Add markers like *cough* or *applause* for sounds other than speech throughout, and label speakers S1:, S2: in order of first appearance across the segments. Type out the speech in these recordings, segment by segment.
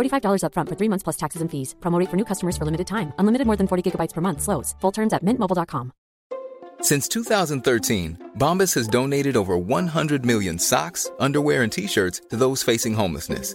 S1: $45 upfront for three months plus taxes and fees. Promo rate for new customers for limited time. Unlimited more than 40 gigabytes per month. Slows. Full terms at mintmobile.com.
S2: Since 2013, Bombas has donated over 100 million socks, underwear, and t shirts to those facing homelessness.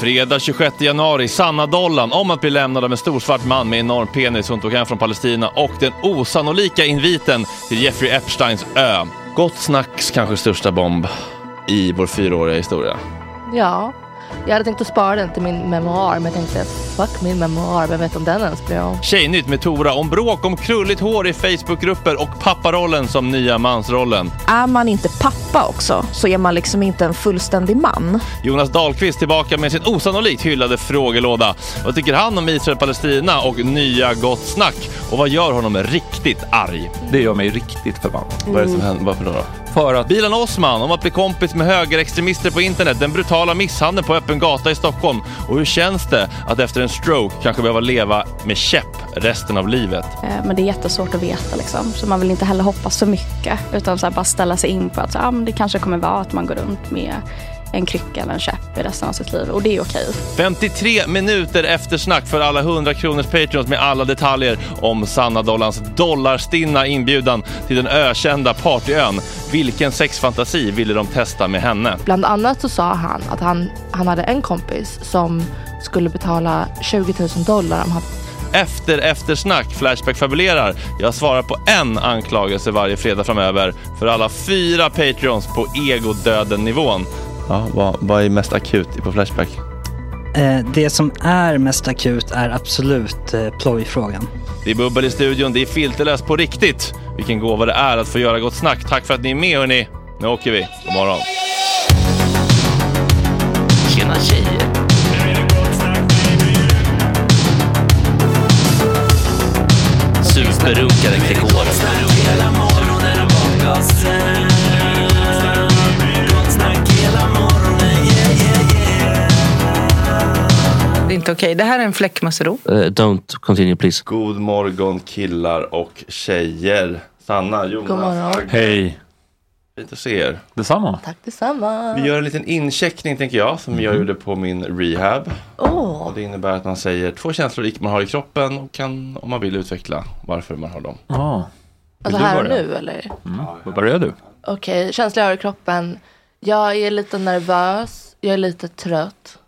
S3: Fredag 26 januari, Sanna Dollan om att bli lämnad av en stor svart man med enorm penis hon tog hem från Palestina och den osannolika inviten till Jeffrey Epsteins ö. Gott snacks kanske största bomb i vår fyraåriga historia.
S4: Ja, jag hade tänkt att spara den till min memoar, men jag tänkte fuck min memoar, vem vet om den ens blir av?
S3: Tjejnytt med Tora om bråk om krulligt hår i Facebookgrupper och papparollen som nya mansrollen.
S5: Är man inte pappa också så är man liksom inte en fullständig man.
S3: Jonas Dahlqvist tillbaka med sin osannolikt hyllade frågelåda. Vad tycker han om Israel-Palestina och nya Gott Snack? Och vad gör honom riktigt arg?
S6: Det gör mig riktigt förbannad.
S3: Vad är det som händer? Varför då?
S6: För att
S3: Bilan Osman om att bli kompis med högerextremister på internet, den brutala misshandeln på öppen gata i Stockholm och hur känns det att efter en stroke kanske behöva leva med käpp resten av livet?
S7: Eh, Men det är jättesvårt att veta liksom. Så man vill inte heller hoppas för mycket. Utan så här bara ställa sig in på att så, ah, men det kanske kommer vara att man går runt med en krycka eller en käpp i resten av sitt liv. Och det är okej.
S3: 53 minuter eftersnack för alla 100 kronors Patreons med alla detaljer om Sanna Dollans dollarstinna inbjudan till den ökända partyön. Vilken sexfantasi ville de testa med henne?
S4: Bland annat så sa han att han, han hade en kompis som skulle betala 20 000 dollar om han
S3: Efter eftersnack Flashback fabulerar. Jag svarar på en anklagelse varje fredag framöver för alla fyra Patreons på egodöden-nivån. Ja, vad, vad är mest akut på Flashback?
S8: Eh, Det som är mest akut är absolut eh, plojfrågan.
S3: Det är bubbel i studion, det är filterlöst på riktigt. Vilken gåva det är att få göra gott snack. Tack för att ni är med hörni. Nu åker vi. God morgon.
S9: Tjena tjejer! Superrunkade Gregor.
S10: Det är inte okej. Det här är en fläckmussero.
S9: Eh, don't continue please.
S3: God morgon killar och tjejer. Sanna, Jonas.
S4: God morgon.
S3: Agge.
S6: Hej,
S3: Fint att se er.
S6: detsamma.
S4: Tack detsamma.
S3: Vi gör en liten incheckning tänker jag som jag gjorde på min rehab.
S4: Åh,
S3: Och det innebär att man säger två känslor man har i kroppen och kan om man vill utveckla varför man har dem.
S6: Ah.
S4: alltså
S6: du
S4: här och
S6: börja?
S4: nu eller?
S3: Mm.
S6: Vad börjar du?
S4: Okej, känsliga öra i kroppen. Jag är lite nervös, jag är lite trött.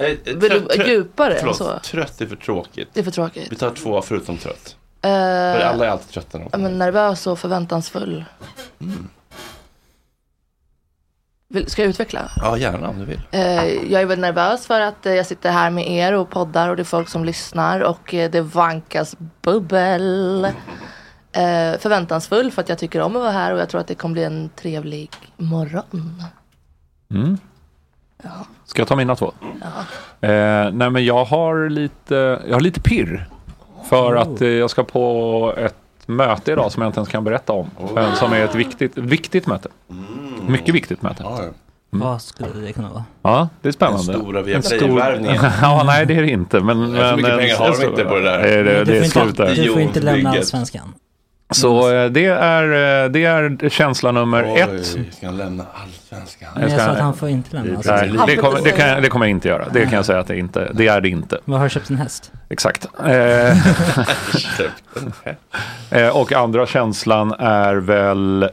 S3: Eh, eh, trött-
S4: Vill du
S3: trött-
S4: djupare än
S3: förlåt,
S4: så?
S3: Trött är för tråkigt.
S4: Det är för tråkigt.
S3: Vi tar två förutom trött. För
S4: Eh,
S3: alla är alltid trötta. när de
S4: ja,
S3: kommer.
S4: men nervös och förväntansfull.
S6: Mm.
S4: Vill, ska jag utveckla?
S3: Ja, gärna om du vill.
S4: Eh, jag är väl nervös för att eh, jag sitter här med er och poddar och det är folk som lyssnar och eh, det vankas bubbel. Eh, förväntansfull för att jag tycker om att vara här och jag tror att det kommer bli en trevlig morgon.
S6: Ska jag ta mina två? Eh, nej, men jag har lite, jag har lite pirr. För att eh, jag ska på ett möte idag som jag inte ens kan berätta om. Men som är ett viktigt, viktigt möte. Mycket viktigt möte.
S3: Ja,
S8: Vad skulle det kunna vara?
S6: Ja, det är
S3: den
S6: spännande.
S3: stora Viaplay-värvningen.
S6: ja, nej det är det inte. Men,
S3: Så mycket
S6: men,
S3: pengar har de inte på det där.
S6: Nej, det,
S8: du,
S6: det är
S8: får
S6: slut
S8: inte,
S6: där.
S8: du får inte lämna
S3: Jordbygget.
S8: allsvenskan.
S6: Så eh, det är, eh, det är känsla nummer ett.
S3: Ska han lämna *laughs* allsvenskan?
S11: Men jag sa att han får inte lämna
S6: Nej,
S11: allsvenskan.
S6: det, kommer, det, kan, jag- det kommer jag inte göra. Det kan jag säga att det inte, det är det inte.
S11: Vad har du köpt en
S6: *laughs*
S11: häst?
S6: Exakt. Eh, Eh, och andra känslan är väl...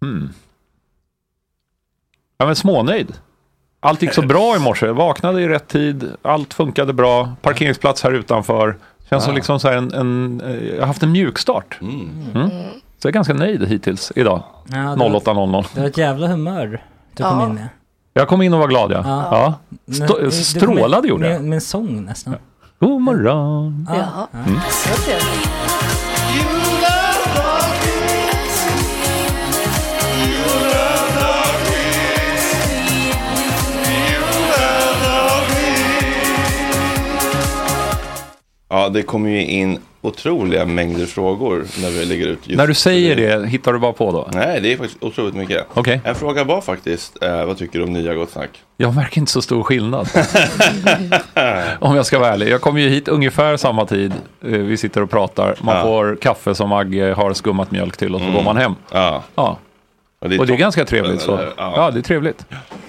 S6: Hmm. Ja, men smånöjd. Allt gick så bra i morse. Jag vaknade i rätt tid. Allt funkade bra. Parkeringsplats här utanför. Känns som
S3: Ah.
S6: liksom så här en, en, eh, jag har haft en mjuk start. Mm. Så jag är ganska nöjd hittills idag.
S11: Ja, det var-
S6: 08.00.
S11: Det var ett jävla humör du kom
S6: Ja.
S11: in med.
S6: Jag kom in och var glad ja. ja.
S11: Men-
S6: Stå,
S11: du-
S6: strålade
S11: du kom in
S6: gjorde jag.
S11: Med, med en sång nästan.
S6: God morgon.
S4: Ja.
S6: Mm.
S3: Ja, det kommer ju in otroliga mängder frågor när vi lägger ut just
S6: När du säger det, hittar du bara på då?
S3: Nej, det är faktiskt otroligt mycket.
S6: Okej.
S3: En fråga var faktiskt, eh, vad tycker du om nya Gott Snack?
S6: Jag märker inte så stor
S3: *laughs*
S6: skillnad. Om jag ska vara ärlig. Jag kom ju hit ungefär samma tid. Eh, Vi sitter och pratar. Man får kaffe som Agge har skummat mjölk till och så
S3: Mm.
S6: går man hem.
S3: Ja.
S6: Ja.
S3: Och
S6: Och
S3: det
S6: det
S3: är
S6: är,
S3: toppen,
S6: ganska trevligt så.
S3: eller? Ja.
S6: Ja. det är trevligt.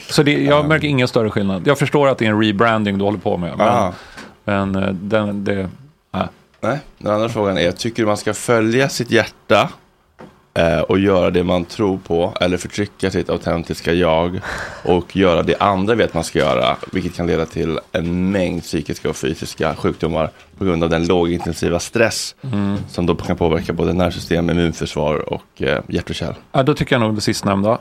S6: Så det, jag märker ingen större skillnad. Jag förstår att det är en rebranding du håller på med. Men,
S3: Ja.
S6: men eh, den, det... Nej.
S3: Nej, den andra frågan är, tycker du man ska följa sitt hjärta eh, och göra det man tror på eller förtrycka sitt autentiska jag och göra det andra vet man ska göra, vilket kan leda till en mängd psykiska och fysiska sjukdomar på grund av den lågintensiva stress
S6: Mm.
S3: som då kan påverka både nervsystem, immunförsvar och eh, hjärt och kärl.
S6: Ja, då tycker jag nog det sistnämnda.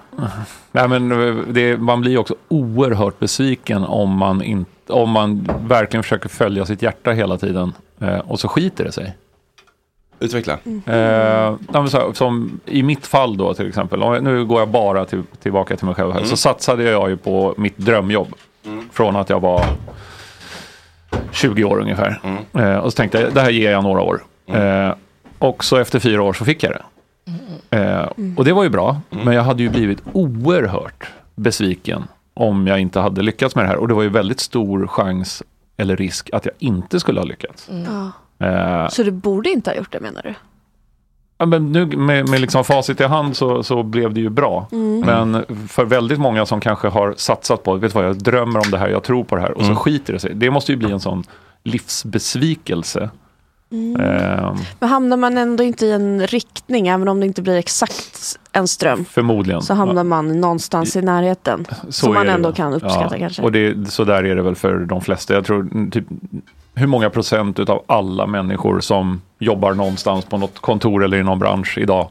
S6: Nej, men eh, det, man blir också oerhört besviken om man, inte, om man verkligen försöker följa sitt hjärta hela tiden eh, och så skiter det sig.
S3: Utveckla.
S6: Eh, ja, men så här, som I mitt fall då till exempel, om jag, nu går jag bara till, tillbaka till mig själv här,
S3: Mm.
S6: så satsade jag ju på mitt drömjobb från att jag var 20 år ungefär. Eh, och så tänkte jag, det här ger jag några år. Eh, och så efter fyra år så fick jag det. Eh, och det var ju bra, men jag hade ju blivit oerhört besviken om jag inte hade lyckats med det här. Och det var ju väldigt stor chans eller risk att jag inte skulle ha lyckats.
S4: Mm.
S5: Ja.
S6: Eh,
S5: Så du borde inte ha gjort det menar du?
S6: Ja, men nu med, med liksom facit i hand så, så blev det ju bra.
S5: Mm.
S6: Men för väldigt många som kanske har satsat på, vet du vad, jag drömmer om det här, jag tror på det här och
S8: Mm.
S6: så skiter det sig. Det måste ju bli en sån livsbesvikelse.
S5: Mm.
S6: Ehm,
S5: Men hamnar man ändå inte i en riktning, även om det inte blir exakt en ström,
S6: förmodligen.
S5: så hamnar man någonstans i närheten.
S6: Ja,
S5: som man
S6: är det
S5: ändå
S6: väl.
S5: kan uppskatta
S6: Ja,
S5: kanske.
S6: Och det, så där är det väl för de flesta. Jag tror mm, typ hur många procent av alla människor som jobbar någonstans på något kontor eller i någon bransch idag,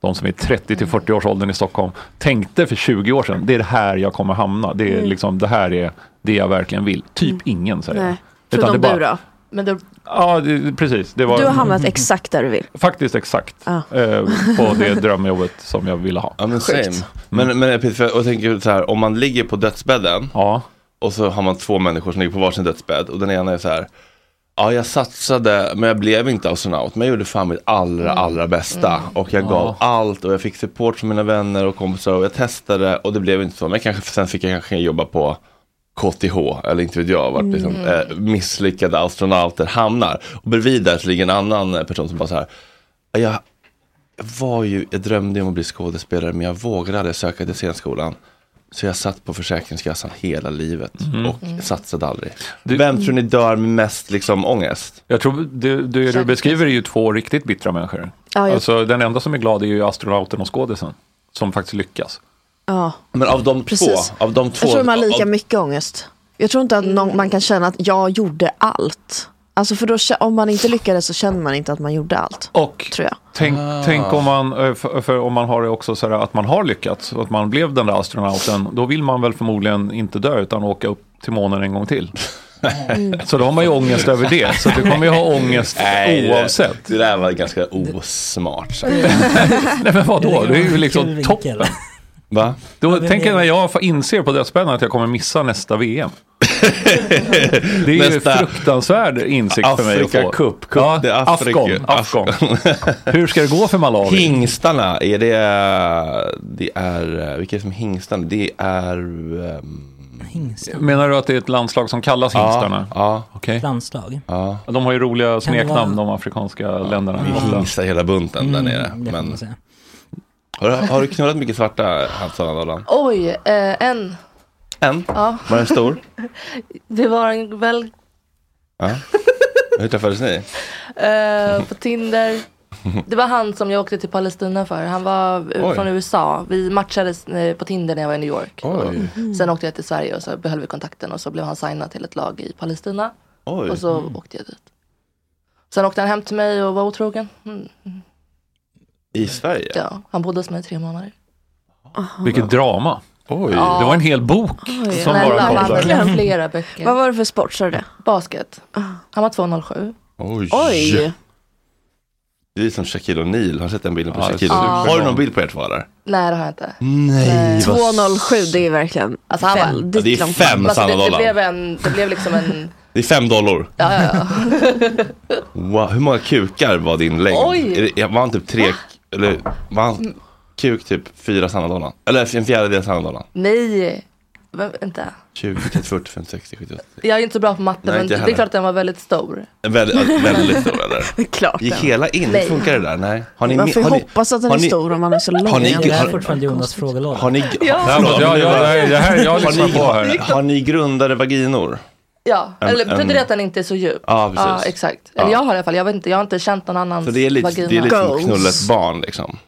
S6: de som är 30 till 40 års åldern i Stockholm, tänkte för 20 år sedan, det är det här jag kommer hamna. Det, är
S4: Mm.
S6: liksom, det här är det jag verkligen vill. Typ ingen säger jag. Utan det bara-
S4: Men det,
S6: Ja, det, precis. Det var Mm.
S5: Du har hamnat exakt där du vill.
S6: faktiskt exakt
S5: Ja.
S6: eh, på det drömjobbet som jag ville ha.
S3: Ja men same.
S6: Mm.
S3: Men, men Peter, för jag- jag tänker så här, om man ligger på dödsbädden och så har man två människor som ligger på varsin dödsbädd och den ena är så här, ja jag satsade men jag blev inte astronaut men jag gjorde fan mitt allra allra bästa
S6: Mm.
S3: och jag gav
S6: Ja.
S3: allt och jag fick support från mina vänner och kompisar och jag testade och det blev inte så men kanske sen fick jag kanske jobba på KTH, eller inte vet jag vart liksom,
S6: Mm.
S3: eh, misslyckade astronauter hamnar. Och bredvid där så ligger en annan eh, person som bara så här, jag, jag var ju, jag drömde om att bli skådespelare men jag vågade aldrig söka till scenskolan. Så jag satt på Försäkringskassan hela livet
S6: Mhm.
S3: och satsade aldrig. Vem tror ni dör med mest liksom, ångest?
S6: Jag tror det, det du beskriver är ju två riktigt bittra människor.
S5: Ja, jag-
S6: alltså, den enda som är glad är ju astronauten och skådisen. Som faktiskt lyckas.
S5: Ja.
S3: Men av de
S5: Precis.
S3: två, av de två.
S5: Jag tror de har lika
S3: av,
S5: mycket ångest. Jag tror inte att någon, man kan känna att jag gjorde allt. Alltså för då, kä- om man inte lyckades så känner man inte att man gjorde allt.
S6: Och
S5: tror jag.
S6: Tänk,
S5: Ah.
S6: tänk om, man, eh, för, för om man har det också så här att man har lyckats, att man blev den där astronauten, då vill man väl förmodligen inte dö utan åka upp till månen en gång till. *laughs* Så då har man ju ångest över det, så du kommer ju ha ångest
S3: Nej, det-
S6: oavsett.
S3: Det där var ganska
S5: *laughs*
S3: osmart. sagt.
S5: Mm.
S6: Nej men vadå, det är ju
S3: Kul
S6: liksom
S3: vinkel.
S6: toppen.
S3: Va?
S6: Då,
S3: men
S6: tänk
S3: det-
S6: när jag får- inser på dödsbädden att jag kommer missa nästa
S3: *laughs*
S6: VM. Det är
S3: Nästa-
S6: ju fruktansvärd insikt för mig att få.
S3: Afrika Cup, Cup
S6: ja,
S3: det är Afrika.
S6: Afghan, Afghan.
S3: *laughs*
S6: Hur ska det gå för Malawi?
S3: Hingstarna, är det, det är, vilka är det som är hingstarna? Det är, ehm,
S11: Hingstar?
S6: Menar du att det är ett landslag som kallas
S11: Ja,
S6: hingstarna? Ja. Okej.
S11: Landslag?
S3: Ja.
S6: De har ju roliga
S11: Kan det
S6: smeknamn,
S11: vara-
S6: de afrikanska länderna.
S3: Vi hingstar hela bunten där Mm, nere, det får men- man säga. Har, du- har du knullat mycket svarta, Hansanna Dollan?
S4: Oj, eh, en.
S3: En?
S4: Ja.
S3: Var den *laughs* stor?
S4: Det var en väl
S3: Ja. Hur träffades ni?
S4: eh,
S3: *laughs*
S4: på Tinder. Det var han som jag åkte till Palestina för. Han var eh,
S3: Oj.
S4: från USA. Vi matchades eh, på Tinder när jag var i New York.
S3: Oj. Mm.
S4: Och Sen åkte jag till Sverige och så behöll vi kontakten och så blev han signad till ett lag i Palestina.
S3: Oj.
S4: Och så
S3: Mm.
S4: åkte jag dit. Sen åkte han hem till mig och var otrogen. Mm.
S3: I Sverige?
S4: Ja, han bodde hos mig i tre månader.
S6: Vilket drama.
S3: Oj.
S6: Det var en hel bok som bara kom där.
S3: *laughs*
S4: verkligen flera böcker.
S5: Vad
S4: var det för sport sa du det? Basket. Han var 2,07.
S3: Oj.
S4: Oj.
S3: Det är som Shaquille O'Neal. Har du sett den bilden på
S6: Ja,
S5: det
S3: Shaquille?
S5: är
S3: Har du
S5: superbra. Eh,
S3: någon bild på er två där?
S4: Nej, det har jag inte.
S3: Nej, vad
S5: 207, det är verkligen
S4: Alltså, han var-
S5: väldigt
S3: Ja, det är
S5: långt
S3: fem
S5: fram.
S3: Men alltså,
S4: Det, det,
S3: Dollar.
S4: blev en, det blev liksom en...
S3: Det är fem dollar.
S4: Ja, ja,
S3: *laughs*
S4: ja.
S3: Wow. Hur många kukar var din längd?
S4: Oj.
S3: Är det- Var han typ tre? Eller var han kuk typ fyra sanna dollar? Eller en fjärdedel sanna dollar?
S4: Nej. Vem- Vänta.
S3: 20, 30, 40, 50, 60, 70, 80.
S4: Jag är inte så bra på matte,
S3: Nej,
S4: men
S3: inte
S4: det
S3: jag
S4: är
S3: heller.
S4: klart att den var väldigt stor.
S3: Väldigt, väldigt stor eller?
S5: Klart
S3: Gick
S5: den.
S3: hela in? Hur
S4: Nej.
S3: funkar det där? Nej. Har
S5: Man får ju
S3: har
S5: hoppas att den
S3: har
S5: är
S3: ni-
S5: stor om man är så lång.
S3: Har ni,
S5: Ja, det är
S3: har,
S11: Fortfarande Jonas frågelåda.
S3: har ni,
S5: Ja.
S3: förlåt,
S6: Ja, ja, ja, ja, det här- jag
S3: har
S6: lyssnar
S3: ni,
S6: på här.
S3: Har ni grundade vaginor?
S4: Ja,
S3: En-
S4: eller betyder
S3: en-
S4: det att den inte är så djup?
S3: Ja, precis.
S4: exakt. Eller
S3: Ja.
S4: jag har i alla fall, jag vet inte, jag har inte känt någon annans
S3: Så det är lite,
S4: vagina.
S3: det är lite som knulla ett barn liksom.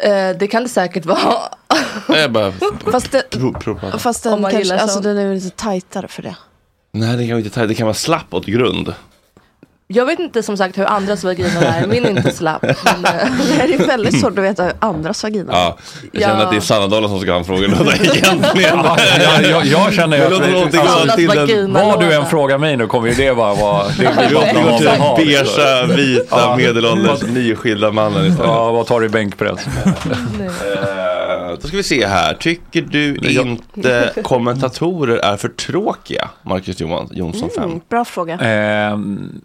S4: Eh, det kan det säkert vara. *laughs*
S3: Jag bara
S5: Fast, det,
S3: pro, pro, pro.
S5: fast
S4: Om
S5: den,
S4: man
S5: kanske,
S4: gillar
S5: alltså,
S4: sånt.
S5: den är väl lite tajtare för det.
S3: Nej, det kan, vi inte ta, det kan vara slapp åt grund.
S4: Jag vet inte som sagt hur andras vaginor är, min är inte
S3: *laughs*
S4: slapp. Men, eh,
S5: *laughs* Det här är väldigt svårt att veta andras vagina.
S3: Ja, jag
S4: Ja.
S3: känner att det är Sanna Dahlin som ska ha en frågelåda
S6: *laughs*
S3: egentligen.
S6: Ja, jag, jag, jag känner ju
S3: Men låt oss återgå
S6: alltså,
S3: till den-
S6: Vad du än frågar mig nu kommer ju det bara vara... Det blir bara
S3: Vi går
S6: vad
S3: till
S6: man
S3: den
S6: har.
S3: beiga, vita,
S6: Ja.
S3: medelålders, nyskilda mannen istället.
S6: Ja, vad tar du i bänkpress?
S3: Eh, Då ska vi se här. Tycker du
S6: *laughs*
S3: inte kommentatorer är för tråkiga? Marcus Johan- Jonsson 5.
S5: Mm,
S6: Mm.
S5: Bra fråga.
S6: Ehm,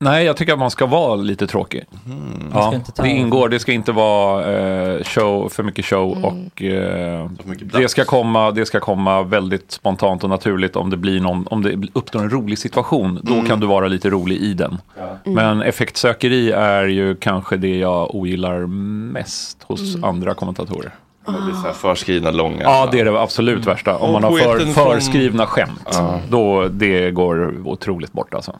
S6: nej, jag tycker att man ska vara lite tråkig.
S11: Man
S6: Ja,
S11: ska inte ta-
S6: det ingår, det ska inte vara eh, show, för mycket show
S11: Mm.
S6: och eh, det, ska komma, det ska komma väldigt spontant och naturligt om det, blir någon, om det uppstår en rolig situation. Då
S3: Mm.
S6: kan du vara lite rolig i den.
S3: Mm.
S6: Men effektsökeri är ju kanske det jag ogillar mest hos
S3: Mm.
S6: andra kommentatorer.
S3: Det blir så här förskrivna långa.
S6: Ja, det är det absolut värsta. Om
S3: Och
S6: man har
S3: poeten
S6: för,
S3: från-
S6: förskrivna skämt, då det går otroligt bort alltså.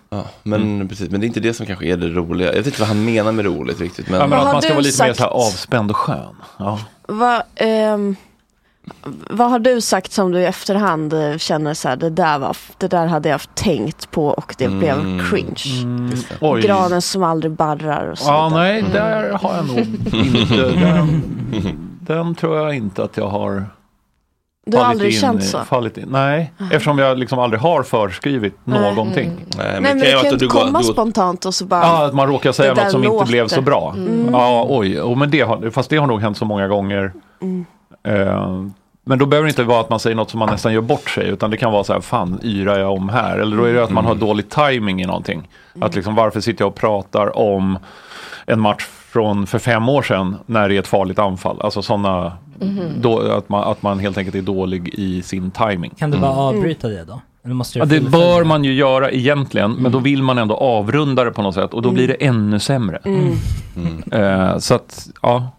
S3: Men, precis, men det är inte det som kanske är det roliga. Jag vet inte vad han menar med roligt riktigt. Men...
S6: Ja, men
S5: Vad
S6: att
S5: har
S6: man ska
S5: du
S6: vara lite mer så här
S5: sagt?
S6: avspänd och skön. Ja.
S5: Va, ehm, vad har du sagt som du i efterhand eh, känner så här, det där, var, f- det där hade jag tänkt på och det
S3: Mm.
S5: blev cringe.
S6: Oj.
S5: Granen som aldrig barrar och så
S6: Ja,
S5: vidare.
S3: Mm.
S6: nej, där har jag nog
S3: *laughs*
S6: inte. Den, den tror jag inte att jag har
S5: Du har
S6: fallit
S5: aldrig
S6: in,
S3: eh,
S5: känt
S6: i-
S5: så? Ah.
S6: Fallit in. Nej, eftersom jag liksom aldrig har förskrivit någonting.
S3: Mm. Nej,
S5: Nej men det kan ju inte komma spontant och så bara
S6: Ja, att man råkar säga
S5: Det där
S6: något som
S5: låter.
S6: inte blev så bra.
S5: Mm.
S6: Ja, oj. Oh, men det har, fast det har nog hänt så många gånger.
S5: Mm.
S6: Eh, men då behöver det inte vara att man säger något som man nästan gör bort sig. Utan det kan vara så här, fan yrar jag om här? Eller då är det att man har dålig timing i någonting.
S5: Mm.
S6: Att liksom, varför sitter jag och pratar om en match från för fem år sedan när det är ett farligt anfall? Alltså sådana,
S5: Mm-hmm.
S11: Mhm.
S6: då, att, man, att man helt enkelt är dålig i sin timing. Mm.
S11: Kan du bara avbryta det då? Eller måste du
S6: Ja, det
S11: fullfölja?
S6: bör man ju göra egentligen, men då vill man ändå avrunda det på något sätt och då
S11: Mm.
S6: blir det ännu sämre.
S11: Mm.
S6: Eh, så att, ja.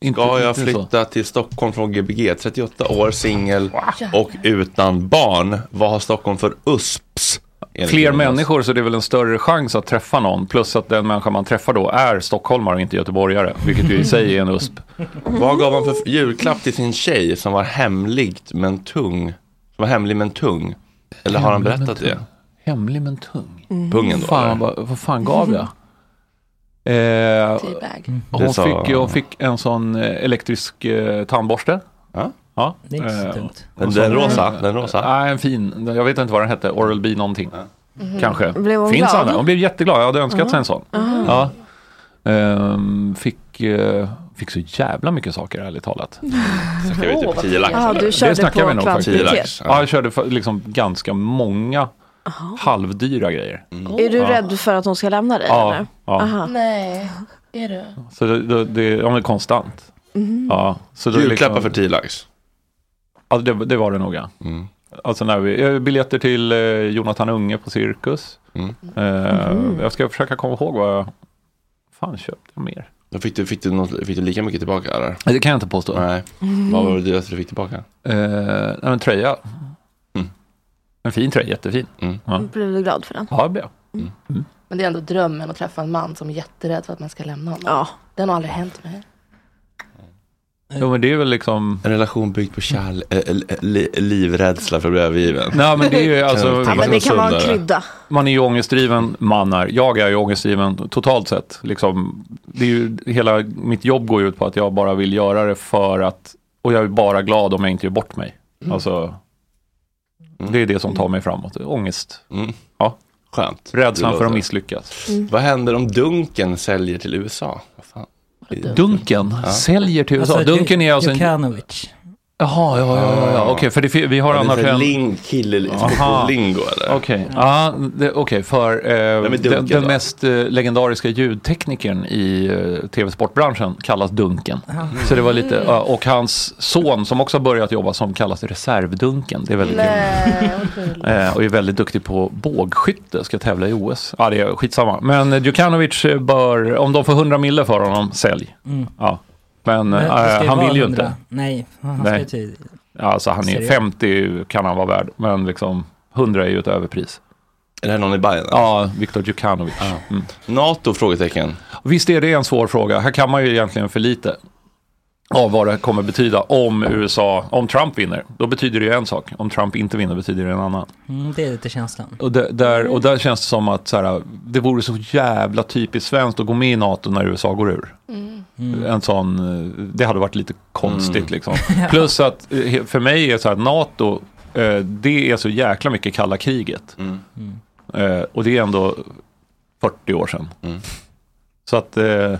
S6: Inte,
S3: Ska jag
S6: inte så.
S3: flytta till Stockholm från Gbg? 38 år, singel och utan barn. Vad har Stockholm för USPs? Enligt
S6: Fler
S3: Jonas.
S6: människor så det är väl en större chans att träffa någon. Plus att den människa man träffar då är stockholmare och inte göteborgare. Vilket ju i sig
S3: Mm.
S6: är en USP.
S3: Vad gav han för f- julklapp till sin tjej som var hemligt men tung? Som var hemlig men tung? Eller har han
S6: Hemlig men
S3: berättat
S6: tung.
S3: det?
S6: Hemlig men tung.
S5: mm.
S3: Pungen då,
S6: Fan,
S3: eller? Mm.
S6: vad, vad fan gav jag? Eh,
S3: Typ. Det
S6: hon,
S3: sa-
S6: fick, hon fick en sån eh, elektrisk eh, tandborste.
S3: Ja.
S6: ja. Eh,
S11: Det är inte så dumt.
S3: Den- den rosa, den rosa.
S6: Nej, en fin. Jag vet inte vad den hette. Oral B någonting.
S5: Mhm.
S6: Kanske.
S5: Blev hon
S6: Finns
S5: glad?
S6: alla? Hon blev jätteglad. Jag hade önskat sig en sån.
S5: Mhm.
S6: Ja. Ehm, fick, eh, fick så jävla mycket saker ärligt talat.
S3: Snackar vi typ 10 lax?
S5: Ja,
S3: eller?
S5: du körde
S6: det snackar
S5: på
S6: vi nog
S5: kvantitet. 10
S6: faktiskt.
S5: lax,
S6: Ja, jag körde för, liksom ganska många halvdyra grejer.
S5: Är du
S6: Mm. Ja.
S5: rädd för att hon ska lämna dig
S6: Ja,
S5: eller?
S6: ja.
S5: Aha.
S4: Nej, är du?
S6: Så det, det, det ja, men konstant.
S5: Mhm.
S6: Ja, så då liksom-
S3: Julklappar för 10 lax? Mm,
S6: Ja, det, det var det nog ja. Alltså när vi, eh, biljetter till eh, Jonathan Unge på Cirkus.
S3: mm.
S6: Eh,
S3: Mhm.
S6: Jag ska försöka komma ihåg vad jag... Fan köpte jag mer?
S3: Då fick, du, fick, du något, fick du lika mycket tillbaka eller?
S6: Nej, det kan jag inte påstå.
S3: Nej.
S6: Mm.
S3: Vad var det dyraste du fick tillbaka?
S6: Eh, en tröja.
S3: Mm.
S6: En fin tröja, jättefin. Ja.
S4: Blev du glad för den?
S6: Ja, det blev jag.
S4: Men det är ändå drömmen att träffa en man som är jätterädd för att man ska lämna honom. Den har aldrig hänt mig.
S6: Jo, men det är väl liksom...
S3: En relation byggd på eh, kärlek, livrädsla för att bli övergiven.
S6: Nej, men det
S3: *laughs*
S6: är ju alltså...
S3: sundare.
S6: Man är ju ångestdriven man är. Jag är ju ångestdriven totalt sett. Liksom, det är ju, hela mitt jobb går ju ut på att jag bara vill göra det för att... Och jag är bara glad om jag inte gör bort mig.
S3: Mm.
S6: Alltså, det är det som tar mig framåt. Ångest. Ja.
S3: Mm. Skönt.
S6: Rädslan
S3: Det
S6: för att
S3: låter-
S6: misslyckas.
S3: Vad händer om Dunken säljer till USA? Vad fan?
S6: Dunken
S3: Ja.
S6: säljer till USA.
S3: Alltså,
S6: Dunken är alltså en...
S11: Jukanovic.
S6: Jaha, ja, ja, ja, ja. okej, för det, fi- vi har
S3: Ja, det är
S6: annars
S3: så här
S6: en...
S3: ling- kille-
S6: Aha.
S3: lingo, eller?
S6: Okej, ja. det- okej, för eh,
S3: men
S6: den,
S3: Dunken
S6: den
S3: då?
S6: mest eh, legendariska ljudteknikern i eh, tv-sportbranschen kallas Dunken.
S11: Aha.
S6: Så det var lite, ja, och hans son som också har börjat jobba som kallas Reservdunken. Det är väldigt kul. Eh, och är väldigt duktig på bågskytte, ska tävla i OS. Ja, det är skitsamma. Men eh, Djukanovic eh, bör, om de får 100 mille för honom, sälj.
S11: Mm.
S6: Ja. Men,
S11: Men det ska
S6: eh,
S11: ju
S6: han
S11: vara
S6: vill ju
S11: 100.
S6: inte.
S11: Nej, han ska ju till-
S6: Alltså han är
S11: Seriöst.
S6: 50 kan han vara värd, men liksom 100 är ju ett överpris. Är det här någon i Bayern? Ja, Viktor Djukanovic. Mm.
S3: Nato? Frågetecken.
S6: Visst är det en svår fråga. Här kan man ju egentligen för lite av vad det kommer betyda om USA, om Trump vinner. Då betyder det ju en sak. Om Trump inte vinner betyder det en annan.
S11: Mm, det är lite känslan.
S6: Och där, där, och där känns det som att så här, det vore så jävla typiskt svenskt att gå med i NATO när USA går ur.
S11: Mm. Mm.
S6: En sån, eh, det hade varit lite konstigt
S11: Mm. *laughs*
S6: liksom. Plus att eh, för mig är så här, NATO, eh, det är så jäkla mycket kalla kriget. Eh, och det är ändå 40 år sedan. Så att eh,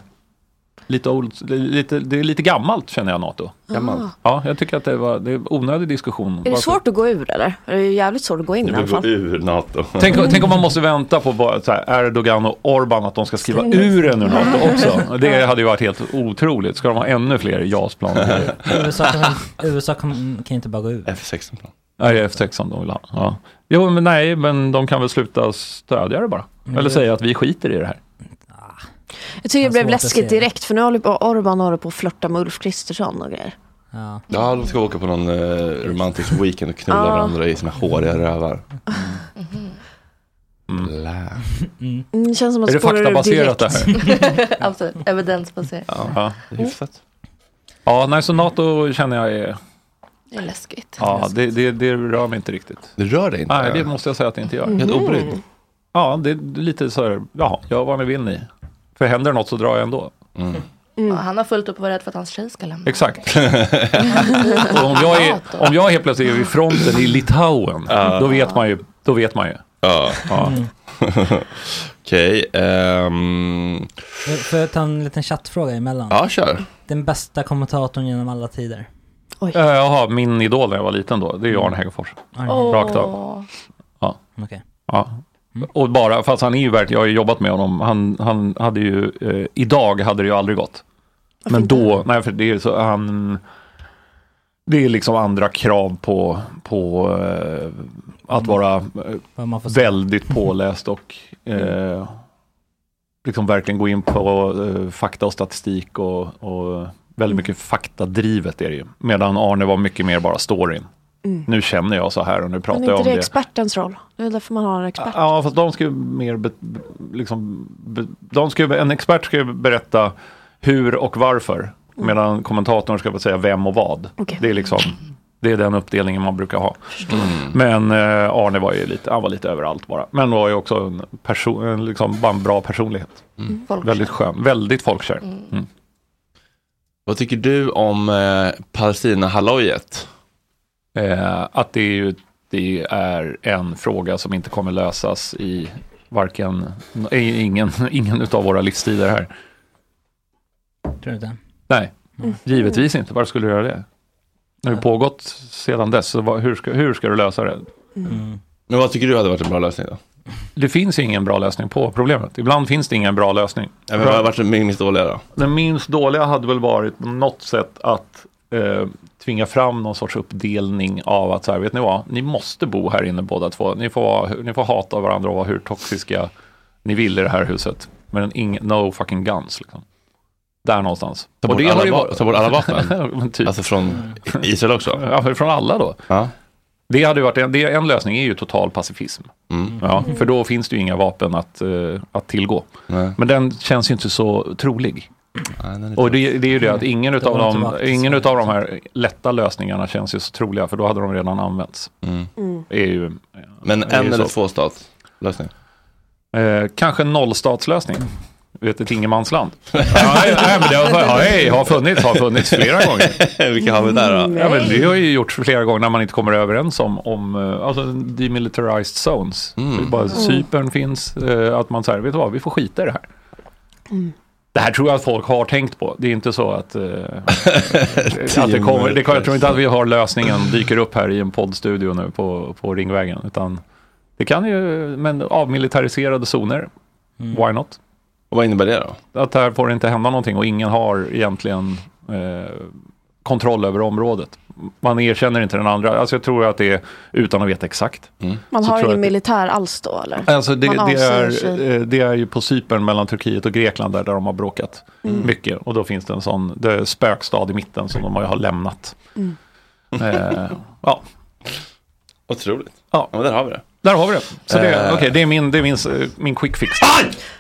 S6: lite old, lite, det är lite gammalt känner jag NATO.
S5: Gammalt. Ah.
S6: Ja, jag tycker att det var det är en onödig diskussion.
S5: Är det
S6: Varför-
S5: svårt att gå ur eller? Det är ju jävligt svårt att gå in i alla fall.
S3: ur NATO.
S6: Tänk, tänk om man måste vänta på bara så här, Erdogan och Orban att de ska skriva
S11: Stäng
S6: ur
S11: ut.
S6: en ur NATO också. Det hade ju varit helt otroligt. Ska de ha ännu fler JAS-plan?
S11: USA, kan, USA kan, kan inte bara gå ur.
S3: F16-plan.
S6: Nej, det är F16 de vill ha. Ja. Jo, men nej, men de kan väl sluta stödja det bara.
S11: Mm.
S6: Eller säga att vi skiter i det här.
S5: Jag tycker det blev
S11: svårt att se
S5: läskigt
S11: det.
S5: direkt för nu håller på Orban håller på att flörta med Ulf Kristersson och grejer.
S11: Ja.
S3: Ja, de ska åka på någon eh, romantisk weekend och knulla
S5: Ja.
S3: varandra i sina håriga rövar.
S4: Mhm.
S3: Lä.
S5: Mm, det känns som att
S3: Är det
S5: spårar ur
S3: faktabaserat
S5: direkt.
S4: Absolut, evidensbaserat.
S6: Ja, det är hyfsat. Ja, nej, så NATO känner jag är...
S4: Det är läskigt.
S6: Ja, det, det, det rör mig inte riktigt.
S3: Det rör dig inte?
S6: Nej,
S2: Eh.
S6: det måste jag säga att det inte gör.
S3: Helt obrydd?
S6: Ja, det är lite så här, jaha, gör vad ni vill ni. För händer det något så drar jag ändå.
S4: Ja, han har fullt upp att vara rädd för att hans tjej ska lämna.
S6: Mm.
S4: *laughs*
S6: Exakt. Och om, jag är, om jag helt plötsligt är i fronten i Litauen, då vet man ju. Då vet man ju.
S3: Ja.
S11: Mm.
S3: *laughs* Okej. ehm,
S11: Får jag ta en liten chattfråga emellan?
S3: Ja, kör.
S11: Den bästa kommentatorn genom alla tider.
S6: Äh, Jaha, min idol när jag var liten då, det är ju Arne Hegerfors.
S11: Åh.
S6: Rakt av. Ja.
S11: Okej.
S6: Ja. Och bara, fast han är ju verkligen, jag har ju jobbat med honom, han, han hade ju, eh, idag hade det ju aldrig gått. Men då, nej för det är så, han, det är liksom andra krav på, på eh, att vara eh,
S11: Vad man får säga.
S6: väldigt påläst och
S5: Mm.
S6: eh, liksom verkligen gå in på eh, fakta och statistik och, och
S5: Mm.
S6: väldigt mycket faktadrivet är det ju. Medan Arne var mycket mer bara storyn.
S5: Mm.
S6: Nu känner jag så här och nu pratar
S5: Men är
S6: jag om
S5: inte det
S6: det.
S5: expertens roll? Det är väl därför man har en expert.
S6: Ja, fast de ska ju mer be, be- liksom, be, de ska, ju- en expert ska ju berätta hur och
S5: Mm.
S6: varför. Medan kommentatorn ska bara säga vem och vad. Det är liksom, det är den uppdelningen man brukar ha. Men eh, Arne var ju lite, han var lite överallt bara. Men var ju också en person, en liksom bara en bra personlighet.
S4: Folkkär.
S6: Väldigt skön, väldigt folkkär. Mm.
S3: Vad tycker du om eh, Palestina-hallojet?
S6: Eh, att det är, ju, det är en fråga som inte kommer lösas i varken, i ingen, *laughs* ingen av våra livstider här.
S11: Tror du inte? Mm.
S6: Nej, givetvis inte. Varför skulle du göra det? Det har ju pågått sedan dess, så vad, hur, ska, hur ska du lösa det?
S11: Mm.
S3: Men vad tycker du hade varit en bra lösning då?
S6: Det finns ju ingen bra lösning på problemet. Ibland finns det ingen bra lösning.
S3: Ja, men vad hade varit den minst dåliga då?
S6: Den minst dåliga hade väl varit på något sätt att eh, tvinga fram någon sorts uppdelning av att så här, vet ni vad, ni måste bo här inne båda två. Ni får, vara- ni får hata varandra och vara hur toxiska ni vill i det här huset. Men ing, no fucking guns liksom. Där någonstans.
S3: Ta
S6: Och
S3: bort,
S6: det har
S3: alla,
S6: ju
S3: va-
S6: varit-
S3: ta bort
S6: *laughs*
S3: alla vapen?
S6: Men typ.
S3: Alltså från Israel också?
S6: Ja, från alla då. Det hade ju varit en, det, en lösning är ju total pacifism.
S3: Mm.
S6: Ja, för då finns det ju inga vapen att, eh, att tillgå. Men den känns ju inte så trolig. Och det, det är ju det att ingen, utav
S3: Mm. var inte
S6: de,
S3: vatten,
S6: ingen utav de här lätta lösningarna känns ju så troliga, för då hade de redan använts.
S3: Mm.
S6: Det Är ju,
S3: Men en eller två stat lösning?
S6: Eh, kanske en nollstatslösning. Du vet, ett ingenmansland. *laughs* nej, nej, men det har, *laughs* nej, har funnits, har funnits *laughs* flera gånger.
S3: Eh, Vilka har vi där då?
S6: Ja, men det har ju gjorts flera gånger när man inte kommer överens om, om eh, alltså, demilitarized zones. Det är bara
S3: Mm.
S6: Cypern finns, eh, att man säger, vet du vad, vi får skita i det här.
S3: Mm.
S6: Det här tror jag att folk har tänkt på. Det är inte så att, eh, att det kommer. Det,
S3: minuter.
S6: jag tror inte att vi har lösningen dyker upp här i en poddstudio nu på, på Ringvägen. Utan det kan ju, men avmilitariserade zoner, why not?
S3: Och vad innebär det då?
S6: Att här får det inte hända någonting och ingen har egentligen eh, kontroll över området. Man erkänner inte den andra. Alltså jag tror att det är utan att veta exakt.
S5: Man
S6: Så
S5: har
S6: tror jag
S5: ingen
S6: att-
S5: militär alls då eller?
S6: Mm. Alltså det,
S5: Man
S6: det,
S5: avsäger
S6: är,
S5: sig.
S6: eh, det är ju på Cypern mellan Turkiet och Grekland där, där de har bråkat
S5: Mm.
S6: mycket. Och då finns det en sån det är spökstad i mitten som de har- har lämnat.
S3: Mm.
S6: Eh, ja.
S3: Otroligt.
S6: Ja.
S3: men där har vi det.
S6: Där har vi det. Så det,
S3: Eh.
S6: okej, det är min, det är min, s- eh, min quick fix.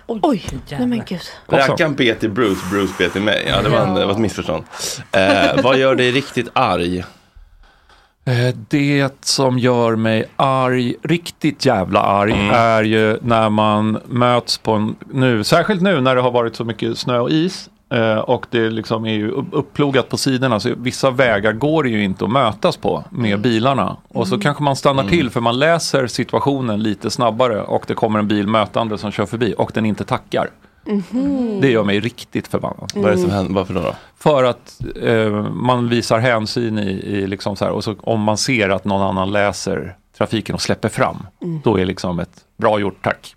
S5: Oj, nej men gud.
S3: Rackarn bet till Bruce, Bruce bet till mig. Ja, det var, en, det var ett missförstånd. Eh, vad gör dig riktigt arg?
S6: Eh, Det som gör mig arg, riktigt jävla arg, är ju när man möts på en, nu, särskilt nu när det har varit så mycket snö och is eh, och det liksom är ju upp- upplogat på sidorna så vissa vägar går det ju inte att mötas på med bilarna. Och så kanske man stannar till för man läser situationen lite snabbare och det kommer en bil mötande som kör förbi och den inte tackar. Mm.
S5: Mhm.
S6: Det gör mig riktigt förbannad.
S3: Vad är det som händer? Varför då? då?
S6: För att eh, man visar hänsyn i, i liksom så här, och så om man ser att någon annan läser trafiken och släpper fram,
S5: Mm.
S6: då är liksom ett bra gjort tack.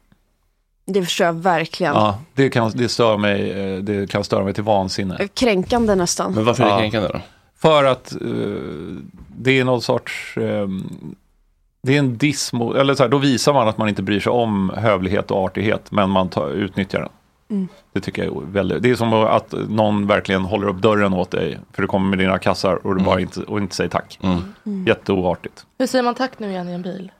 S5: Det förstår jag verkligen.
S6: Ja, det, kan, det, stör mig, eh, det kan störa mig till vansinne.
S5: Kränkande nästan.
S6: Ja. För att eh, det är någon sorts... eh, det är en diss mot- eller så här, då visar man att man inte bryr sig om hövlighet och artighet, men man tar, utnyttjar den.
S5: Mm.
S6: Det tycker jag är väldigt, det är som att någon verkligen håller upp dörren åt dig, för du kommer med dina kassar och du
S5: Mm.
S6: bara inte, och inte säger tack.
S4: Mm.
S6: Jätteoartigt.
S4: Hur säger man tack nu igen i en bil?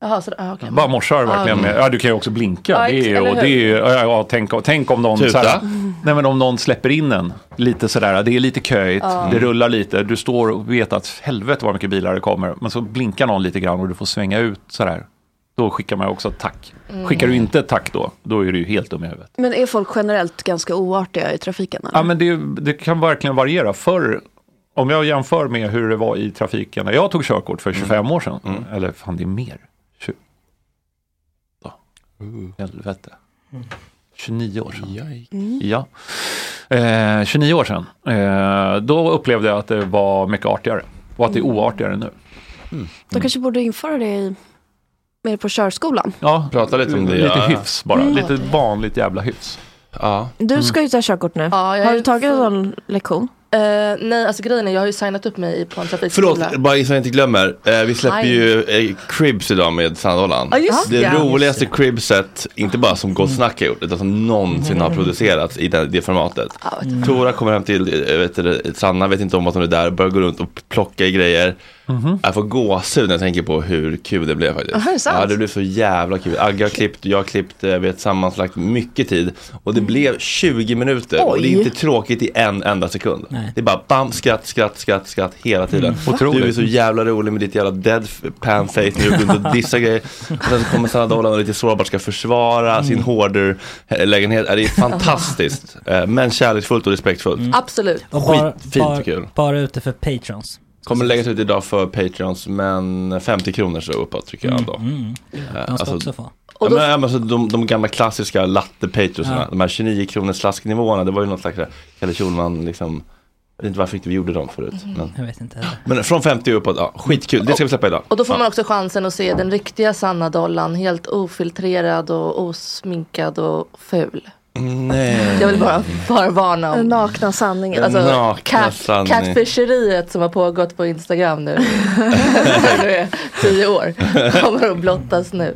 S4: Jaha, så, ah, okay.
S6: Bara morsar verkligen
S4: Ah,
S6: med, ja du kan ju också blinka.
S4: Ja,
S6: det
S4: ex-
S6: är, ju-
S4: eller
S6: och
S4: hur?
S6: det är, ju- ja, ja, tänk, om- tänk om någon,
S3: Tuta.
S6: såhär- nej, men om någon släpper in en lite sådär, det är lite köigt,
S3: Ja.
S6: det rullar lite, du står och vet att helvete vad mycket bilar det kommer, men så blinkar någon lite grann och du får svänga ut sådär. Då skickar man också ett tack.
S5: Mm.
S6: Skickar du inte ett tack då, då är du ju helt dum i huvudet.
S5: Men är folk generellt ganska oartiga i trafiken? Eller?
S6: Ja, men det, det kan verkligen variera. Förr, om jag jämför med hur det var i trafiken när jag tog körkort för 25 år sedan, eller fan det är mer, 20, ja. helvete, Mm. 29 år sedan.
S5: Mm.
S6: Ja. Eh, 29 år sedan, eh, då upplevde jag att det var mycket artigare och att det är
S5: Mm.
S6: oartigare nu.
S5: De kanske borde införa det i, mer på körskolan.
S6: Ja,
S3: Prata lite om det,
S6: Lite
S3: ja.
S6: hyfs bara,
S5: Mm.
S6: lite vanligt jävla hyfs.
S3: Ja.
S5: Du ska ju ta körkort nu.
S4: Har du tagit
S5: någon lektion?
S4: nej, alltså grejen är jag har ju signat upp mig i- på en trafikskola.
S3: Förlåt, bara så jag inte glömmer. Eh, vi släpper
S4: Nej.
S3: ju eh, Cribs idag med Sandollan.
S4: Ja, just
S3: det
S4: det.
S3: roligaste Cribset, inte bara som Gott Snack har gjort, utan som någonsin har producerats i det, det formatet.
S4: Mm.
S3: Tora kommer hem till, eh, vet du, Sanna vet inte om att hon är där, börjar gå runt och plocka i grejer.
S6: Mhm.
S3: Jag får gåshud när jag tänker på hur kul det blev faktiskt.
S4: Aha, är det sant?
S3: ja, det blev så jävla kul. Agge har klippt, jag har klippt, eh, vi har tillsammans lagt mycket tid. Och det
S4: Mm.
S3: blev 20 minuter och det är
S4: Oj.
S3: inte tråkigt i en enda sekund. Det är bara bam, skratt, skratt, skratt, skratt hela tiden.
S6: Mm. Otroligt.
S3: Du är så jävla rolig med ditt jävla deadpan face när du går runt och dissar grejer. Och sen så kommer Sanna Dolan och lite sårbart ska försvara
S11: Mm.
S3: sin hoarder eh, lägenhet. Eh, Det
S11: *laughs*
S3: är fantastiskt. Eh, Men kärleksfullt och respektfullt.
S4: Absolut.
S3: Och
S11: Mm. bara,
S3: skitfint
S11: bara,
S3: och kul.
S11: bara ute för patrons.
S3: Kommer läggas ut idag för Patreons, men 50 kronor så uppåt tycker jag ändå.
S11: Mm, mm.
S3: Eh,
S11: ska också få.
S3: Ja, men, ja, men, alltså, de, de gamla klassiska latte-patriotsarna,
S11: Ja.
S3: de här 29 kronors slasknivåerna, det var ju något slags där Kalle Schulman liksom, jag vet inte varför inte vi gjorde dem förut.
S4: Mhm.
S3: Men,
S11: Jag vet inte heller.
S3: men från 50 uppåt, ja, skitkul, det ska vi släppa idag.
S4: Och då får
S3: ja.
S4: man också chansen att se den riktiga Sanna Dollan helt ofiltrerad och osminkad och ful.
S3: Nej.
S4: Jag vill bara förvarna om den nakna sanningen. Alltså,
S3: Den nakna
S4: cat,
S3: sanning.
S4: Catfisheriet som har pågått på Instagram nu nu är tio år kommer att blottas nu.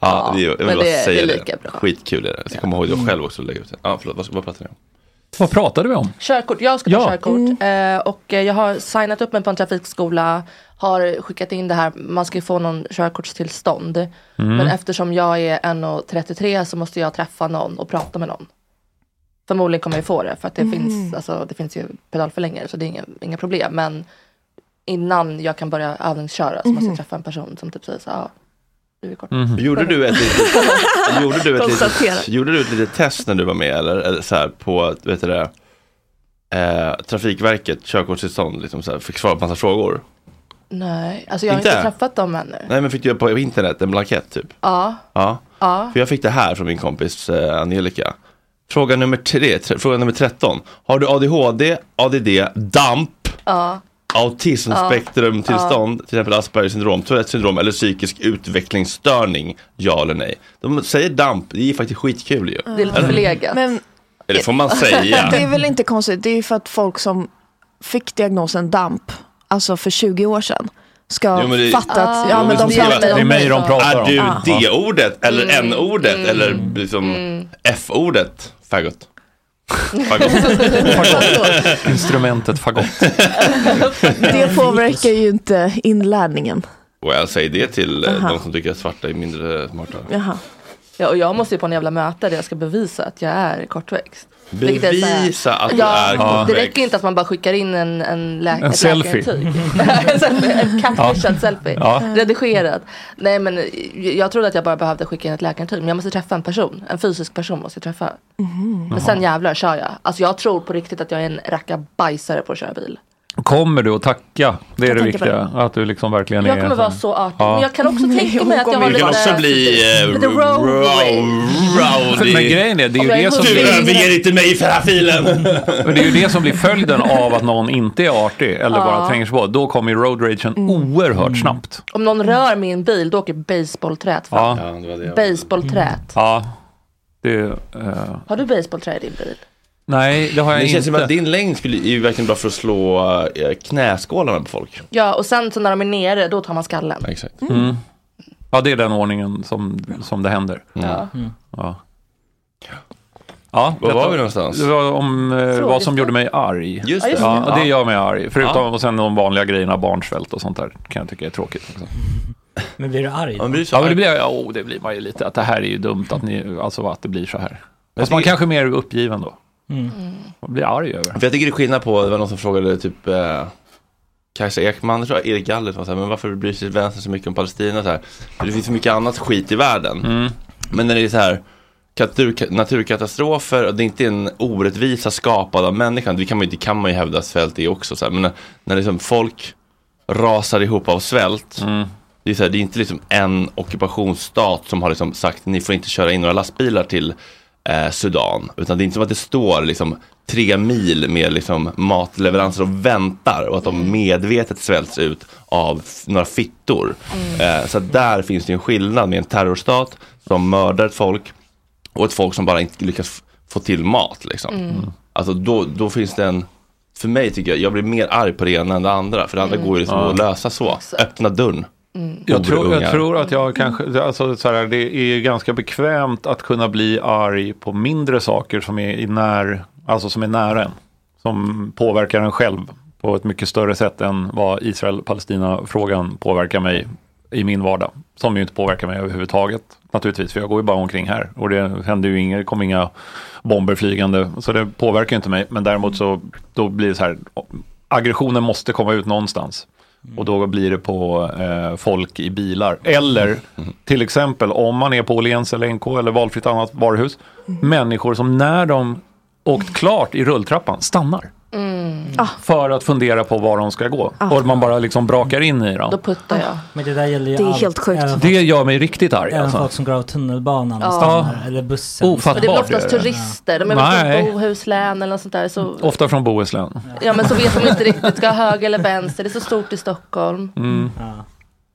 S3: Ja, det, är- jag vill
S4: men
S3: bara
S4: det är-
S3: säga
S4: det
S3: det.
S4: är lika bra.
S3: Skitkul är det. Jag ska komma ihåg det själv också och lägga ut det. Ja, förlåt, vad, vad pratar ni om?
S6: Vad pratade vi om?
S4: Körkort, jag ska ta
S6: Ja.
S4: körkort. Eh, och eh, jag har signat upp mig på en trafikskola. Har skickat in det här, man ska ju få någon körkortstillstånd.
S8: Mm.
S4: Men eftersom jag är 1,33 så måste jag träffa någon och prata med någon. Förmodligen kommer jag få det för att det,
S8: Mm.
S4: finns, alltså, det finns ju pedalförlängare så det är inga, inga problem. Men innan jag kan börja övningsköra så måste
S8: Mhm.
S4: jag träffa en person som typ säger så här, "Ah, du är kort.
S3: Gjorde du ett litet,
S4: *laughs*
S3: gjorde du ett
S4: Konstaterat.
S3: litet, gjorde du ett litet test när du var med eller, eller så här på, vet du det, eh, Trafikverket, körkortstillstånd, liksom så här, fick svara på massa frågor?
S4: Nej, alltså jag har inte,
S3: Inte?
S4: träffat dem ännu.
S3: Nej, men fick du göra på internet en blankett typ?
S4: Ja,
S3: Ja.
S4: ja.
S3: För jag fick det här från min kompis eh, Angelica. Fråga nummer, tre, tre, fråga nummer 13. Har du ADHD, ADD, DAMP,
S4: Ja.
S3: autismspektrumtillstånd, till exempel Aspergers syndrom, Tourettes syndrom eller psykisk utvecklingsstörning? Ja eller nej? De säger DAMP, det är faktiskt skitkul ju.
S4: Det är lite
S3: Eller?
S4: förlegat. *laughs*
S5: Men
S3: Eller får man säga?
S5: *laughs* det är väl inte konstigt. Det är ju för att folk som fick diagnosen DAMP, alltså för 20 år sedan, ska
S3: Jo, men det-
S5: fatta att ja, men
S3: Jo,
S5: de
S3: som skriver
S5: pratar
S3: att-
S5: om
S3: Är du
S5: Ja.
S3: D-ordet eller N-ordet eller liksom F-ordet? Faggot. Fagott.
S6: Instrumentet fagott.
S5: Det påverkar ju inte inlärningen.
S3: Och jag säger det till eh,
S4: Aha.
S3: de som tycker att svarta är mindre smarta.
S5: Jaha.
S4: Ja, och jag måste ju på en jävla möte där jag ska bevisa att jag är kortväxt. Vilket är så här-
S3: Bevisa att du
S4: Ja,
S3: är
S4: det
S3: korrekt.
S4: räcker inte att man bara skickar in en, en, lä-
S3: En
S4: ett
S3: selfie.
S4: läkarintyg. *laughs* En selfie, en catfishad selfie.
S3: Ja.
S4: Redigerad. Nej men jag trodde att jag bara behövde skicka in ett läkarintyg. Men jag måste träffa en person. En fysisk person måste jag träffa. Men sen jävlar kör jag. Alltså jag tror på riktigt att jag är en rackabajsare på att köra bil.
S6: Kommer du att tacka? Det är det
S4: tänker på
S6: viktiga. Att du liksom verkligen
S4: Jag
S6: är...
S4: kommer vara så artig. Men jag kan också
S8: Nej,
S4: tänka
S8: hon
S4: mig att jag
S8: kommer-
S4: har
S8: Du
S4: lite...
S8: kan också
S3: bli, eh,
S4: The road
S3: rowdy.
S6: Men grejen är, det är
S4: Om jag
S6: ju
S4: är
S6: det som...
S4: hungrig. Du överger
S3: inte mig för den här *laughs* filen!
S6: Men det är ju det som blir följden av att någon inte är artig eller
S4: Ja.
S6: bara tränger sig på. Då kommer ju road ragen oerhört snabbt.
S4: Om någon rör min bil då åker baseballträt
S6: Ja.
S4: fram.
S6: Ja, det var det jag-
S4: Baseballträt.
S6: Ja. Det, eh,
S4: Har du baseballträ i din bil?
S6: nej, det har jag
S3: Det
S6: inte.
S3: känns som att din längd skulle, är ju verkligen bra för att slå eh, knäskålarna på folk.
S4: Ja, och sen så när de är nere, då tar man skallen.
S3: Exakt.
S6: Mm. Ja, det är den ordningen som, som det händer.
S4: Ja.
S3: Mm.
S6: Ja. Ja,
S3: Var
S6: detta-
S3: var vi någonstans?
S6: Det var om eh, vad som gjorde mig arg.
S3: Just det.
S6: Ja, och det
S3: Ja.
S6: gör mig arg. Förutom
S3: Ja.
S6: och sen de vanliga grejerna, barnsvält och sånt där, kan jag tycka är tråkigt. Också.
S11: Men blir du arg?
S3: Ja, men blir du så
S6: Ja, men det
S3: arg?
S6: blir, ja, oh, det blir man ju lite, att det här är ju dumt, att, ni, alltså, att det blir så här. Fast
S3: det-
S6: man kanske är mer uppgiven då.
S11: Mm.
S6: Man blir arg över.
S3: För jag tycker det är skillnad på, det var någon som frågade typ eh, Kajsa Ekman, jag tror jag, Erik Gallert var så här, men varför bryr sig vänstern så mycket om Palestina så här? För det finns så mycket annat skit i världen. Men när det är så här katur- naturkatastrofer och det är inte är en orättvisa skapad av människan, det kan man ju, det kan man ju hävda svält är också så här, men när, när liksom folk rasar ihop av svält Det är, så här, det är inte liksom en ockupationsstat som har liksom sagt ni får inte köra in några lastbilar till eh, Sudan. Utan det är inte som att det står liksom, tre mil med liksom, matleveranser och väntar och att de medvetet svälts ut av f- några fittor. Eh, så att där finns det ju en skillnad med en terrorstat som mördar ett folk och ett folk som bara inte lyckas f- få till mat. Liksom.
S8: Mm.
S3: Alltså då, då finns det en för mig tycker jag, jag blir mer arg på det ena än det andra. För det andra
S6: Mm.
S3: går ju liksom
S6: Ja.
S3: att lösa så. Öppna dörren.
S6: Jag tror,
S3: Obeungar.
S6: jag tror att jag kanske, alltså, så här, det är ju ganska bekvämt att kunna bli arg på mindre saker som är, i när, alltså, som är nära en. Som påverkar en själv på ett mycket större sätt än vad Israel-Palestina-frågan påverkar mig i min vardag. Som ju inte påverkar mig överhuvudtaget naturligtvis, för jag går ju bara omkring här. Och det händer ju inga, det kommer inga bomber flygande, så det påverkar ju inte mig. Men däremot så då blir det så här, aggressionen måste komma ut någonstans. Och då blir det på eh, folk i bilar. Eller till exempel om man är på Åhléns eller NK eller valfritt annat varuhus. Människor som när de åkt klart i rulltrappan stannar.
S4: Ah.
S6: För att fundera på var de ska gå. Och man bara liksom brakar in i dem.
S4: Då puttar jag.
S11: Men det där gäller ju
S4: Det är
S11: allt,
S4: helt sjukt.
S11: Även,
S6: Det gör mig riktigt arg.
S11: även
S6: Alltså.
S11: folk som går av tunnelbanan
S4: Ja.
S11: och stannar, eller bussen.
S6: Ofattbart.
S4: Och det är väl oftast
S6: Vart är det?
S4: turister. De är
S6: Nej.
S4: väl typ från Bohuslän eller något sånt där. Så,
S6: Ofta från Bohuslän.
S4: ja, men så vet de inte riktigt. Ska jag höger eller vänster? Det är så stort i Stockholm.
S6: Mm.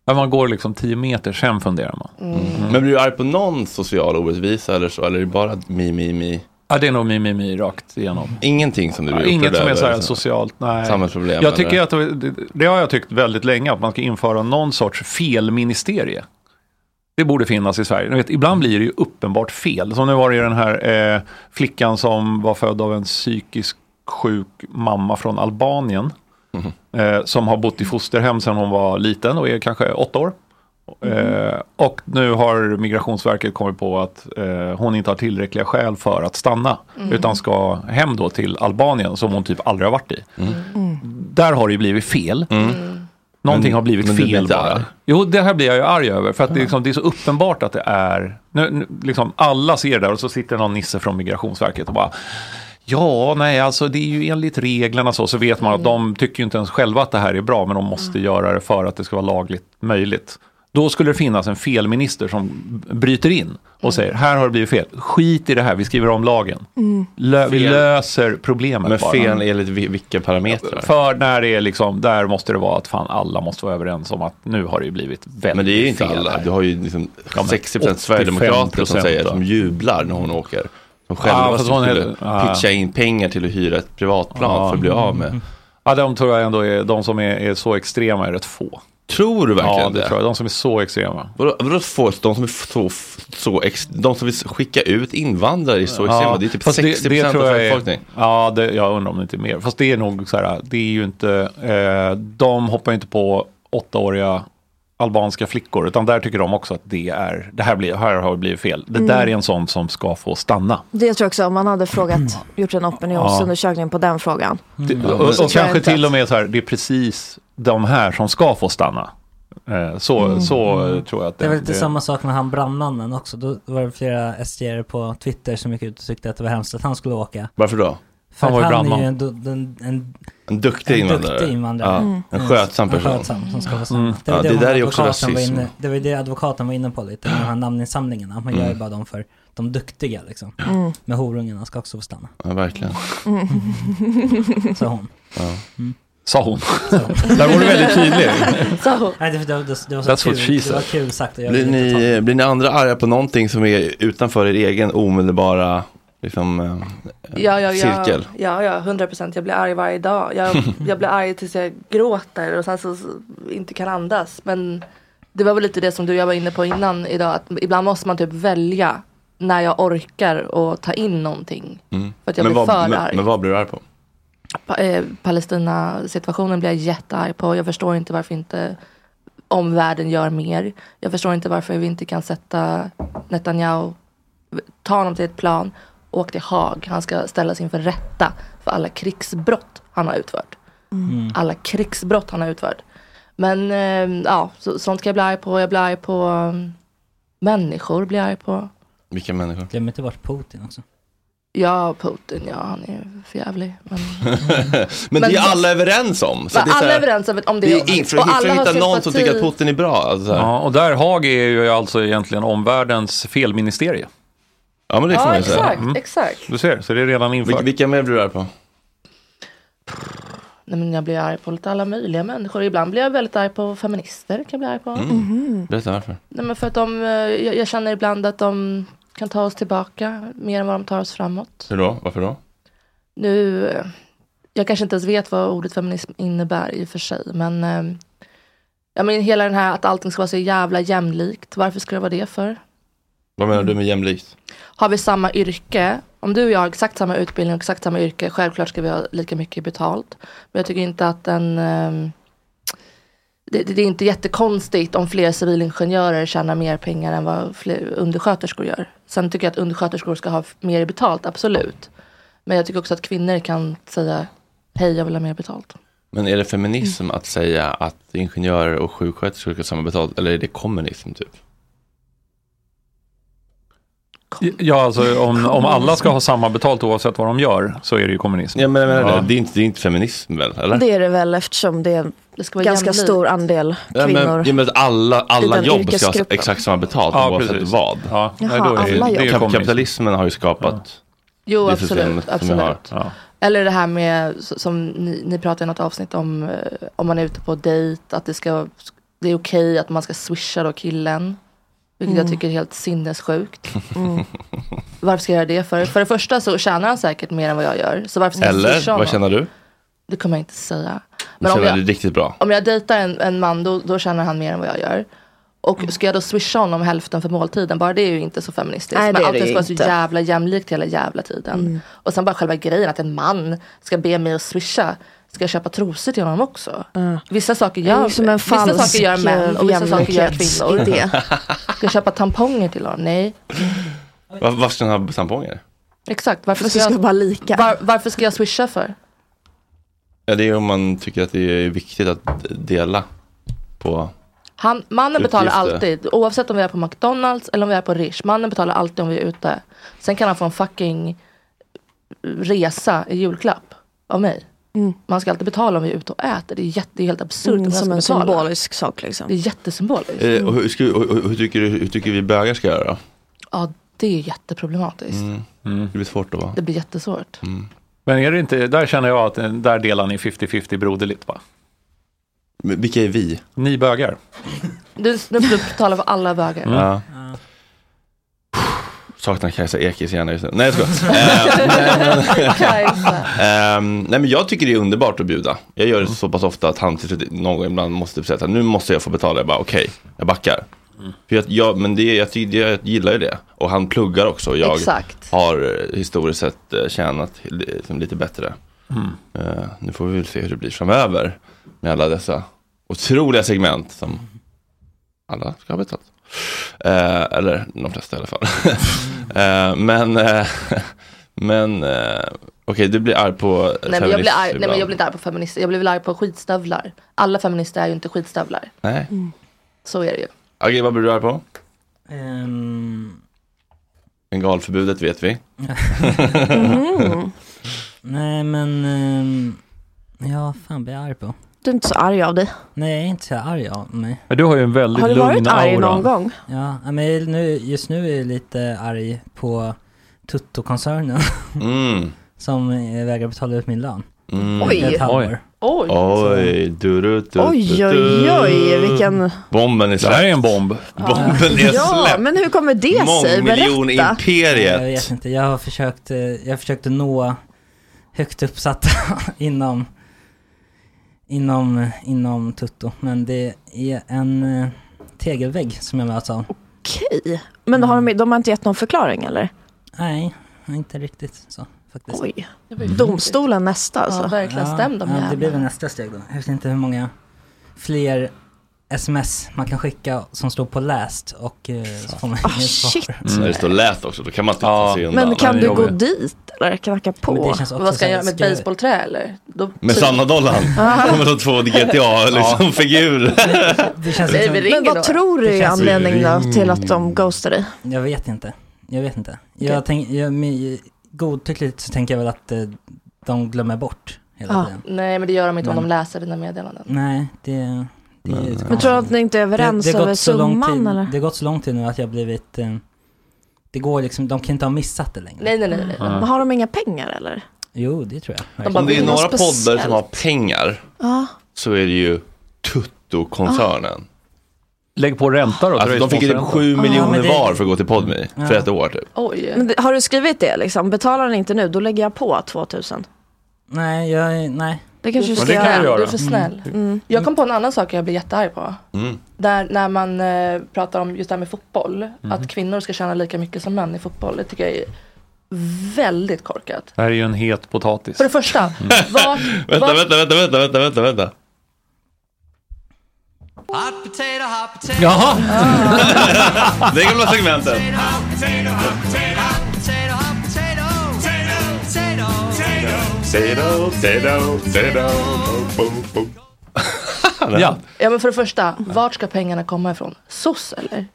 S6: När man går liksom tio meter, sen funderar man.
S4: Mm.
S3: Men blir du arg på någon social orättvisa eller så? Eller är det bara mi, mi, mi?
S6: Ja, det är nog mi, mi, mi rakt igenom.
S3: Ingenting som du blir upprörd
S6: Inget som är
S3: över, liksom?
S6: så här
S3: så.
S6: socialt, nej.
S3: Samhällsproblem,
S6: eh, Jag tycker
S3: eller?
S6: att, det, det har jag tyckt väldigt länge, att man ska införa någon sorts felministerie. Det borde finnas i Sverige. Ni vet, ibland blir det ju uppenbart fel. Som nu var det ju den här eh, flickan som var född av en psykisk sjuk mamma från Albanien.
S3: Mhm.
S6: Eh, som har bott i fosterhem sedan hon var liten och är kanske åtta år.
S3: Mhm.
S6: Eh, och nu har Migrationsverket kommit på att eh, hon inte har tillräckliga skäl för att stanna.
S12: Mm.
S6: Utan ska hem då till Albanien som hon typ aldrig har varit i.
S3: Mm.
S6: Där har det ju blivit fel. Någonting
S12: Mm. Men-
S6: har blivit
S12: men du blir
S6: fel
S12: inte
S6: bara.
S12: arg?
S6: Jo, det här blir jag ju arg över. För att det, är liksom, det är så uppenbart att det är... Nu, nu, liksom, alla ser det där och så sitter någon nisse från Migrationsverket och bara... Ja, nej, alltså det är ju enligt reglerna så, så vet man att de tycker ju inte ens själva att det här är bra, men de måste göra det för att det ska vara lagligt möjligt. Då skulle det finnas en felminister som bryter in och säger, här har det blivit fel, skit i det här, vi skriver om lagen.
S3: Mm.
S6: Lö- vi
S3: Fel.
S6: löser problemet
S3: Men
S6: bara.
S3: fel enligt vi- vilka parametrar?
S6: För när det är liksom, där måste det vara att fan alla måste vara överens om att nu har det ju blivit väldigt
S3: Men det är ju inte
S6: fel
S3: alla.
S6: här.
S3: Du har ju liksom
S6: Ja, men
S3: 60 procent sverigedemokrater som
S6: 85%
S3: säger,
S6: då.
S3: som jublar när hon åker. Som själva
S6: Ja, fast hon
S3: skulle
S6: heller- ja.
S3: pitcha in pengar till att hyra ett privatplan
S6: Ja.
S3: för att bli av med.
S6: Ja, de tror jag ändå är, de som är, är så extrema är rätt få.
S3: Tror du verkligen
S6: Ja, det
S3: det?
S6: tror jag. De som är så extrema.
S3: Vadå, vadå få, de som är så, så ex, de som vill skicka ut invandrare är så
S6: Ja,
S3: extrema. Det är typ
S6: fast det
S3: 60 procent av
S6: tror jag är-
S3: befolkningen.
S6: Ja, det, jag undrar om det inte är mer. Fast det är nog så här, det är ju inte, eh, de hoppar ju inte på åttaåriga albanska flickor, utan där tycker de också att det är, det här, blir, här har det blivit fel. Det
S5: Mm.
S6: där är en sån som ska få stanna.
S5: Det tror jag också, om man hade frågat, gjort en opinionsundersökning på den frågan.
S6: Det,
S3: Mm.
S6: och, och
S5: Så tror jag
S6: kanske
S5: inte
S6: till och med så här, det är precis de här som ska få stanna. Eh, Så,
S8: Mm.
S6: så
S8: Mm.
S6: tror jag att
S8: Det var lite samma sak med han brandmannen också. Då var det flera SDR på Twitter som gick ut och tyckte att det var hemskt att han skulle åka.
S3: Varför då?
S8: För
S3: Han var
S8: att
S3: ju
S8: han är
S3: brandman.
S8: ju en, en, en, en,
S3: En duktig invandrare.
S8: duktig invandrare.
S3: Ja,
S8: Mm.
S3: en skötsam person.
S8: En skötsam som ska få stanna.
S3: Mm.
S8: Det, var
S3: Ja, det
S8: hon-
S3: där är ju också
S8: advokaten var
S3: rasism.
S8: Inne, det var ju det advokaten var inne på lite, med de här namninsamlingarna. Man gör ju
S3: Mm.
S8: bara dem för de duktiga liksom.
S3: Mm.
S8: Men horungarna ska också få stanna.
S3: Ja, verkligen.
S6: *laughs*
S8: Sa hon.
S3: Ja.
S6: Mm. Sa hon. Där var du väldigt *laughs* tydlig.
S8: Sa hon. Nej, det, det, det, det var så
S3: That's what she
S8: kul. Det var
S3: said.
S8: kul sagt. och jag
S3: Blir
S8: ville inte ta
S3: ni, eh, blir ni andra arga på någonting som är utanför er egen omedelbara liksom, eh,
S4: Ja, ja, ja,
S3: cirkel?
S4: ja, ja, 100 procent. Jag blir arg varje dag. Jag, jag blir arg tills jag gråter och sen så så inte kan andas. Men det var väl lite det som du och jag var inne på innan idag. Att ibland måste man typ välja när jag orkar och ta in någonting.
S3: Mm.
S4: För att jag
S3: men,
S4: blir för
S3: vad,
S4: arg.
S3: men, men vad blir du arg på?
S4: Pa- eh, Palestina-situationen blir jag jättearg på. Jag förstår inte varför inte omvärlden gör mer. Jag förstår inte varför vi inte kan sätta Netanyahu, ta honom till ett plan, åk till Haag. Han ska ställas inför rätta för alla krigsbrott han har utfört.
S8: Mm.
S4: Alla krigsbrott han har utfört. Men eh, ja, så, sånt kan jag bli arg på. Jag blir arg på um, människor. Blir jag arg på.
S3: Vilka människor?
S8: Glöm inte bort Putin också.
S4: Ja, Putin, ja han är förjävlig. Men...
S3: Mm. *laughs* men det är
S4: Men-
S3: alla överens om. så
S4: Men
S3: det är så
S4: alla
S3: här-
S4: är överens om- om det.
S3: det är in, för att
S4: Och
S3: hitta-
S4: alla har
S3: hitta någon som
S4: sympati.
S3: tycker att Putin är bra. Alltså, så här.
S6: Ja, och där Haag är ju alltså egentligen omvärldens felministerie.
S3: Ja, men
S4: det får Ja, man ju säga. exakt,
S3: Mm.
S4: exakt.
S6: Du ser, så det är redan infört.
S3: vilka mer blir du arg på?
S4: Nej, men jag blir arg på lite alla möjliga människor. Ibland blir jag väldigt arg på feminister. Kan jag bli arg på.
S3: Mm. Berätta varför.
S4: Mm. Nej, men för att de, eh, jag, jag känner ibland att de kan ta oss tillbaka mer än vad de tar oss framåt.
S3: Hur då? Varför då?
S4: Nu, eh, jag kanske inte ens vet vad ordet feminism innebär i och för sig. Men, eh, ja, men hela den här att allting ska vara så jävla jämlikt. Varför ska det vara det för?
S3: Vad menar du med jämlikt?
S4: Har vi samma yrke, om du och jag har exakt samma utbildning och exakt samma yrke, självklart ska vi ha lika mycket betalt. Men jag tycker inte att en... ehm, Det, det är inte jättekonstigt om fler civilingenjörer tjänar mer pengar än vad fler undersköterskor gör. Sen tycker jag att undersköterskor ska ha f- mer betalt, absolut. Men jag tycker också att kvinnor kan säga hej, jag vill ha mer betalt.
S3: Men är det feminism att säga att ingenjörer och sjuksköterskor ska ha samma betalt? Eller är det kommunism typ?
S6: Ja, alltså om, om alla ska ha samma betalt oavsett vad de gör så är det ju kommunism.
S3: Ja, men jag menar det. Det är inte, det är inte feminism väl? Eller?
S5: Det är det väl eftersom det är
S4: vara
S5: ganska
S4: jämlikt.
S5: stor andel
S3: Ja, men,
S5: kvinnor.
S3: ja, men att alla
S5: I
S3: alla
S5: den
S3: jobb ska ha
S5: yrkesgruppen.
S3: exakt samma betalt
S6: Ja,
S3: oavsett
S6: precis.
S3: vad.
S6: Ja,
S5: Jaha, nej, då är alla det- jobb. det är ju kommunism.
S3: Kapitalismen har ju skapat
S4: Jo,
S3: det
S4: absolut.
S3: systemet som vi har.
S4: absolut. Eller det här med, s- som ni, ni pratade i något avsnitt om, eh, om man är ute på dejt, att det ska, det är okej att man ska swisha då killen. Vilket
S13: Mm.
S4: jag tycker är helt sinnessjukt. Varför ska jag göra det för? För det första så tjänar han säkert mer än vad jag gör. Så varför ska jag swisha
S3: Eller,
S4: honom?
S3: vad känner du?
S4: Det kommer jag inte säga.
S3: Du
S4: Men om
S3: känner dig
S4: jag,
S3: riktigt bra.
S4: om jag dejtar en, en man då, då tjänar han mer än vad jag gör.
S5: Mm.
S4: Och ska jag då swisha honom hälften för måltiden? Bara det är ju inte så feministiskt.
S5: Nej, det
S4: Men
S5: är
S4: allting
S5: det
S4: ska
S5: ju
S4: vara så
S5: inte.
S4: jävla jämlikt hela jävla tiden.
S5: Mm.
S4: Och sen bara själva grejen att en man ska be mig att swisha. Ska jag köpa trosor till honom också? Vissa saker
S5: Det är
S4: gör,
S5: ju som en
S4: vissa
S5: falsk,
S4: saker gör män och vissa saker gör
S3: *laughs*
S4: kvinnor.
S5: jämlikhetsidé.
S4: Ska jag köpa tamponger till honom? Nej.
S3: Var- Varför ska han ha tamponger?
S4: Exakt. Varför
S5: Varför
S4: ska,
S5: ska
S4: jag,
S5: vara lika?
S4: var, varför ska jag swisha för?
S3: Ja, det är ju om man tycker att det är viktigt att dela på...
S4: Han, mannen betalar
S3: Utgifter.
S4: alltid, oavsett om vi är på McDonalds eller om vi är på Rish. Mannen betalar alltid om vi är ute. Sen kan han få en fucking resa i julklapp av mig. Man ska alltid betala om vi är ute och äter. Det är, jätte, det är helt absurt.
S5: Mm,
S4: om jag
S5: som
S4: ska
S5: en
S4: betala.
S5: symbolisk sak liksom.
S4: Det är jättesymboliskt.
S3: Eh, och hur, ska, och, och, hur, tycker du, hur tycker vi bögar ska göra då?
S4: Ja, det är jätteproblematiskt.
S3: Mm. Det blir svårt då va?
S4: Det blir jättesvårt.
S6: Men är det inte, där känner jag att eh, där delar ni 50-50 broderligt va?
S3: Men vilka är vi?
S6: Ni bögar.
S4: Du, nu får du betala för alla bögar.
S3: Ja. Saknar Kajsa Ekis hjärna just nu. Nej jag skojar. Eh,
S4: *laughs*
S3: nej, men- Ehm, nej men jag tycker det är underbart att bjuda. Jag gör det så pass ofta att han till slut någon gång ibland måste säga att nu måste jag få betala. Jag bara okej, jag backar. För jag, jag, men det, jag, tycker, jag gillar ju det. Och han pluggar också. Och jag
S4: Exakt.
S3: har eh, historiskt sett eh, tjänat li- liksom, lite bättre.
S6: Mm.
S3: Eh, nu får vi väl se hur det blir framöver. Med alla dessa otroliga segment som alla ska ha betalt. Eh, eller de flesta i alla fall. *laughs* eh, men eh, men eh, okej, du blir arg på
S4: Nej men, jag blir
S3: feminister
S4: arg, nej men
S3: ibland.
S4: jag blir inte arg på feminister, jag blir väl arg på skitstövlar. Alla feminister är ju inte skitstövlar.
S3: Nej.
S4: Så är det ju.
S3: Okej, vad blir du arg på?
S6: *laughs*
S8: Ehm,
S3: Bengalförbudet vet vi.
S5: Mm.
S8: Mhm. nej men, ehm, ja vad fan blir jag arg på?
S5: Du är inte så arg av dig.
S8: Nej jag är inte så arg av mig.
S6: Men du har ju en väldigt
S5: Har du
S6: lugn
S5: varit arg
S6: aura.
S5: någon gång?
S8: Ja, ja, men jag- nu, just nu är jag lite arg på Tutto-koncernen.
S3: *laughs* Mm.
S8: som eh, vägrar betala ut min lön.
S3: Mm.
S8: Efter Ett halvår.
S4: Oj.
S3: Oj, du, du, du,
S5: Oj, oj, oj, vilken...
S3: Bomben är släppt. Det här är en bomb. Bomben
S4: *laughs*
S3: är
S5: Ja,
S3: släppt.
S5: men hur kommer det sig? Berätta.
S3: Mångmiljonimperiet.
S8: Jag vet inte, jag har försökt, eh, jag försökte nå högt uppsatta inom, inom, inom Tutto. Men det är en eh, tegelvägg som jag möts av.
S5: Okej. Men har de, de har inte gett någon förklaring eller?
S8: Nej, inte riktigt så faktiskt.
S5: Oj. Mm. Domstolen nästa alltså.
S8: ja, Det blir väl nästa steg då. Jag vet inte hur många fler sms man kan skicka som står på läst och eh, så får man
S5: Ah,
S8: inget svar.
S5: shit.
S3: Mm. När det står läst också, då kan man typ inte ta sig undan.
S5: Men kan du gå dit eller knacka på?
S8: känns också
S4: Vad ska jag göra med ett
S8: Ska jag-
S4: basebollträ eller? Då, typ-
S3: Med Sanna-dollarn. Kommer de två liksom, GTA-figurer.
S8: Det känns
S4: Nej,
S8: liksom-
S4: vi ringer
S5: Men vad
S4: då.
S5: tror du
S8: Det
S5: är
S8: känns-
S5: anledningen då till att de ghostar dig?
S8: Jag vet inte. Jag vet inte. Jag tänk, jag, men- godtyckligt så tänker jag väl att eh, de glömmer bort hela tiden.
S4: Nej men det gör de inte om
S8: Men-
S4: de läser dina meddelanden.
S8: Nej, det, det är ju
S5: Men tror du att ni inte är överens
S8: har gått
S5: över
S8: så lång
S5: summan
S8: tid,
S5: eller?
S8: Det har gått så lång tid nu att jag har blivit... Eh, det går liksom, de kan inte ha missat det längre.
S4: Nej nej nej. nej.
S5: Men har de inga pengar eller?
S8: Jo, det tror jag.
S4: De bara,
S3: Om det är
S4: "Vill du
S3: några
S4: något
S3: poddar som
S4: speciellt?"
S3: har pengar
S5: Ja.
S3: så är det ju Tutto-koncernen.
S6: Lägg på ränta då.
S3: Alltså, de fick ju typ 7 miljoner var för att gå till Podmi för ett år typ.
S4: Oj.
S5: Men det- har du skrivit det liksom? Betalar ni inte nu, då lägger jag på 2000.
S8: Nej, jag, nej.
S5: Det kanske du
S6: Men
S5: ska
S6: det kan
S5: göra. Mm.
S6: du göra.
S4: Du är för snäll. Jag kom på en annan sak jag blir jättearg på.
S6: Mm.
S4: Där, när man eh, pratar om just det här med fotboll.
S8: Mm.
S4: Att kvinnor ska tjäna lika mycket som män i fotboll. Det tycker jag är väldigt korkat.
S6: Det här är ju en het potatis.
S4: För det första, vart,
S3: Vänta,
S4: vart,
S3: vänta, vänta, vänta, vänta, vänta, vänta.
S6: Jaha!
S3: Det är gamla segmentet.
S6: Ja.
S4: ja, men för det första, vart ska pengarna komma ifrån? SOS eller?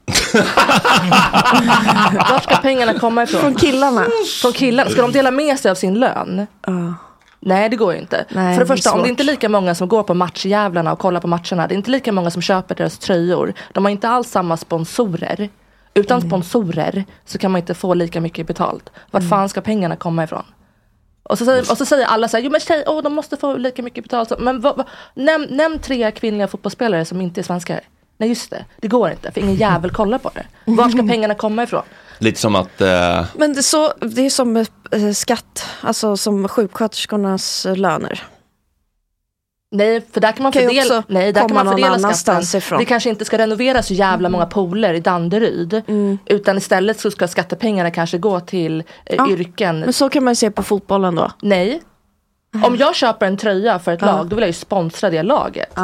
S4: vart ska pengarna komma ifrån?
S5: Från killarna.
S4: Från killarna? Ska de dela med sig av sin lön? Nej det går ju inte.
S5: Nej,
S4: För det
S5: det är
S4: första, om det
S5: svårt.
S4: inte är lika många som går på matchjävlarna och kollar på matcherna. Det är inte lika många som köper deras tröjor. De har inte alls samma sponsorer. Utan sponsorer så kan man inte få lika mycket betalt. Vart
S5: Mm.
S4: fan ska pengarna komma ifrån? Och så, säger, och så säger alla så här, jo men tjej, åh, de måste få lika mycket betalt. som-" Men vad- vad- näm, nämn tre kvinnliga fotbollsspelare som inte är svenskar. Nej just det, det går inte för ingen jävel kollar på det. Var
S5: *laughs*
S4: ska pengarna komma ifrån?
S3: Lite som att... Eh,
S5: Men det är, så, det är som eh, skatt, alltså som sjuksköterskornas eh, löner.
S4: Nej, för där kan man
S5: Kan ju
S4: fördela,
S5: också
S4: nej, där kan
S5: komma
S4: man
S5: någon
S4: fördela
S5: annanstans
S4: skatten.
S5: ifrån. Mm.
S4: Det kanske inte ska renoveras så jävla många pooler i Danderyd. Utan istället så ska skattepengarna kanske gå till eh,
S5: Ja,
S4: yrken.
S5: Men så kan man ju se på fotbollen då.
S4: Nej. Om jag köper en tröja för ett
S5: Ja.
S4: lag, då vill jag ju sponsra det laget.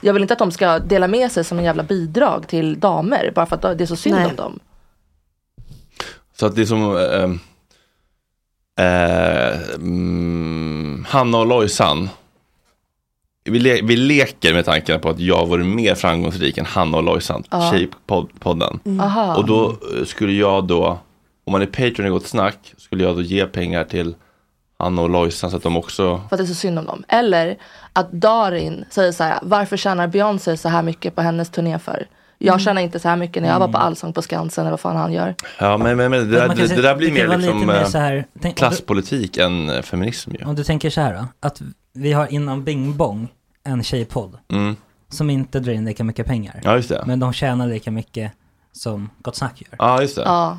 S4: Jag vill inte att de ska dela med sig som en jävla bidrag till damer, bara för att det är så synd
S5: Nej.
S4: om dem.
S3: så att det är som... Eh, eh, mm, Hanna och Lojsan. Vi, le, vi leker med tanken på att jag vore mer framgångsrik än Hanna och Lojsan,
S4: Ja.
S3: Tjejpodden.
S4: Mm. Aha.
S3: Och då eh, skulle jag då, om man är Patreon i Gott Snack, skulle jag då ge pengar till Hanna och Lojsan så att de också
S4: För att det är så synd om dem. Eller att Darin säger så här, varför tjänar Beyoncé så här mycket på hennes turné för? Jag
S8: Mm.
S4: tjänar inte så här mycket när jag var
S3: Mm.
S4: på Allsång på Skansen eller vad fan han gör.
S3: Ja, men, men, men det,
S8: Men
S3: där,
S8: man kan
S3: det,
S8: se-
S3: det där blir
S8: det kan
S3: mer
S8: vara lite
S3: liksom
S8: mer
S3: eh,
S8: så här- tänk-
S3: klasspolitik än eh, feminism ju.
S8: Om du tänker så här då, att vi har inom Bing Bong en tjejpodd
S3: Mm.
S8: som inte drar in lika mycket pengar.
S3: Ja, just det.
S8: Men de tjänar lika mycket som Gott Snack gör.
S3: Ja, just det.
S4: Ja.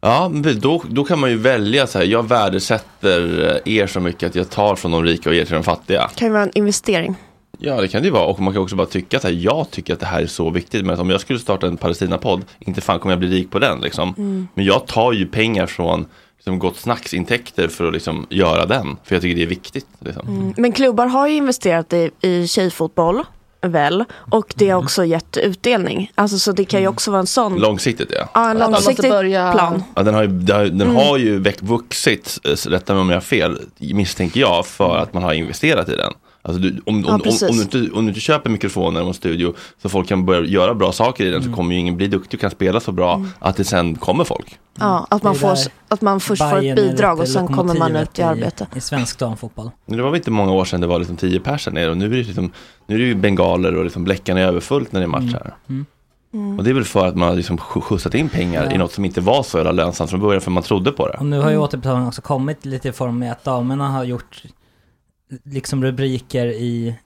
S3: Ja, men precis. då, då kan man ju välja så här, jag värdesätter eh, er så mycket att jag tar från de rika och ger till de fattiga.
S5: Kan ju vara en investering.
S3: Ja, det kan det ju vara. Och man kan också bara tycka så här, jag tycker att det här är så viktigt. Men att om jag skulle starta en Palestina-podd, inte fan kommer jag bli rik på den liksom.
S5: Mm.
S3: Men jag tar ju pengar från liksom, Gott Snacks intäkter för att liksom göra den. För jag tycker det är viktigt. Liksom.
S5: Men klubbar har ju investerat i, i tjejfotboll, väl? Och det
S8: Mm.
S5: har också gett utdelning. Alltså så det kan ju också vara en sån.
S3: Långsiktigt ja.
S5: Ja, en
S3: Att- att-
S5: långsiktig
S4: börja-
S5: plan.
S3: Ja, den har ju, den har, ju- den
S5: Mm.
S3: har ju växt, vuxit, eh, rätta mig om jag har fel, misstänker jag, för att man har investerat i den. Alltså du, om,
S5: Ja,
S3: om,
S5: precis.
S3: om, om, du inte, om du inte köper mikrofoner och en studio så folk kan börja göra bra saker i den
S5: Mm.
S3: så kommer ju ingen bli duktig och kan spela så bra att det sen kommer folk.
S5: Ja, att man,
S8: Det är
S5: får,
S8: där
S5: att man först får ett
S8: Bayern är
S5: bidrag
S8: lite
S5: och sen kommer man
S8: lokomotivet
S5: ut i arbete.
S8: I, i svensk damfotboll.
S3: Men Det var väl inte många år sedan det var liksom 10 personer ner och nu är det, liksom, nu är det ju bengaler och liksom bläckarna är överfullt när det är
S5: Mm.
S3: match här. Och det är väl för att man har liksom skj- skjutsat in pengar i
S8: Ja.
S3: något som inte var så jävla lönsamt från början för man trodde på det.
S8: Och nu har ju
S3: Mm.
S8: återbetalningen också kommit lite i form med att damerna har gjort liksom rubriker i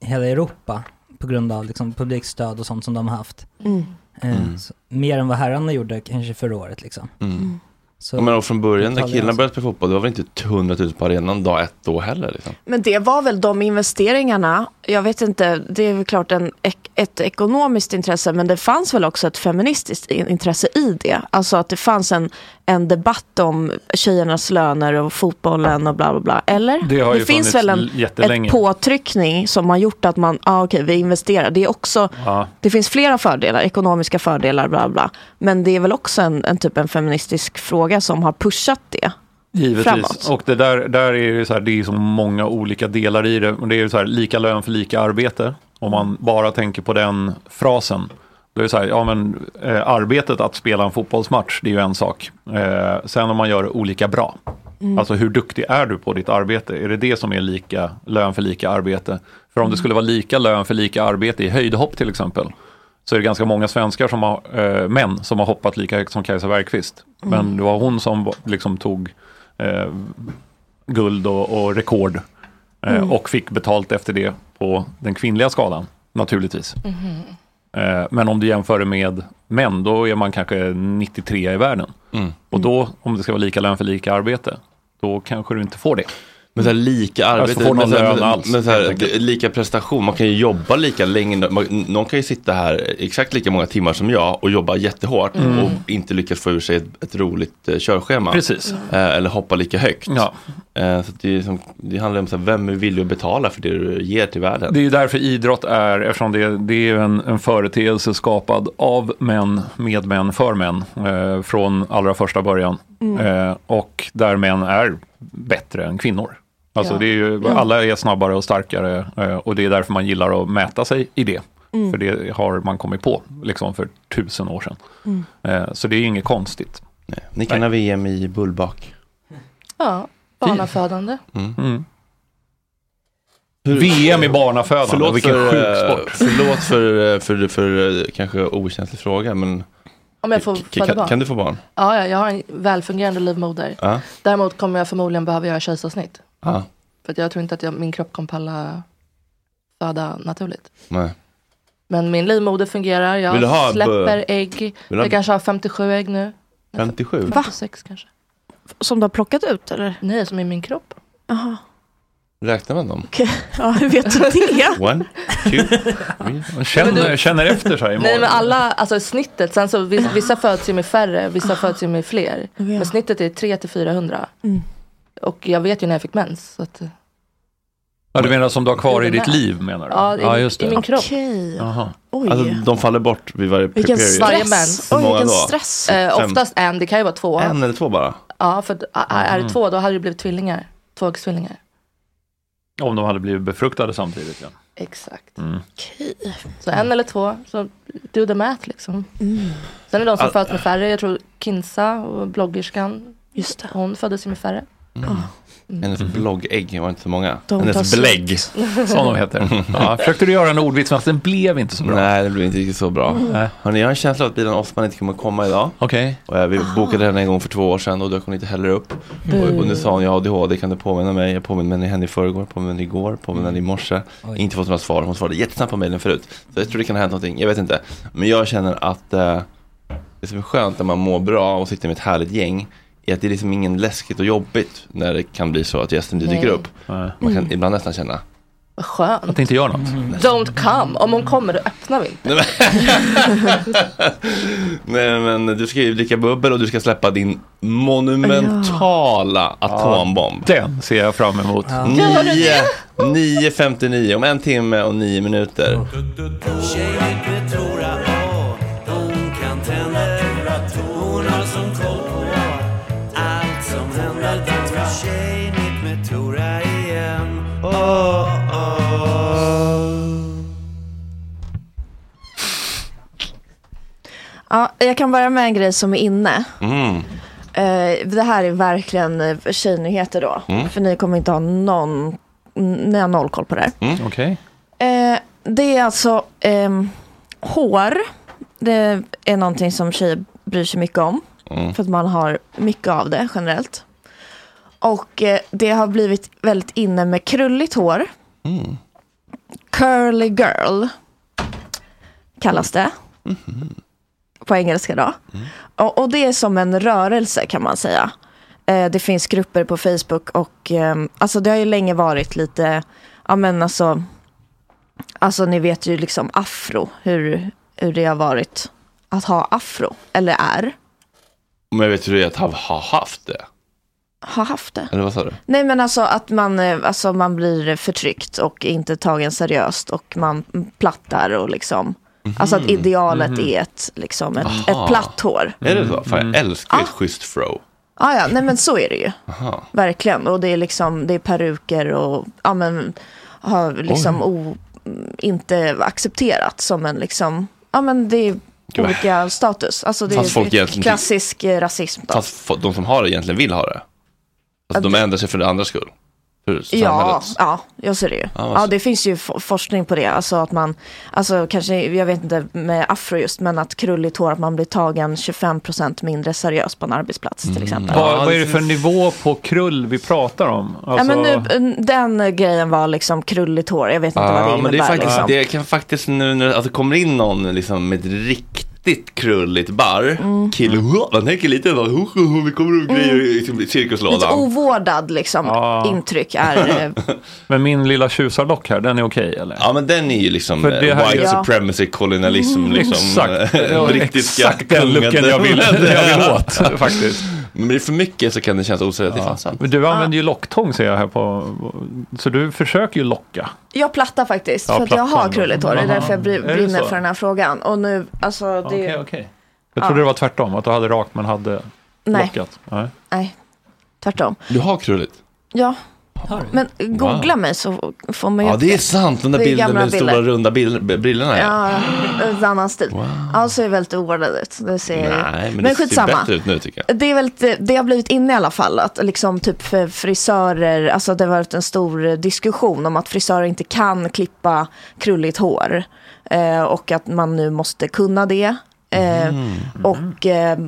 S8: hela Europa på grund av liksom publikstöd och sånt som de har haft.
S5: Mm.
S8: Eh,
S3: Mm.
S8: så, mer än vad herrarna gjorde kanske förra året liksom.
S3: Mm.
S8: Så-
S3: ja, men och från början när
S8: Italien
S3: killarna
S8: alltså.
S3: började spela fotboll, det var väl inte 100 000 på arenan dag ett då heller? Liksom.
S6: Mm.
S5: Men det var väl de investeringarna. Jag vet inte, det är väl klart en, ek- ett ekonomiskt intresse men det fanns väl också ett feministiskt in- intresse i det. Alltså att det fanns en, en debatt om tjejernas löner och fotbollen och bla bla bla. Eller?
S6: Det har ju
S5: finns
S6: funnits
S5: väl
S6: l-
S5: en
S6: jättelänge.
S5: ett påtryckning som har gjort att man, ja ah, okej vi investerar. Det är också,
S6: Ja.
S5: det finns flera fördelar, ekonomiska fördelar bla bla. Men det är väl också en, en typ en feministisk fråga som har pushat det.
S6: Givetvis.
S5: Framåt.
S6: Och det där, där är det, så här, det är så många olika delar i det. Och det är ju så här, lika lön för lika arbete. Om man bara tänker på den frasen. Då är det så här, ja men eh, arbetet att spela en fotbollsmatch, det är ju en sak. Eh, sen om man gör det olika bra.
S14: Mm.
S6: Alltså hur duktig är du på ditt arbete? Är det det som är lika lön för lika arbete? För om
S14: Mm.
S6: det skulle vara lika lön för lika arbete i höjdhopp till exempel, så är det ganska många svenskar som har, eh, män som har hoppat lika högt som Kajsa Bergqvist.
S14: Mm.
S6: Men det var hon som var- liksom tog eh, guld och, och rekord eh,
S14: Mm.
S6: och fick betalt efter det på den kvinnliga skalan, naturligtvis. Eh, Men om du jämför det med män, då är man kanske 93 i världen. Och då, om det ska vara lika lön för lika arbete, då kanske du inte får det.
S3: Men så här, lika arbete,
S6: Alltså får
S3: men,
S6: någon
S3: så här,
S6: lön
S3: men,
S6: alls.
S3: men så här,
S6: helt enkelt.
S3: det- lika prestation, man kan ju jobba lika länge. Man, någon kan ju sitta här exakt lika många timmar som jag och jobba jättehårt
S6: Mm.
S3: och inte lyckas få ur sig ett, ett roligt eh, körschema.
S6: Precis.
S3: Eh, eller hoppa lika högt.
S6: Ja.
S3: Eh, så att det, är som, det handlar om så här, vem är villig att betala för det du ger till världen.
S6: Det är ju därför idrott är, eftersom det, det är ju en, en företeelse skapad av män, med män, för män, eh, från allra första början.
S14: Mm.
S6: Eh, och där män är bättre än kvinnor. Alltså
S14: Ja.
S6: det är ju,
S14: Ja.
S6: alla är snabbare och starkare eh, och det är därför man gillar att mäta sig i det.
S14: Mm.
S6: För det har man kommit på liksom för tusen år sedan.
S4: Mm.
S6: Eh, så det är ju inget konstigt.
S3: Ni kan ha VM i bullbak.
S4: Ja, barnafödande.
S6: Mm. VM i barnafödande, vilken
S3: för,
S6: sjuk
S3: eh,
S6: sport.
S3: Förlåt för, eh, för, för, eh, kanske okänslig fråga, men
S4: Om jag får
S3: K-
S4: föda
S3: kan,
S4: barn.
S3: kan du få barn?
S4: Ja, ja, jag har en välfungerande livmoder.
S3: Ja.
S4: Däremot kommer jag förmodligen behöva göra kejsarsnitt.
S3: Ja.
S4: För att jag tror inte att jag, min kropp kommer palla föda naturligt.
S3: Nej.
S4: Men min livmoder fungerar.
S3: Vill du ha
S4: Jag
S3: bö-
S4: släpper ägg.
S3: Vill du ha-
S4: Jag kanske har 57 ägg nu.
S3: 57?
S4: 56 kanske. Som du har plockat ut eller? Nej, som i min kropp.
S5: Jaha.
S3: Räknar man dem?
S5: Ja, hur vet *laughs* du det?
S3: One,
S4: *laughs*
S3: two, three.
S6: Man känner, känner efter så här i
S4: Nej men
S6: magen.
S4: alla, alltså snittet, sen så vissa, vissa föds ju med färre, vissa föds ju med fler. Men snittet är 3 till 400.
S5: Mm.
S4: Och jag vet ju när jag fick mens. Så att,
S6: Ja, du menar som du har kvar i
S4: Den
S6: ditt
S4: där.
S6: liv menar du?
S4: Ja, i- i min kropp.
S5: Okej.
S6: Jaha.
S5: Oj.
S3: Alltså de faller bort vid varje
S4: Vilken
S3: period.
S4: Varje mens.
S3: Hur många då?
S4: Eh,
S3: Fem-
S4: oftast en, det kan ju vara två.
S3: En eller två bara?
S4: Ja, för a- a- är det
S6: Mhm.
S4: två då hade det blivit tvillingar. Tvåäggstvillingar.
S6: Om de hade blivit befruktade samtidigt ja.
S4: Exakt. *laughs*
S6: Mm.
S4: Så en eller två, så do the math liksom. Sen är det de som
S6: All-
S4: föds med färre, jag tror Kinsa och bloggerskan.
S5: Just det.
S4: Hon föddes ju med färre.
S3: Hennes bloggägg var inte så många.
S4: Mm. De tar
S3: Hennes
S4: slut.
S3: blägg.
S4: Som de heter.
S6: Ja, försökte du göra en ordvits men den blev inte
S4: Mm.
S6: så bra.
S3: Nej, det blev inte riktigt så bra.
S6: Mm. Nej.
S3: Hörni, jag har en känsla av att Bilan Osman inte kommer komma idag.
S6: Okej.
S3: Och jag, vi bokade henne en gång för två år sedan och dök hon inte heller upp. Och, och nu sa hon, jag har ADHD, kan du påminna mig? Jag påminner henne i förrgår, påminner henne igår, påminner henne i morse.
S8: Oj.
S3: Inte fått några svar. Hon svarade jättesnabbt på mejlen förut. Så jag tror det kan ha hänt någonting, jag vet inte. Men jag känner att eh, det som är skönt när man mår bra och sitter med ett härligt gäng är att det är liksom ingen läskigt och jobbigt när det kan bli så att gästen inte dyker
S4: Nej.
S3: upp. Man kan ibland nästan känna
S4: Vad skönt.
S3: att det inte gör något.
S4: Mm.
S6: Mm.
S4: Don't come. Om hon kommer då öppnar vi inte.
S3: Nej, Nej men du ska ju dricka bubbel och du ska släppa din monumentala atombomb.
S6: Den ser jag fram emot.
S3: Ja. Nio- 9.59 om en timme och nio minuter.
S14: Tjejen Petrora, ja, hon kan tända Hon har som koll på allt som händer Tjejen med Tora igen oh, oh.
S5: Ja, jag kan börja med en grej som är inne.
S3: Mm.
S5: Eh, det här är verkligen eh, tjejnyheter då.
S6: Mm.
S5: För ni kommer inte ha någon, n- ni har noll koll på det här.
S6: Mm. Okej.
S5: Eh, det är alltså ehm, hår. Det är någonting som tjejer bryr sig mycket om.
S3: Mm.
S5: För att man har mycket av det generellt. Och eh, det har blivit väldigt inne med krulligt hår.
S3: Mm.
S5: Curly girl kallas det.
S3: Mm-hmm.
S5: På engelska då.
S3: Mm.
S5: Och, och det är som en rörelse kan man säga. Eh, det finns grupper på Facebook och ehm, alltså det har ju länge varit lite, ja men alltså, alltså ni vet ju liksom afro, hur, hur det har varit att ha afro, eller är,
S3: Men jag vet hur det är att ha- ha haft det.
S5: har haft det.
S3: Eller vad sa du?
S5: Nej men alltså att man, eh, alltså man blir förtryckt och inte tagen seriöst och man plattar och liksom. Alltså att
S3: Mhm.
S5: idealet
S3: Mhm.
S5: är ett, liksom ett,
S3: Aha.
S5: ett platt hår.
S3: Är det så? Fan, jag älskar ju ett schysst fro.
S5: Ah, ja, nej men så är det ju.
S3: Aha.
S5: Verkligen. Och det är liksom, det är peruker och, ja men, har liksom o, inte accepterat som en liksom, ja men det är
S3: vad-
S5: olika status. Alltså det
S3: Fast
S5: är
S3: folk egentligen-
S5: klassisk eh, rasism då.
S3: Fast fo- de som har det egentligen vill ha det. Alltså, de ändrar sig för det andras skull. För
S5: Ja,
S3: samhällets.
S5: ja, jag ser det ju.
S3: Ja, vad
S5: Ja,
S3: så-
S5: det finns ju f- forskning på det. Alltså att man, alltså kanske, jag vet inte med afro just, men att krulligt hår, att man blir tagen 25% mindre seriöst på en arbetsplats
S3: Mm.
S5: till exempel.
S6: Vad, vad är det för nivå på krull vi pratar om? Alltså-
S5: Ja, men nu, den eh, grejen var liksom krulligt hår, jag vet inte vad det
S3: Ja,
S5: innebär.
S3: men det, är faktiskt,
S5: liksom.
S3: det kan faktiskt nu när alltså, kommer in någon liksom, med ett riktigt krulligt barr, kille, man tänker lite, va, "Hu, hu, hu, vi kommer upp grejer i- i
S5: Lite
S3: cirkuslådan.
S5: ovårdad liksom,
S6: Ja.
S5: intryck är
S3: *laughs*
S5: eh,
S6: Men min lilla tjusarlock här, den är okej eller?
S3: Ja men den är ju liksom
S6: För
S3: eh,
S6: det här är-
S3: white
S6: Ja.
S3: supremacy, kolonialism,
S6: Mm.
S3: liksom.
S6: *laughs* Exakt.
S3: eh, *laughs*
S6: Det var
S3: brittiska
S6: exakt den looken jag
S3: *laughs*
S6: ville- jag ville åt,
S3: faktiskt. Men blir det för mycket så kan det kännas oseriöst. Det är fan sant.
S6: Men du använder ju locktång ser jag här på, så du försöker ju locka.
S5: Jag plattar faktiskt,
S6: Ja,
S5: för att jag
S6: plattan
S5: har
S6: då.
S5: krulligt hår. Det är
S6: Aha.
S5: därför jag bri-
S6: Är det
S5: brinner
S6: så?
S5: för den här frågan. Och nu, alltså det
S6: Okej, okej. Jag trodde
S5: Ja.
S6: det var tvärtom, att du hade rakt men hade
S5: Nej.
S6: lockat. Nej.
S5: Nej, tvärtom.
S3: Du har krulligt?
S5: Ja. Men googla
S3: Wow.
S5: mig så får man ju
S3: Ja
S5: upp
S3: det är sant, den där
S5: Det är
S3: bilden
S5: gamla
S3: med de stora
S5: bilder.
S3: runda bil- b- brillorna. Ja.
S5: Ja, en annan stil. Ja, så är det väldigt oordnad ut. Det ser jag ju.
S3: Nej, men, det ser bättre ut nu tycker jag.
S5: Det, är väldigt, det har blivit inne i alla fall att liksom typ för frisörer, alltså det har varit en stor eh, diskussion om att frisörer inte kan klippa krulligt hår eh, och att man nu måste kunna det. Eh, Och eh,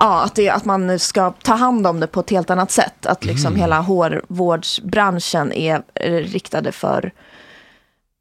S5: ja, att, det, att man ska ta hand om det på ett helt annat sätt. Att liksom
S3: Mm.
S5: hela hårvårdsbranschen är eh, riktade för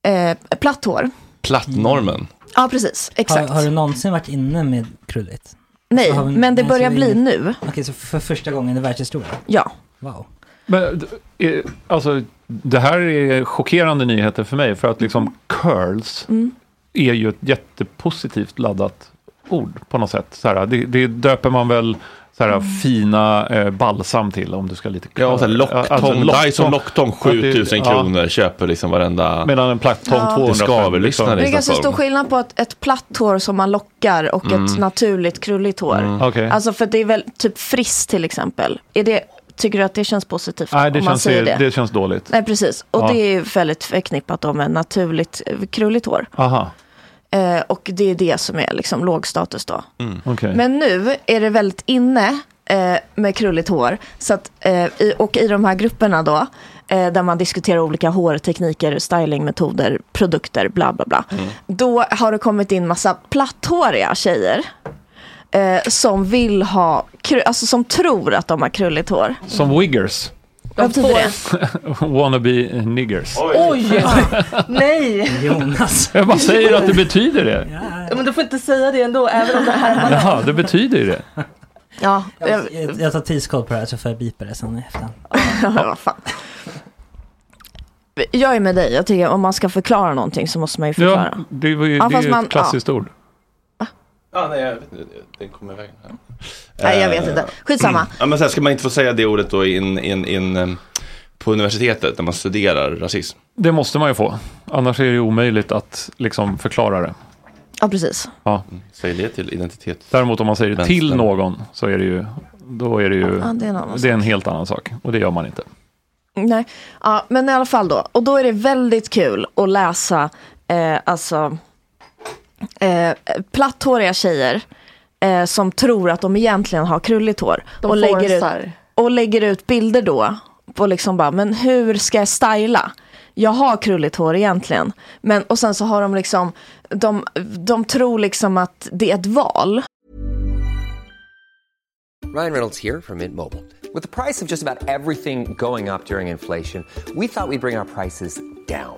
S5: eh, platt hår.
S12: Plattnormen.
S5: Ja, precis. Exakt.
S8: Har, har du någonsin varit inne med krulligt? Alltså,
S5: Nej,
S8: Har vi-
S5: men det
S8: nej, så
S5: börjar
S8: vi-
S5: bli nu.
S8: Okej, så för första gången i världshistorien?
S5: Ja.
S8: Wow.
S6: Men, d- eh, alltså, det här är chockerande nyheter för mig, för att liksom curls
S5: Mm.
S6: är ju ett jättepositivt laddat ord på något sätt. Så här, det, det döper man väl så här,
S5: Mm.
S6: fina eh, balsam till om du ska lite curl.
S3: Ja, och sen locktång,
S6: Alltså,
S3: Dyson locktång
S6: Att det-
S3: 7000
S6: ja.
S3: kronor, köper liksom varenda...
S6: Medan en plattång
S5: Ja.
S3: 200
S5: Det
S3: skaverlyssnare
S5: är ganska stor skillnad på ett, ett platt hår som man lockar och ett
S3: Mm.
S5: naturligt krulligt hår.
S6: Mm. Okej.
S5: Alltså för det är väl typ friss till exempel. Är det, tycker du att det känns positivt
S6: Nej, det
S5: om man
S6: känns,
S5: säger det?
S6: det känns dåligt.
S5: Nej, precis. Och
S6: Ja.
S5: det är ju väldigt förknippat då med naturligt eh, krulligt hår.
S6: Aha.
S5: Eh, och det är det som är liksom låg status då.
S6: Mm. Okej.
S5: Men nu är det väldigt inne eh, med krulligt hår. Så att, eh, i, och i de här grupperna då, eh, där man diskuterar olika hårtekniker, stylingmetoder, produkter, bla bla bla. Då har det kommit in massa platthåriga tjejer. Eh, som vill ha, kru- alltså som tror att de har krulligt hår.
S6: Som wiggers.
S5: Vad betyder det?
S6: *laughs* Wannabe niggers.
S13: Oj! Nej!
S8: Jonas.
S6: *laughs* Jag bara säger att det betyder det.
S13: Men du får inte säga det ändå, även om det här var...
S6: Ja, det betyder ju det.
S5: Ja, *laughs*
S8: jag, jag, jag tar tidskoll på det här så får jag bipa det sen i efterhand.
S5: Vad fan. Jag är med dig, jag tycker om man ska förklara någonting så måste man ju förklara.
S6: Ja, Eh. det var ju,
S5: Ja,
S6: det är
S5: fast
S6: ju
S5: man-
S6: ett klassiskt ord.
S3: Ja, nej, jag vet inte. Den kommer iväg. här.
S5: Nej, jag vet inte. Skitsamma.
S3: Eh, Ja, men sen ska man inte få säga det ordet då in, in, in, eh, på universitetet när man studerar rasism.
S6: Det måste man ju få. Annars är det ju omöjligt att liksom förklara det.
S5: Ja, precis.
S6: Ja.
S3: Säg det till identitet.
S6: Däremot om man säger det
S3: Vänster.
S6: till någon så är det ju, då är det ju,
S5: Ja, det är en annan
S6: det är en helt annan sak. Och det gör man inte.
S5: Nej, ja, men i alla fall då. Och då är det väldigt kul att läsa, eh, alltså, eh, platthåriga tjejer eh, som tror att de egentligen har krulligt hår.
S4: De
S5: och, lägger ut,
S4: forcear.
S5: och lägger ut bilder då på liksom bara, men hur ska jag styla? Jag har krulligt hår egentligen. Men, och sen så har de liksom, de, de tror liksom att det är ett val.
S15: Ryan Reynolds here from Mint Mobile. With the price of just about everything going up during inflation, we thought we'd bring our prices down.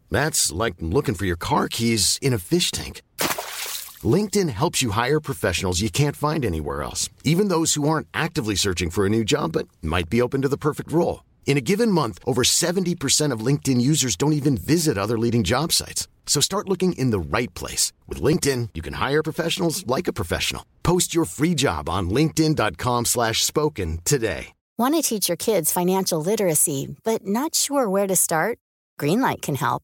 S16: That's like looking for your car keys in a fish tank. LinkedIn helps you hire professionals you can't find anywhere else, even those who aren't actively searching for a new job but might be open to the perfect role. In a given month, over 70% of LinkedIn users don't even visit other leading job sites. So start looking in the right place. With LinkedIn, you can hire professionals like a professional. Post your free job on linkedin.com/spoken slash spoken today.
S17: Want to teach your kids financial literacy, but not sure where to start? Greenlight can help.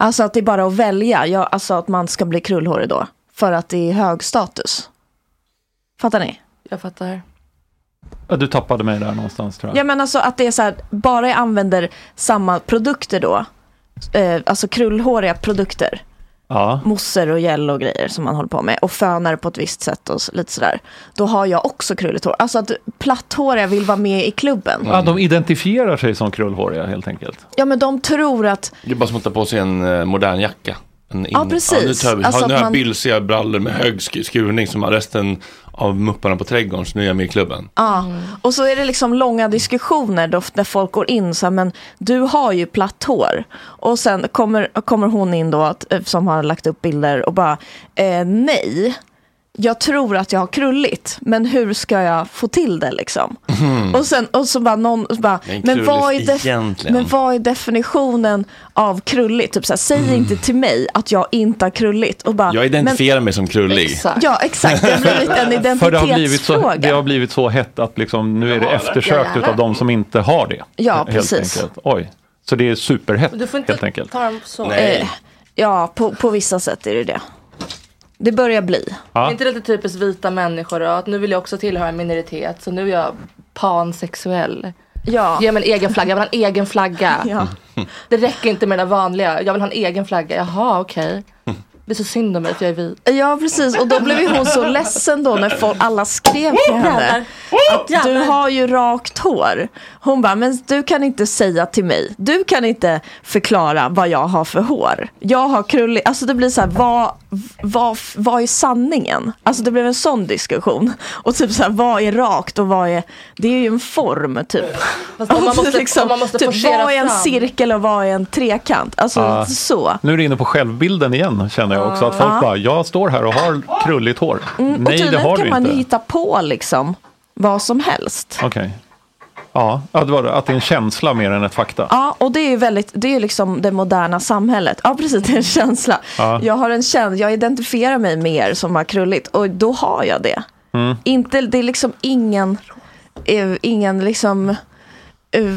S5: Alltså att det är bara att välja, ja, alltså att man ska bli krullhårig då. För att det är hög status. Fattar ni?
S4: Jag fattar.
S6: Ja, Du tappade mig där någonstans tror jag.
S5: Ja men alltså att det är så här, bara jag använder samma produkter då. Eh, alltså krullhåriga produkter.
S6: Ja.
S5: Mosser och gel och grejer som man håller på med. Och fönar på ett visst sätt och så, lite sådär. Då har jag också krulligt hår. Alltså att platthåriga vill vara med i klubben.
S6: Ja, de identifierar sig som krullhåriga helt enkelt.
S5: Ja men de tror att
S3: Det är bara som att ta på sig en eh, modern jacka. En in-
S5: Ja, precis.
S3: Ja, nu tar jag,
S5: Alltså
S3: har,
S5: att
S3: nu har
S5: man-
S3: jag bylsiga brallor med hög sk- skurning som har resten av mupparna på trädgården, så nu är jag med i klubben.
S5: Ja,
S6: Mm.
S5: och så är det liksom långa diskussioner då, där folk går in så här, men du har ju platt hår. Och sen kommer, kommer hon in då, att, som har lagt upp bilder och bara, eh, nej, jag tror att jag har krulligt, men hur ska jag få till det liksom?
S6: Mm.
S5: Och sen och så bara någon, och så bara,
S3: Men
S5: men, vad är
S3: krulligt
S5: def-
S3: egentligen?
S5: men vad är definitionen av krulligt? Typ så här, säg
S6: Mm.
S5: inte till mig att jag inte har krulligt. Och bara,
S3: Jag identifierar mig som krullig.
S5: men, Ja, exakt. Det har blivit en
S6: För det har, blivit så,
S5: identitetsfråga.
S6: det har blivit så hett att liksom, nu är det eftersökt
S4: Ja.
S6: utav de som inte har det.
S5: Ja,
S6: helt
S5: precis.
S6: Enkelt. Oj, så det är superhett
S5: Men du får inte
S6: helt enkelt.
S4: Ta dem så.
S5: Eh, ja, på, på vissa sätt är det det. Det börjar bli.
S4: Är inte det lite typiskt vita människor då? Att nu vill jag också tillhöra en minoritet så nu är jag pansexuell.
S5: Ja.
S4: Ge mig en egen flagga, jag vill ha en egen flagga.
S5: *laughs* Ja.
S4: Det räcker inte med den vanliga, jag vill ha en egen flagga. Jaha okej. Det är så synd om mig för jag är vit.
S5: Ja, precis. Och då blev ju hon så ledsen då när folk, alla skrev till
S4: *laughs*
S5: henne. Att du har ju rakt hår. Hon bara, men du kan inte säga till mig. Du kan inte förklara vad jag har för hår. Jag har krullig. Alltså det blir så här, vad, vad, vad är sanningen? Alltså det blev en sån diskussion. Och typ så här, vad är rakt och vad är, det är ju en form typ.
S4: Fast om man
S5: *laughs* Och
S4: måste- om man måste
S5: typ,
S4: forcera
S5: vad är en
S4: fram.
S5: cirkel och vad är en trekant? Alltså
S6: Ah.
S5: så.
S6: Nu är du inne på självbilden igen känner jag också. Att folk
S5: Ja.
S6: bara, jag står här och har krulligt hår.
S5: Mm, och
S6: Nej, det
S5: tydligen
S6: har
S5: kan
S6: du
S5: man
S6: inte.
S5: hitta på liksom vad som helst.
S6: Okej. Ja, ja, det var det. Att det är en känsla mer än ett fakta.
S5: Ja, och det är ju väldigt, det är ju liksom det moderna samhället. Ja, precis, det är en känsla.
S6: Ja.
S5: Jag har en känsla, jag identifierar mig med er som har krulligt och då har jag det.
S6: Mm.
S5: Inte, det är liksom ingen, eh, ingen liksom, eh,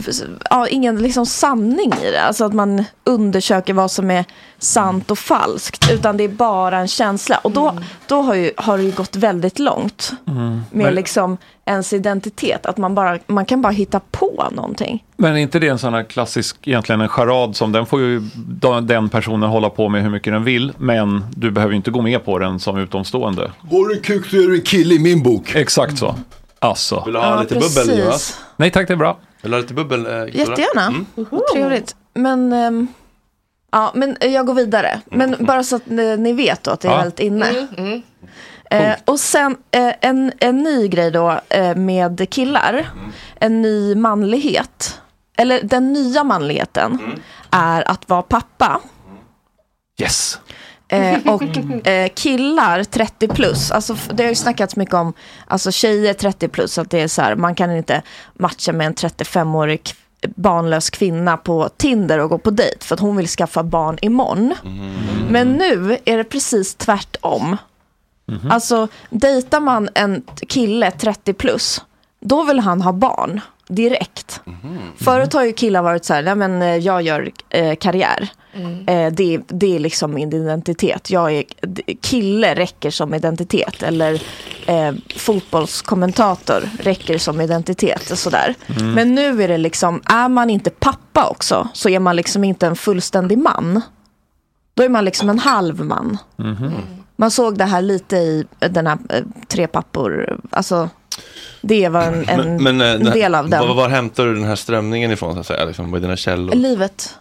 S5: ja, ingen liksom sanning i det. Alltså att man undersöker vad som är sant och falskt. Utan det är bara en känsla. Och då, då har, ju, har det ju gått väldigt långt.
S6: Mm.
S5: Med
S6: Men-
S5: liksom ens identitet. Att man, bara, man kan bara hitta på någonting.
S6: Men är inte det en sån här klassisk, egentligen en charad som den får ju da- den personen hålla på med hur mycket den vill, men du behöver ju inte gå med på den som utomstående.
S18: Har du en kuk så är du en kille i min bok.
S6: Exakt så. Alltså.
S3: Vill du ha
S5: Ja,
S3: lite
S5: precis.
S3: bubbel Jonas?
S6: Nej tack, det är bra.
S3: Vill du ha lite bubbel? eh, Klara?
S5: Jättegärna.
S3: Mm.
S5: Vad Trevligt. Men, ehm, ja, men eh, jag går vidare. Men bara så att ni, ni vet då att det är
S4: Ja.
S5: väldigt inne.
S4: Mm, mm.
S5: Eh, och sen eh, en, en ny grej då eh, med killar. En ny manlighet. Eller den nya manligheten är att vara pappa.
S6: Yes.
S5: Eh, och eh, killar 30 plus, alltså, f- det har ju snackats mycket om alltså, tjejer 30 plus, att det är så här, man kan inte matcha med en 35-årig k- barnlös kvinna på Tinder och gå på dejt för att hon vill skaffa barn imorgon. Men nu är det precis tvärtom. Alltså dejtar man en t- kille 30 plus, då vill han ha barn direkt.
S3: Mm.
S5: Förut har ju killar varit så här, nej men eh, jag gör eh, karriär. Eh, det, det är liksom min identitet. Jag är, d- kille räcker som identitet. Eller eh, fotbollskommentator räcker som identitet. Och sådär.
S4: Mm.
S5: Men nu är det liksom, är man inte pappa också så är man liksom inte en fullständig man. Då är man liksom en halv man.
S3: Mm-hmm.
S5: Man såg det här lite i eh, den här eh, Tre pappor, alltså det var en, en,
S3: Men, men, eh,
S5: en del av den.
S3: Var, var hämtar du den här strömningen ifrån så att säga? Liksom, vad är dina källor? *laughs*
S5: Livet.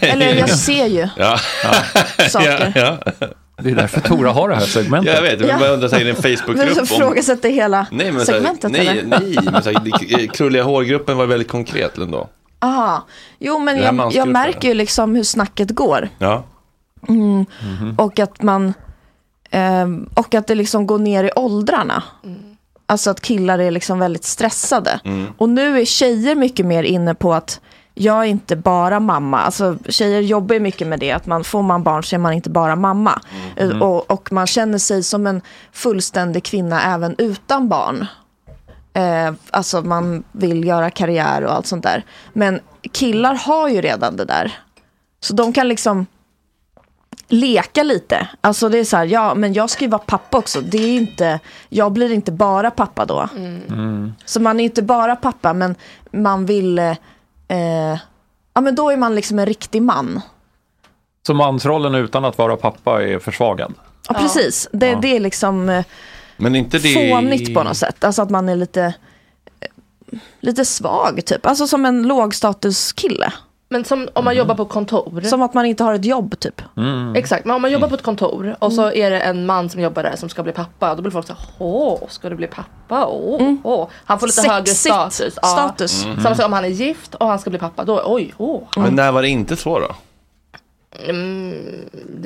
S5: Eller jag ser ju.
S3: Ja.
S5: *laughs* Saker.
S3: Ja, ja.
S6: Det är därför Tora har det *laughs* här segmentet.
S3: Ja, jag vet, men
S5: Ja.
S3: bara undrar, säger det är en
S5: *laughs* Men så
S3: Facebookgrupp om...
S5: frågasätter hela
S3: Nej, men så här,
S5: segmentet
S3: nej,
S5: eller?
S3: nej, men så här, det- eh, krulliga hårgruppen var väldigt konkret ändå.
S5: Aha. Jo men
S3: Det här
S5: jag, jag
S3: mansgruppen.
S5: märker ju liksom hur snacket går.
S3: Ja.
S5: Mm. Och att man ehm, och att det liksom går ner i åldrarna. Alltså att killar är liksom väldigt stressade.
S14: Mm.
S5: Och nu är tjejer mycket mer inne på att jag är inte bara mamma. Alltså tjejer jobbar ju mycket med det. Att man får man barn så är man inte bara mamma.
S14: Mm.
S5: Eh, Och, och man känner sig som en fullständig kvinna även utan barn. Eh, alltså man vill göra karriär och allt sånt där. Men killar har ju redan det där. Så de kan liksom leka lite. Alltså det är så här, ja men jag ska ju vara pappa också. Det är inte, jag blir inte bara pappa då. Så man är inte bara pappa men man vill, eh, eh, ja men då är man liksom en riktig man.
S6: Så mansrollen utan att vara pappa är försvagad.
S5: Ja, precis, det,
S6: Ja.
S5: det är liksom eh,
S3: Men inte det...
S5: fånigt på något sätt. Alltså att man är lite, eh, lite svag typ. Alltså som en lågstatuskille.
S4: Men som om man jobbar på kontor.
S5: Som att man inte har ett jobb typ.
S3: Mm.
S4: Exakt, men om man jobbar på ett kontor och
S5: Mm.
S4: så är det en man som jobbar där som ska bli pappa. Då blir folk så här, åh, ska du bli pappa? Åh, åh. Han får lite
S5: Mm. Sexigt
S4: högre status. Ja.
S5: status.
S3: Mm.
S4: Samma sak om han är gift och han ska bli pappa. Då, oj, åh.
S3: Men när var det inte så då?
S4: Mm,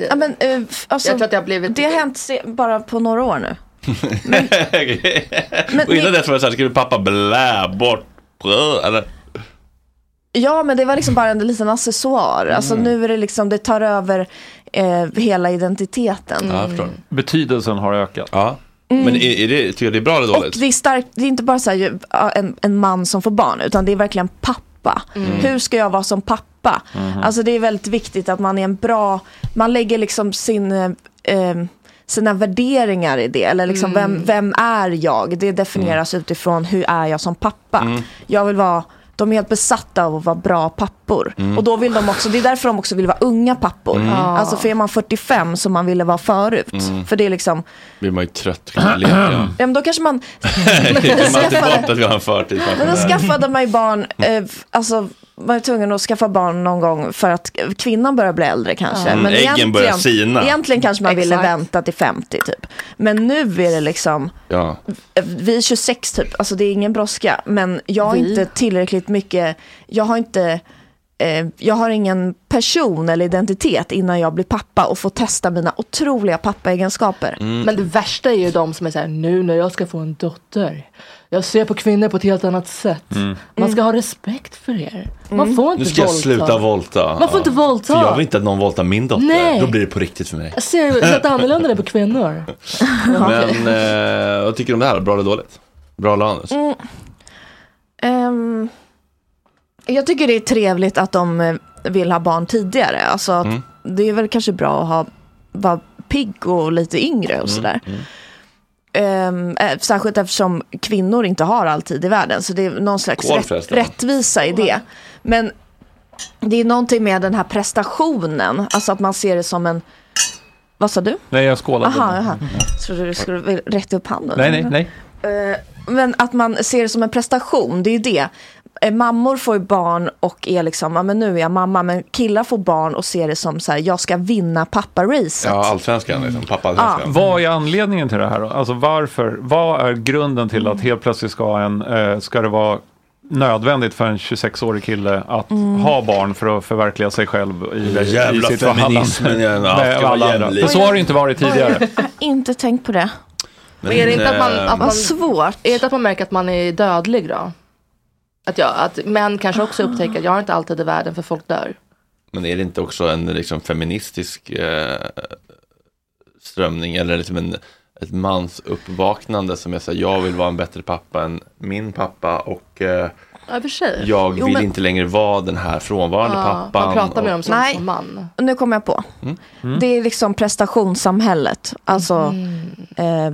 S5: Ja, men, eh, f- alltså,
S4: Jag tror att det har blivit...
S5: hänt se- bara på några år nu.
S3: och innan dess var det så här, skriver pappa blä bort brö, eller?
S5: Ja, men det var liksom bara en liten accessoar. Alltså
S6: Mm.
S5: nu är det liksom, det tar över eh, hela identiteten.
S6: Mm. Betydelsen har ökat.
S3: Ja.
S5: Mm.
S3: Men är, är det, tycker jag det är bra eller dåligt?
S5: Och det är starkt, det är inte bara så här, ju, ja, en, en man som får barn, utan det är verkligen pappa.
S3: Mm.
S5: Hur ska jag vara som pappa?
S3: Mhm.
S5: Alltså det är väldigt viktigt att man är en bra, man lägger liksom sin, eh, eh, sina värderingar i det. Eller liksom vem, vem är jag? Det definieras utifrån hur är jag som pappa.
S14: Mm.
S5: Jag vill vara de är helt besatta av att vara bra pappor.
S14: Mm.
S5: Och då vill de också, det är därför de också vill vara unga pappor.
S3: Mm. Ah.
S5: Alltså för är man 45 som man ville vara förut.
S3: Mm.
S5: För det är liksom,
S3: Blir man ju trött, kan man leka.
S5: ja men då kanske man
S3: Glömmer alltid bort att vi har en förtidspensionär.
S5: Men då skaffade man ju barn,
S3: Mm.
S5: eh, f- alltså man är tvungen att skaffa barn någon gång för att k- kvinnan börjar bli äldre kanske.
S3: Ja. Mm,
S5: Men
S3: äggen
S5: egentligen-
S3: börjar sina.
S5: Egentligen kanske man ville
S3: Exakt.
S5: vänta till 50 typ. Men nu är det liksom,
S3: Ja.
S5: eh, vi är 26 typ, alltså det är ingen brådska. Men jag är
S4: Vi.
S5: inte tillräckligt mycket, jag har inte, eh, jag har ingen person eller identitet innan jag blir pappa och får testa mina otroliga pappaegenskaper.
S3: Mm.
S4: Men det värsta är ju de som är så här, nu när jag ska få en dotter. Jag ser på kvinnor på ett helt annat sätt. Man ska ha respekt för er. Man får inte
S3: Mm. Nu ska jag
S4: våldta.
S3: sluta volta.
S4: Man får inte våldta.
S3: För jag vill inte att någon voltar min dotter.
S4: Nej.
S3: Då blir det på riktigt för mig.
S4: Jag ser hur helt annorlunda det är
S3: *laughs*
S4: på kvinnor.
S3: Men eh, vad tycker du om det här? Bra eller dåligt? Bra eller anus?
S5: Mm. Ehm, jag tycker det är trevligt att de eh, vill ha barn tidigare. Alltså, att
S3: Mm.
S5: Det är väl kanske bra att ha, vara pigg och lite yngre och sådär.
S14: Mm.
S5: Ehm, eh, särskilt eftersom kvinnor inte har all tid i världen. Så det är någon slags
S14: Skål
S5: rätt,
S14: förresten.
S5: rättvisa i det. Men det är någonting med den här prestationen. Alltså att man ser det som en... Vad sa du?
S6: Nej, jag skålade.
S5: Aha, aha. Trodde du skulle vilja räcka upp handen.
S6: Nej, nej, nej.
S5: Eh, Men att man ser det som en prestation, det är ju det. Eh, Mammor får ju barn och är liksom, ja men nu är jag mamma, men killar får barn och ser det som så här, jag ska vinna papparacet.
S3: Ja, allsvenskan liksom. Pappa allsvenskan.
S6: Vad är anledningen till det här då? Alltså varför? Vad är grunden till att helt plötsligt ska, en, eh, ska det vara nödvändigt för en 26-årig kille att
S5: Mm.
S6: ha barn för att förverkliga sig själv i, i
S3: Jävla
S6: sitt förhållande?
S3: feminismen igen. Ja,
S6: Nej,
S3: ska vara
S6: alla andra.
S3: jämlik.
S6: För så har det ju inte varit tidigare.
S5: Jag har inte tänkt på det.
S4: Men är det inte att man, att man,
S5: Vad svårt.
S4: Är det inte att man märker att man är dödlig då? Att, jag, att män kanske också upptäcker att jag har inte alltid i världen för folk dör.
S3: Men är det inte också en liksom, feministisk eh, strömning eller liksom en, ett mans uppvaknande som är så här, jag vill vara en bättre pappa än min pappa och eh,
S4: Ja, i och för sig.
S3: jag
S4: Jo,
S3: vill
S4: men-
S3: inte längre vara den här frånvarande pappan.
S4: man pratar med
S3: och-
S4: dem som,
S5: Nej.
S4: som man.
S5: Nu kommer jag på.
S3: Mm.
S5: Det är liksom prestationssamhället. Alltså eh,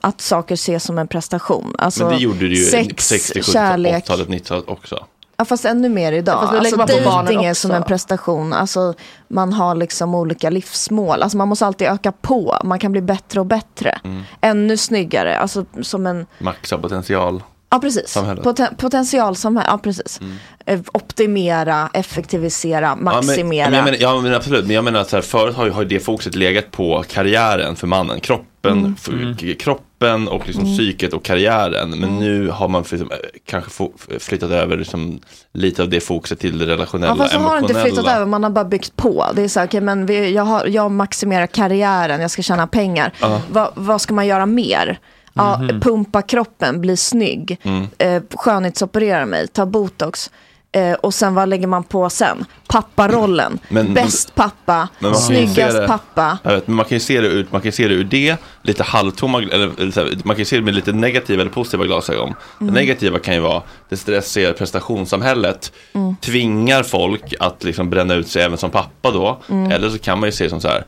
S5: att saker ses som en prestation. Alltså,
S3: Men det gjorde det ju
S5: sex,
S3: 60, 70,
S5: kärlek.
S3: 80-talet, 90-talet också.
S5: Ja, fast ännu mer idag.
S4: Fast nu lägger
S5: alltså,
S4: man på barnen
S5: dejting är
S4: också.
S5: som en prestation. Alltså, man har liksom olika livsmål. Alltså, man måste alltid öka på. Man kan bli bättre och bättre.
S3: Mm.
S5: Ännu snyggare. Alltså, som en...
S3: Maxa potential.
S5: Ja, precis.
S3: Samhället.
S5: Poten- potentialsamhälle. Ja, precis. Eh, Optimera, effektivisera, maximera.
S3: Ja, men, ja, men, jag menar- ja, men absolut, men jag menar att så här, förut har ju har ju det fokuset legat på karriären för mannen, kroppen,
S5: Mm.
S3: f- k- kroppen och liksom
S5: Mm.
S3: psyket och karriären. Men nu har man för, liksom, eh, kanske fo- f- flyttat över liksom, lite av det fokuset till det relationella,
S5: Ja, fast så har det inte
S3: emotionella.
S5: flyttat över, man har bara byggt på. Det är så här, okej, men vi, jag, har, jag maximerar karriären, jag ska tjäna pengar.
S3: Ja.
S5: Vad- vad ska man göra mer? Ja,
S3: Mhm.
S5: Pumpa kroppen, bli snygg,
S3: Mm.
S5: eh, skönhetsoperera mig, ta botox. Eh, och sen vad lägger man på sen? Papparollen.
S3: Men-
S5: Bäst pappa,
S3: Men man kan ju se
S5: snyggast
S3: det-
S5: pappa.
S3: Jag vet, men man kan ju se det ut, man kan ju se det ur det, lite halvtomma, eller, eller så här, man kan ju se det med lite negativa eller positiva glasögon.
S5: Mm.
S3: Det negativa kan ju vara det stressiga prestationssamhället
S5: Mm.
S3: tvingar folk att liksom bränna ut sig även som pappa då.
S5: Mm.
S3: Eller så kan man ju se som så här,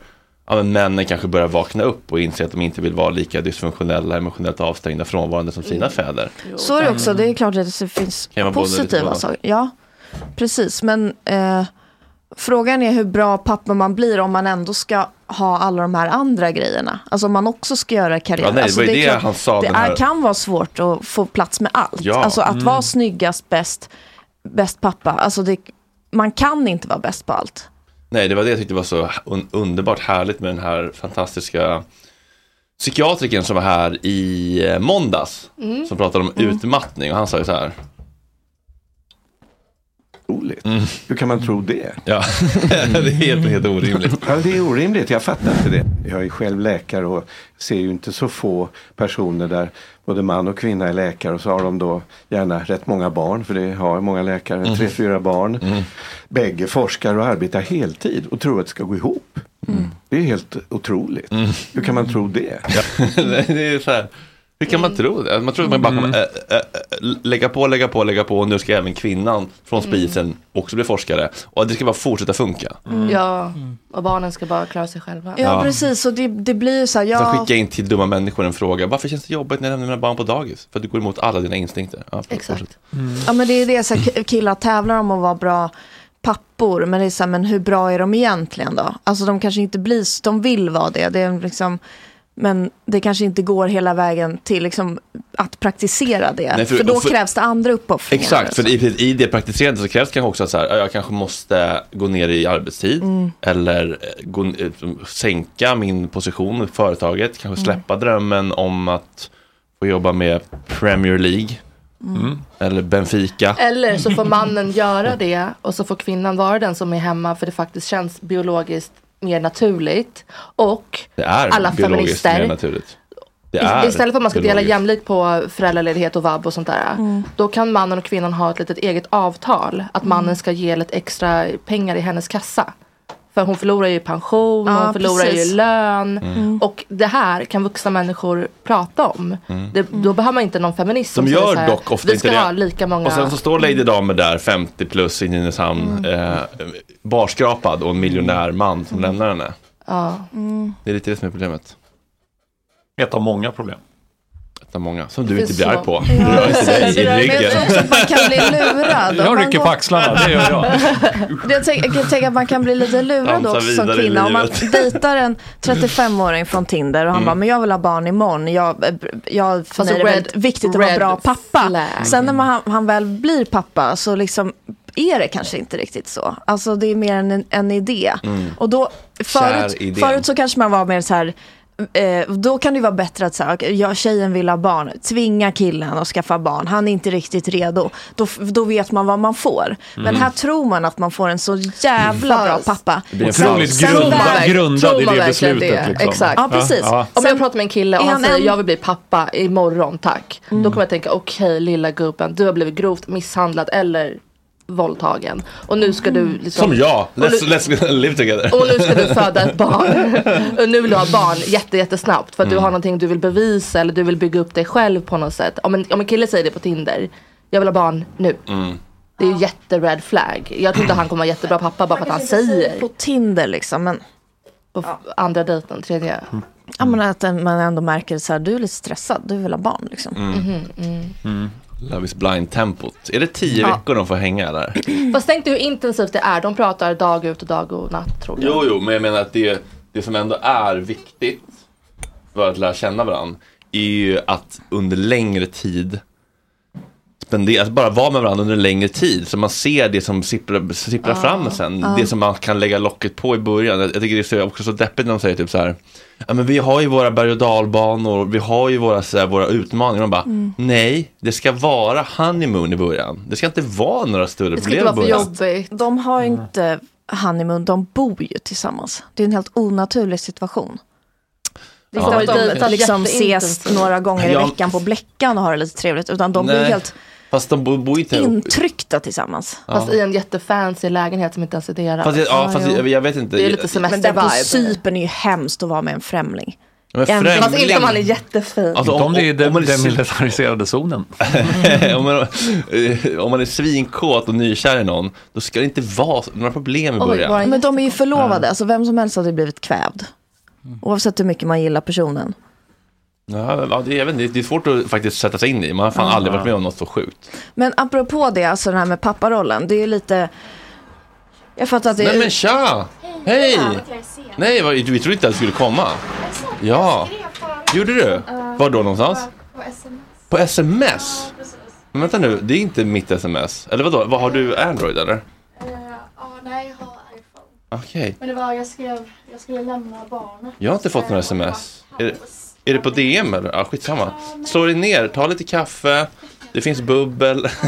S3: ja men männen kanske börjar vakna upp och inse att de inte vill vara lika dysfunktionella, emotionellt avstängda, frånvarande som
S5: Mm.
S3: sina fäder.
S5: Så är det också, det är klart att det finns
S3: Mm. Kan vara både lite
S5: positiva
S3: båda.
S5: saker. Ja, precis. Men eh, frågan är hur bra pappa man blir om man ändå ska ha alla de här andra grejerna. Alltså om man också ska göra karriär.
S3: Ja, nej, det
S5: alltså,
S3: var ju
S5: är
S3: det han sa,
S5: Det
S3: den här-
S5: är, kan vara svårt att få plats med allt.
S3: Ja.
S5: Alltså att
S3: Mm.
S5: vara snyggast, bäst, bäst pappa. Alltså det, man kan inte vara bäst på allt.
S3: Nej, det var det jag tyckte var så un underbart härligt med den här fantastiska psykiatriken som var här i eh, måndags.
S14: Mm.
S3: Som pratade om
S14: Mm.
S3: utmattning och han sa ju så här.
S19: otroligt. Hur kan man tro det?
S3: Ja.
S19: *laughs* det är helt, helt orimligt.
S20: Ja, det är orimligt. Jag fattar inte det. Jag är själv läkare och ser ju inte så få personer där både man och kvinna är läkare och så har de då gärna rätt många barn, för det har många läkare,
S19: Mm.
S20: tre, fyra barn.
S19: Mm.
S20: Bägge forskar och arbetar heltid och tror att det ska gå ihop.
S6: Mm.
S20: Det är helt otroligt. Hur kan man tro det?
S3: *laughs* det är så här. Hur kan
S19: Mm.
S3: man tro det? Man tror att man bara kommer äh, äh, äh, lägga på, lägga på, lägga på. Nu ska även kvinnan från
S19: Mm.
S3: spisen också bli forskare. Och det ska bara fortsätta funka.
S19: Mm.
S4: Ja, och barnen ska bara klara sig själva.
S5: Ja,
S3: Ja.
S5: precis. Och det, det blir ju så här,
S3: Sen
S5: ja,
S3: skicka in till dumma människor en fråga. Varför känns det jobbigt när jag lämnar mina barn på dagis? För att du går emot alla dina instinkter. Ja, förlåt,
S5: Exakt.
S3: fortsätt.
S5: ja, men det är det så här, k- killar tävlar om att vara bra pappor, men det är så här, men hur bra är de egentligen då? Alltså de kanske inte blir, s- de vill vara det, det är liksom, men det kanske inte går hela vägen till liksom, att praktisera det,
S3: Nej, för-
S5: för, då
S3: och för-
S5: krävs det andra uppoffringar.
S3: Exakt, för i, i det praktiserandet så krävs det kanske också att så här, ja, jag kanske måste gå ner i arbetstid
S5: Mm.
S3: eller eh, gå, eh, sänka min position i företaget,
S4: Mm.
S3: kanske släppa drömmen om att få jobba med Premier League
S4: Mm.
S3: eller Benfica.
S4: Eller så får mannen göra det och så får kvinnan vara den som är hemma för det faktiskt känns biologiskt mer naturligt. Och
S3: Det är
S4: alla
S3: biologiskt
S4: feminister.
S3: mer naturligt. Det
S4: Ist-
S3: är
S4: Istället för att man ska dela
S3: biologiskt.
S4: jämlikt på föräldraledighet och vab och sånt där.
S3: Mm.
S4: Då kan mannen och kvinnan ha ett litet eget avtal. Att mannen ska ge lite extra pengar i hennes kassa. För hon förlorar ju pension,
S5: Ja,
S4: hon förlorar
S5: precis.
S4: ju lön.
S3: Mm.
S4: Och det här kan vuxna människor prata om.
S3: Mm.
S4: Det, då behöver man inte någon feminist som
S3: De
S4: säger
S3: gör
S4: så här,
S3: dock ofta
S4: Vi
S3: inte
S4: ska
S3: det.
S4: ha lika många.
S3: Och sen så står Lady Damer där, 50 plus i
S4: Mm.
S3: Nynäshamn, eh, barskrapad och en miljonär man som
S4: Mm.
S3: lämnar henne.
S4: Ja.
S3: Det är lite det som är problemet.
S6: Ett av många problem.
S3: Ett av många, som du
S6: Det
S3: inte
S6: finns
S3: blir
S6: så-
S3: arg på.
S6: Ja,
S3: Du rör inte dig
S6: precis. Det rör-
S5: Mm.
S3: i
S6: men jag
S3: ryggen.
S6: tror också att
S5: Man kan bli lurad. om
S6: Jag
S5: man
S6: rycker
S5: går-
S6: på axlarna, det gör jag.
S5: Jag, tänk, jag kan tänka att man kan bli lite lurad
S6: Dansa
S5: också som
S6: vidare i
S5: kvinna. Om man
S6: livet.
S5: dejtar en 35-åring från Tinder och han
S6: Mm.
S5: bara, men jag vill ha barn imorgon. Jag, eh, jag, för
S4: Alltså,
S5: mig är det
S4: red-
S5: väldigt viktigt att
S4: red
S5: vara bra pappa.
S4: flag.
S5: Sen när man, han väl blir pappa så liksom är det kanske inte riktigt så. Alltså det är mer en, en idé.
S3: Mm.
S5: Och då,
S3: Kär
S5: förut,
S3: idén.
S5: förut så kanske man var mer så här, Eh, då kan det ju vara bättre att säga, okay, jag, tjejen vill ha barn, tvinga killen att skaffa barn, han är inte riktigt redo. Då, f- då vet man vad man får. Men
S3: Mm.
S5: här tror man att man får en så jävla bra pappa.
S3: Det blir en Otroligt
S5: Sen
S3: grunda-
S5: väl-
S3: grundad
S4: Tror
S3: i
S4: man
S3: det
S4: verkligen
S3: beslutet,
S4: det?
S3: liksom.
S4: Exakt.
S3: Ja, precis. Ja.
S4: Om jag pratar med en kille och
S5: Är
S4: han,
S5: han
S4: säger
S5: en-
S4: jag vill bli pappa imorgon tack. Då kommer jag tänka okej lilla gubben du har blivit grovt misshandlad eller våldtagen. Och nu ska du liksom.
S3: Som jag,
S4: Och
S3: let's,
S4: nu-
S3: let's live together.
S4: och nu ska du föda ett barn. *laughs* Och nu vill du ha barn jätte, jättesnabbt. För att du
S3: Mm.
S4: har någonting du vill bevisa eller du vill bygga upp dig själv på något sätt. Om en, om en kille säger det på Tinder. Jag vill ha barn nu.
S3: Mm.
S4: Det är ju jätte red flag. Jag tror inte han kommer vara jättebra pappa bara för att han
S5: kanske inte
S4: säger.
S5: säger på Tinder liksom. Men...
S4: På f- andra dejten,
S3: Mm.
S4: tredje.
S5: Ja, men att en- man ändå märker så här, du är lite stressad, du vill ha barn liksom.
S3: Mm. Love is blind-tempot. Är det tio
S4: Ja.
S3: veckor de får hänga eller?
S4: Fast tänk dig hur intensivt det är. De pratar dag ut och dag och natt tror jag.
S3: Jo, jo, men jag menar att det, det som ändå är viktigt för att lära känna varandra är ju att under längre tid spendera, att bara vara med varandra under en längre tid så man ser det som sipprar, sipprar
S19: Ah.
S3: fram sen.
S19: Ah.
S3: Det som man kan lägga locket på i början. Jag, jag tycker det är så, också så deppigt när de säger typ så här Ja, men vi har ju våra berg och dalbanor, vi har ju våra, så här, våra utmaningar. Man bara,
S4: Mm.
S3: nej, det ska vara honeymoon i början. Det ska inte vara några större problem i början.
S5: jobbigt. De har ju
S3: Mm.
S5: inte honeymoon, de bor ju tillsammans. Det är en helt onaturlig situation. Det är
S3: Ja.
S5: inte
S3: De har ju
S5: att de
S3: dejtat
S5: liksom ses
S3: jätteintensivt.
S5: några gånger
S3: Ja.
S5: i veckan på Bleckan och har det lite trevligt, utan de blir
S3: Nej,
S5: helt
S3: Fast de bo- bor ju inte ihop.
S5: intryckta tillsammans.
S3: Ja.
S4: Fast i en jättefancy lägenhet som inte ens är deras.
S3: Fast jag, ja, fast jag, jag vet inte.
S5: Men där på
S4: semester-vibe.
S5: Cypern är ju hemskt att vara med en främling.
S3: Men främling- Fast inte om han är
S5: jättefin.
S3: Alltså,
S6: Inte om det är den-
S3: man är
S6: den
S3: sy- *laughs*
S6: militariserade zonen.
S3: om, man, eh, om man är svinkåt och nykär i någon, då ska det inte vara så- några problem i början.
S5: Men de är ju förlovade, alltså vem som helst hade blivit kvävd.
S3: Mm.
S5: Oavsett hur mycket man gillar personen.
S3: ja, ja, det, är, jag vet inte, det är svårt att faktiskt sätta sig in i. Man har fan
S5: Ja.
S3: aldrig varit med om något så sjukt.
S5: Men apropå det, alltså den här med papparollen, det är ju lite... Jag fattar att det
S3: Nej
S5: är...
S3: men tja! Hej!
S5: Ja, vad jag ser.
S3: Nej, vad, vi trodde inte att du skulle komma. Ja. Gjorde du?
S7: Ja.
S3: Var då någonstans?
S7: På sms.
S3: På sms? Men vänta nu, det är inte mitt sms. Eller vadå, vad, har du Android eller?
S7: Eh, ja, nej, jag har iPhone.
S3: Okej.
S7: Men det var, jag skrev, jag skulle lämna barnet.
S3: Jag har inte fått några sms. Är det, Är det på DM eller? Ja, skitsamma. Slå dig ner, ta lite kaffe. Det finns bubbel. *laughs*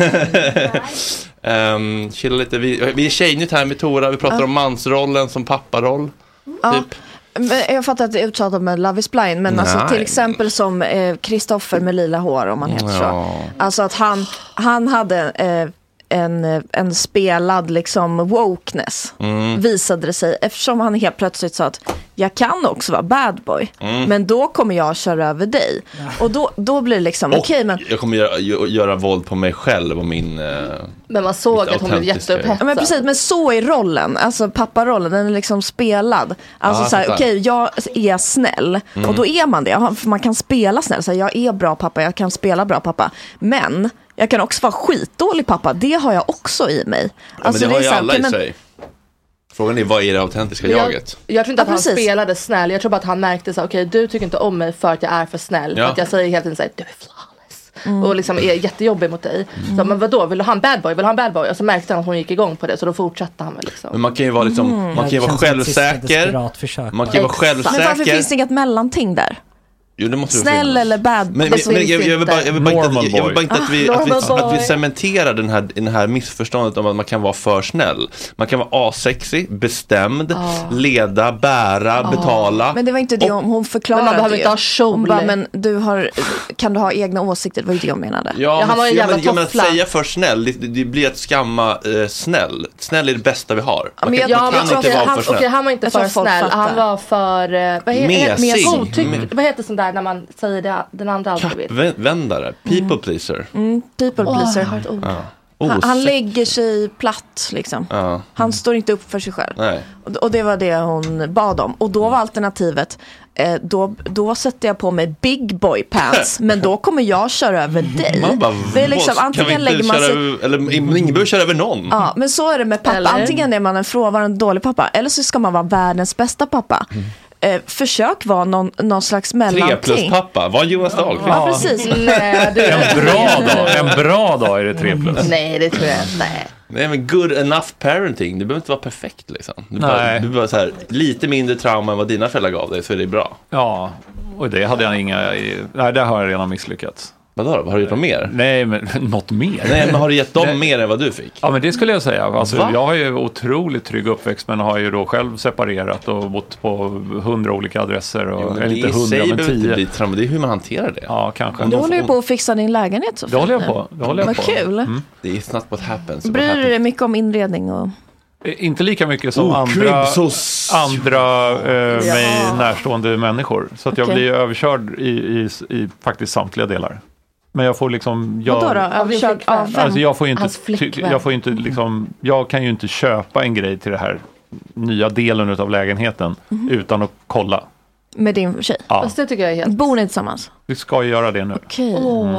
S3: um, chilla lite. Vi, vi är tjejnytt här med Tora. Vi pratar
S5: Ja.
S3: om mansrollen som papparoll.
S5: Ah. Ja.
S3: Typ.
S5: Men jag fattar att det är uttalat med Love is blind, men alltså,
S3: Nej.
S5: till exempel som eh, Kristoffer med lila hår, om man heter så.
S3: Ja.
S5: Alltså att han, han hade eh, en, eh, en spelad liksom wokeness,
S14: Mm.
S5: visade det sig, eftersom han helt plötsligt sa att jag kan också vara bad boy,
S3: Mm.
S5: men då kommer jag köra över dig. Och då, då blir det liksom,
S3: Och-
S5: okej men
S3: Jag kommer göra, gö- göra våld på mig själv och min... eh,
S5: men man
S3: såg Lite att hon blev autentiska. jätteupphetsad.
S5: Ja, men precis, men så är rollen. Alltså papparollen, den är liksom spelad. Alltså
S3: Ja, jag
S5: så här,
S3: fattar.
S5: okej, jag är snäll.
S3: Mm.
S5: Och då är man det. Ja, för man kan spela snäll. Så här, jag är bra pappa, jag kan spela bra pappa. Men jag kan också vara skitdålig pappa. Det har jag också i mig.
S3: Ja, men det har
S5: Alltså, är
S3: ju
S5: så här,
S3: alla
S5: okej,
S3: i
S5: men-
S3: sig. Frågan är vad är det autentiska
S4: Men jag-
S3: jaget?
S4: Jag tror inte
S5: Ja,
S4: att han
S5: precis.
S4: spelade snäll. Jag tror bara att han märkte så här, okej du tycker inte om mig för att jag är för snäll.
S3: Ja.
S4: För att jag säger hela tiden så här, du är flawless.
S5: Mm.
S4: Och liksom är jättejobbig mot dig. Så, men vadå, vill du ha en bad boy? Vill du ha en bad boy? Och så märkte han att hon gick igång på det. Så då fortsatte han väl liksom.
S3: Men man kan ju vara, liksom,
S5: Mm.
S3: man kan
S5: Det
S3: ju vara
S5: känns som ett sista
S3: självsäker.
S8: desperat försök.
S3: Man kan ju vara
S5: Men varför
S3: självsäker.
S5: finns det inget mellanting där?
S3: Jo, det måste det
S5: Snäll
S3: finnas.
S5: eller bad?
S3: Men, men,
S5: Det
S3: men
S5: finns
S3: jag, jag vill bara, jag vill bara,
S5: inte.
S3: inte, jag vill bara inte att vi,
S5: Ah,
S3: att
S5: *laughs*
S3: vi,
S5: normal
S3: att vi
S5: boy.
S3: cementerar den här, den här missförståndet om att man kan vara för snäll. Man kan vara asexig, bestämd, leda, bära, betala.
S5: Ah. Men det var inte det om hon förklarade.
S4: Men man behöver
S5: det.
S4: inte ha kjol.
S5: Hon bara, men du har, kan du ha egna åsikter? Det var ju det jag menade.
S3: men- men, ja, men att säga för snäll, det, det blir att skamma eh, snäll. Snäll är det bästa vi har. Man, kan,
S4: ja,
S3: man
S4: men
S3: kan
S4: jag tror
S3: inte
S4: att
S3: vara
S4: han,
S3: för snäll.
S4: okej, han var inte
S5: Jag
S4: för
S5: tror folk
S4: snäll. Han
S5: fattar.
S4: var för... eh, Vad, he,
S3: Mesig.
S4: Godtyck,
S3: Mm.
S4: vad heter sånt där när man säger det, den andra aldrig vill?
S3: Vä- Vändare, people pleaser. Oh,
S5: Mm, people
S4: Åh,
S5: pleaser.
S4: jag har ett ord.
S3: Ja.
S5: han, han
S3: Osex-
S5: lägger sig platt liksom.
S3: Ja.
S5: Han står inte upp för sig själv.
S3: Nej.
S5: Och- Och det var det hon bad om. Och då var alternativet, eh, då, då sätter jag på mig big boy
S3: *laughs*
S5: pants, men då kommer jag köra över dig.
S3: Man bara,
S5: det är liksom,
S3: "Vad, kan vi
S5: antingen
S3: inte
S5: lägger man
S3: köra
S5: sig...
S3: över- eller ingen behöver köra över någon.
S5: Ja, men så är det med pappa.
S3: Eller?
S5: Antingen är man en frånvarande dålig pappa, eller så ska man vara världens bästa pappa. Eh, försök vara någon, någon slags
S3: Mm. Tre
S5: mellanting.
S3: plus pappa, var Jonas Dahlqvist.
S5: Ja, precis.
S4: Nej, Mm, eh, du-
S6: En bra dag, en bra dag är det tre plus.
S4: Nej, det tror jag inte.
S3: Nej men good enough parenting, det behöver inte vara perfekt liksom.
S6: Nej.
S3: Du behöver, du behöver så här, lite mindre trauma än vad dina föräldrar gav dig så är det bra.
S6: Ja, och det hade jag inga... Nej, där har jag redan misslyckats.
S3: Vadå då? Har du gjort något mer?
S6: Nej, men *laughs* något mer?
S3: Nej men har du gett dem mer än vad du fick?
S6: Ja, men det skulle jag säga. Alltså,
S3: Va?
S6: jag har ju otroligt trygg uppväxt, men har ju då själv separerat och bott på hundra olika adresser. Och,
S3: Jo, men
S6: eller
S3: det
S6: inte
S3: i sig
S6: hundra, men
S3: behöver inte
S6: tio.
S3: bli trauma, det är hur man hanterar det.
S6: Ja, kanske.
S5: Du håller ju på att fixa din lägenhet så
S6: Det håller jag på. Det håller jag
S5: Vad
S6: på. Mm.
S5: kul.
S3: Det är not what happens.
S5: Bryr du dig mycket om inredning? Och...
S6: Eh, Inte lika mycket som
S3: Oh,
S6: andra,
S3: Cribsos.
S6: andra eh,
S5: Ja.
S6: mig närstående människor. Så att jag
S5: Okej.
S6: blir ju överkörd i, i, i faktiskt samtliga delar. Men jag får liksom... Jag,
S5: Vadå då? Överkörd av vem?
S6: Alltså jag får ju inte,
S5: Hans
S6: ty,
S5: flickvän.
S6: jag får ju inte liksom, jag kan ju inte köpa en grej till den här nya delen utav lägenheten
S5: Mhm.
S6: utan att kolla.
S5: Med din tjej?
S6: Ja. Fast
S4: det tycker jag är helt... Mm.
S5: Bor ni tillsammans?
S6: Vi ska ju göra det nu.
S5: Okej.
S3: Mm.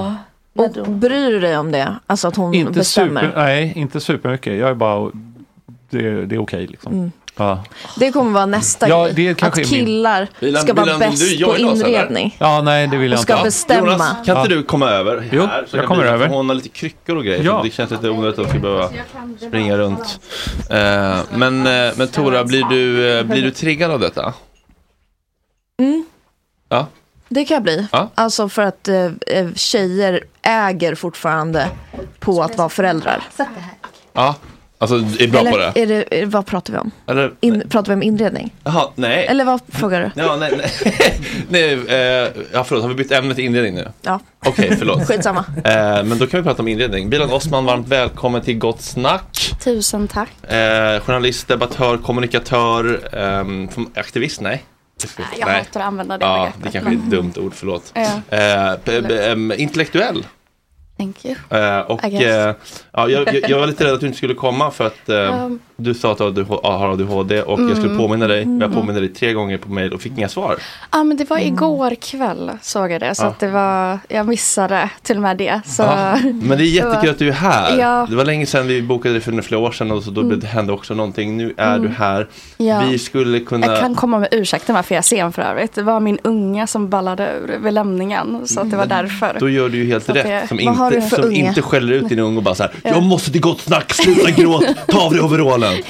S5: Och bryr du dig om det? Alltså att hon
S6: Inte
S5: bestämmer?
S6: super, nej, inte supermycket. Jag är bara, det, det är okej liksom.
S5: Mm.
S6: Ja.
S5: Det kommer vara nästa
S6: Ja,
S5: grej.
S6: det kanske
S5: att
S6: är min-
S5: killar
S6: Vill han-
S5: ska
S6: vill
S5: vara
S6: han-
S5: bäst
S6: du
S5: på
S6: joinar oss, eller?
S5: inredning.
S6: Ja, nej, det vill jag
S5: Och ska
S6: inte.
S5: bestämma.
S3: Jonas, kan inte
S6: Ja.
S3: du komma över här?
S6: Jo,
S3: Så
S6: jag
S3: kan
S6: kommer
S3: vi-
S6: över.
S3: Hon har lite kryckor och grejer,
S6: Ja.
S3: så det känns lite onödigt att vi behöver springa runt. Eh, men, eh, men Tora, blir du, eh, blir du triggad av detta?
S5: Mm,
S3: Ja.
S5: det kan jag bli.
S3: Ja.
S5: Alltså för att eh, eh, tjejer äger fortfarande på att vara föräldrar.
S3: Ja, alltså är bra
S5: Eller
S3: på det.
S5: Är det, är det- vad pratar vi om?
S3: Eller,
S5: In, pratar vi om inredning?
S3: jaha, nej.
S5: Eller vad frågar du?
S3: Ja, nej, nej. *laughs* nej eh, ja, förlåt, har vi bytt ämne till inredning nu?
S5: Ja.
S3: Okej,
S7: *laughs*
S3: förlåt.
S5: Skitsamma.
S3: Eh, men då kan vi prata om inredning. Bilan Osman, varmt välkommen till Gott Snack.
S7: Tusen tack.
S3: Eh, journalist, debattör, kommunikatör, ehm, aktivist, nej?
S7: Jag hatar att använda det
S3: Ja, det
S7: begreppet,
S3: kanske är ett
S7: men-
S3: dumt ord, förlåt.
S7: Ja.
S3: Eh, p- p- ehm, intellektuell.
S7: Thank you.
S3: Eh, och
S7: I guess.
S3: eh, ja, jag, jag jag var lite rädd att du inte skulle komma för att eh,
S7: Um.
S3: du sa att du ADH har ADHD och jag skulle
S7: Mm.
S3: påminna dig. Men jag
S7: Mm.
S3: påminner dig tre gånger på mail och fick inga svar. Mm.
S7: Ja, men det var igår kväll såg jag det. Så
S3: Ja.
S7: att det var, jag missade till och med det. Så
S3: Ja, men det är jättekul att du är här.
S7: Ja.
S3: Det var länge sedan vi bokade dig för några flera år sedan och så då
S7: Mm.
S3: det hände också någonting. Nu är
S7: Mm.
S3: du här.
S7: Ja.
S3: Vi skulle kunna...
S7: Jag kan komma med ursäkten varför jag är sen för övrigt. Det var min unga som ballade ur vid lämningen. Så att det var
S3: Mm.
S7: därför.
S3: Då gör du ju helt
S7: Så att
S3: rätt
S7: det-
S3: som,
S7: Vad har
S3: inte,
S7: du för
S3: som
S7: unge?
S3: inte skäller ut din unge och bara så här.
S7: Ja. *laughs*
S4: Mm.
S3: Jag måste till gott snack, sluta gråt, ta av dig overallen.
S7: *laughs*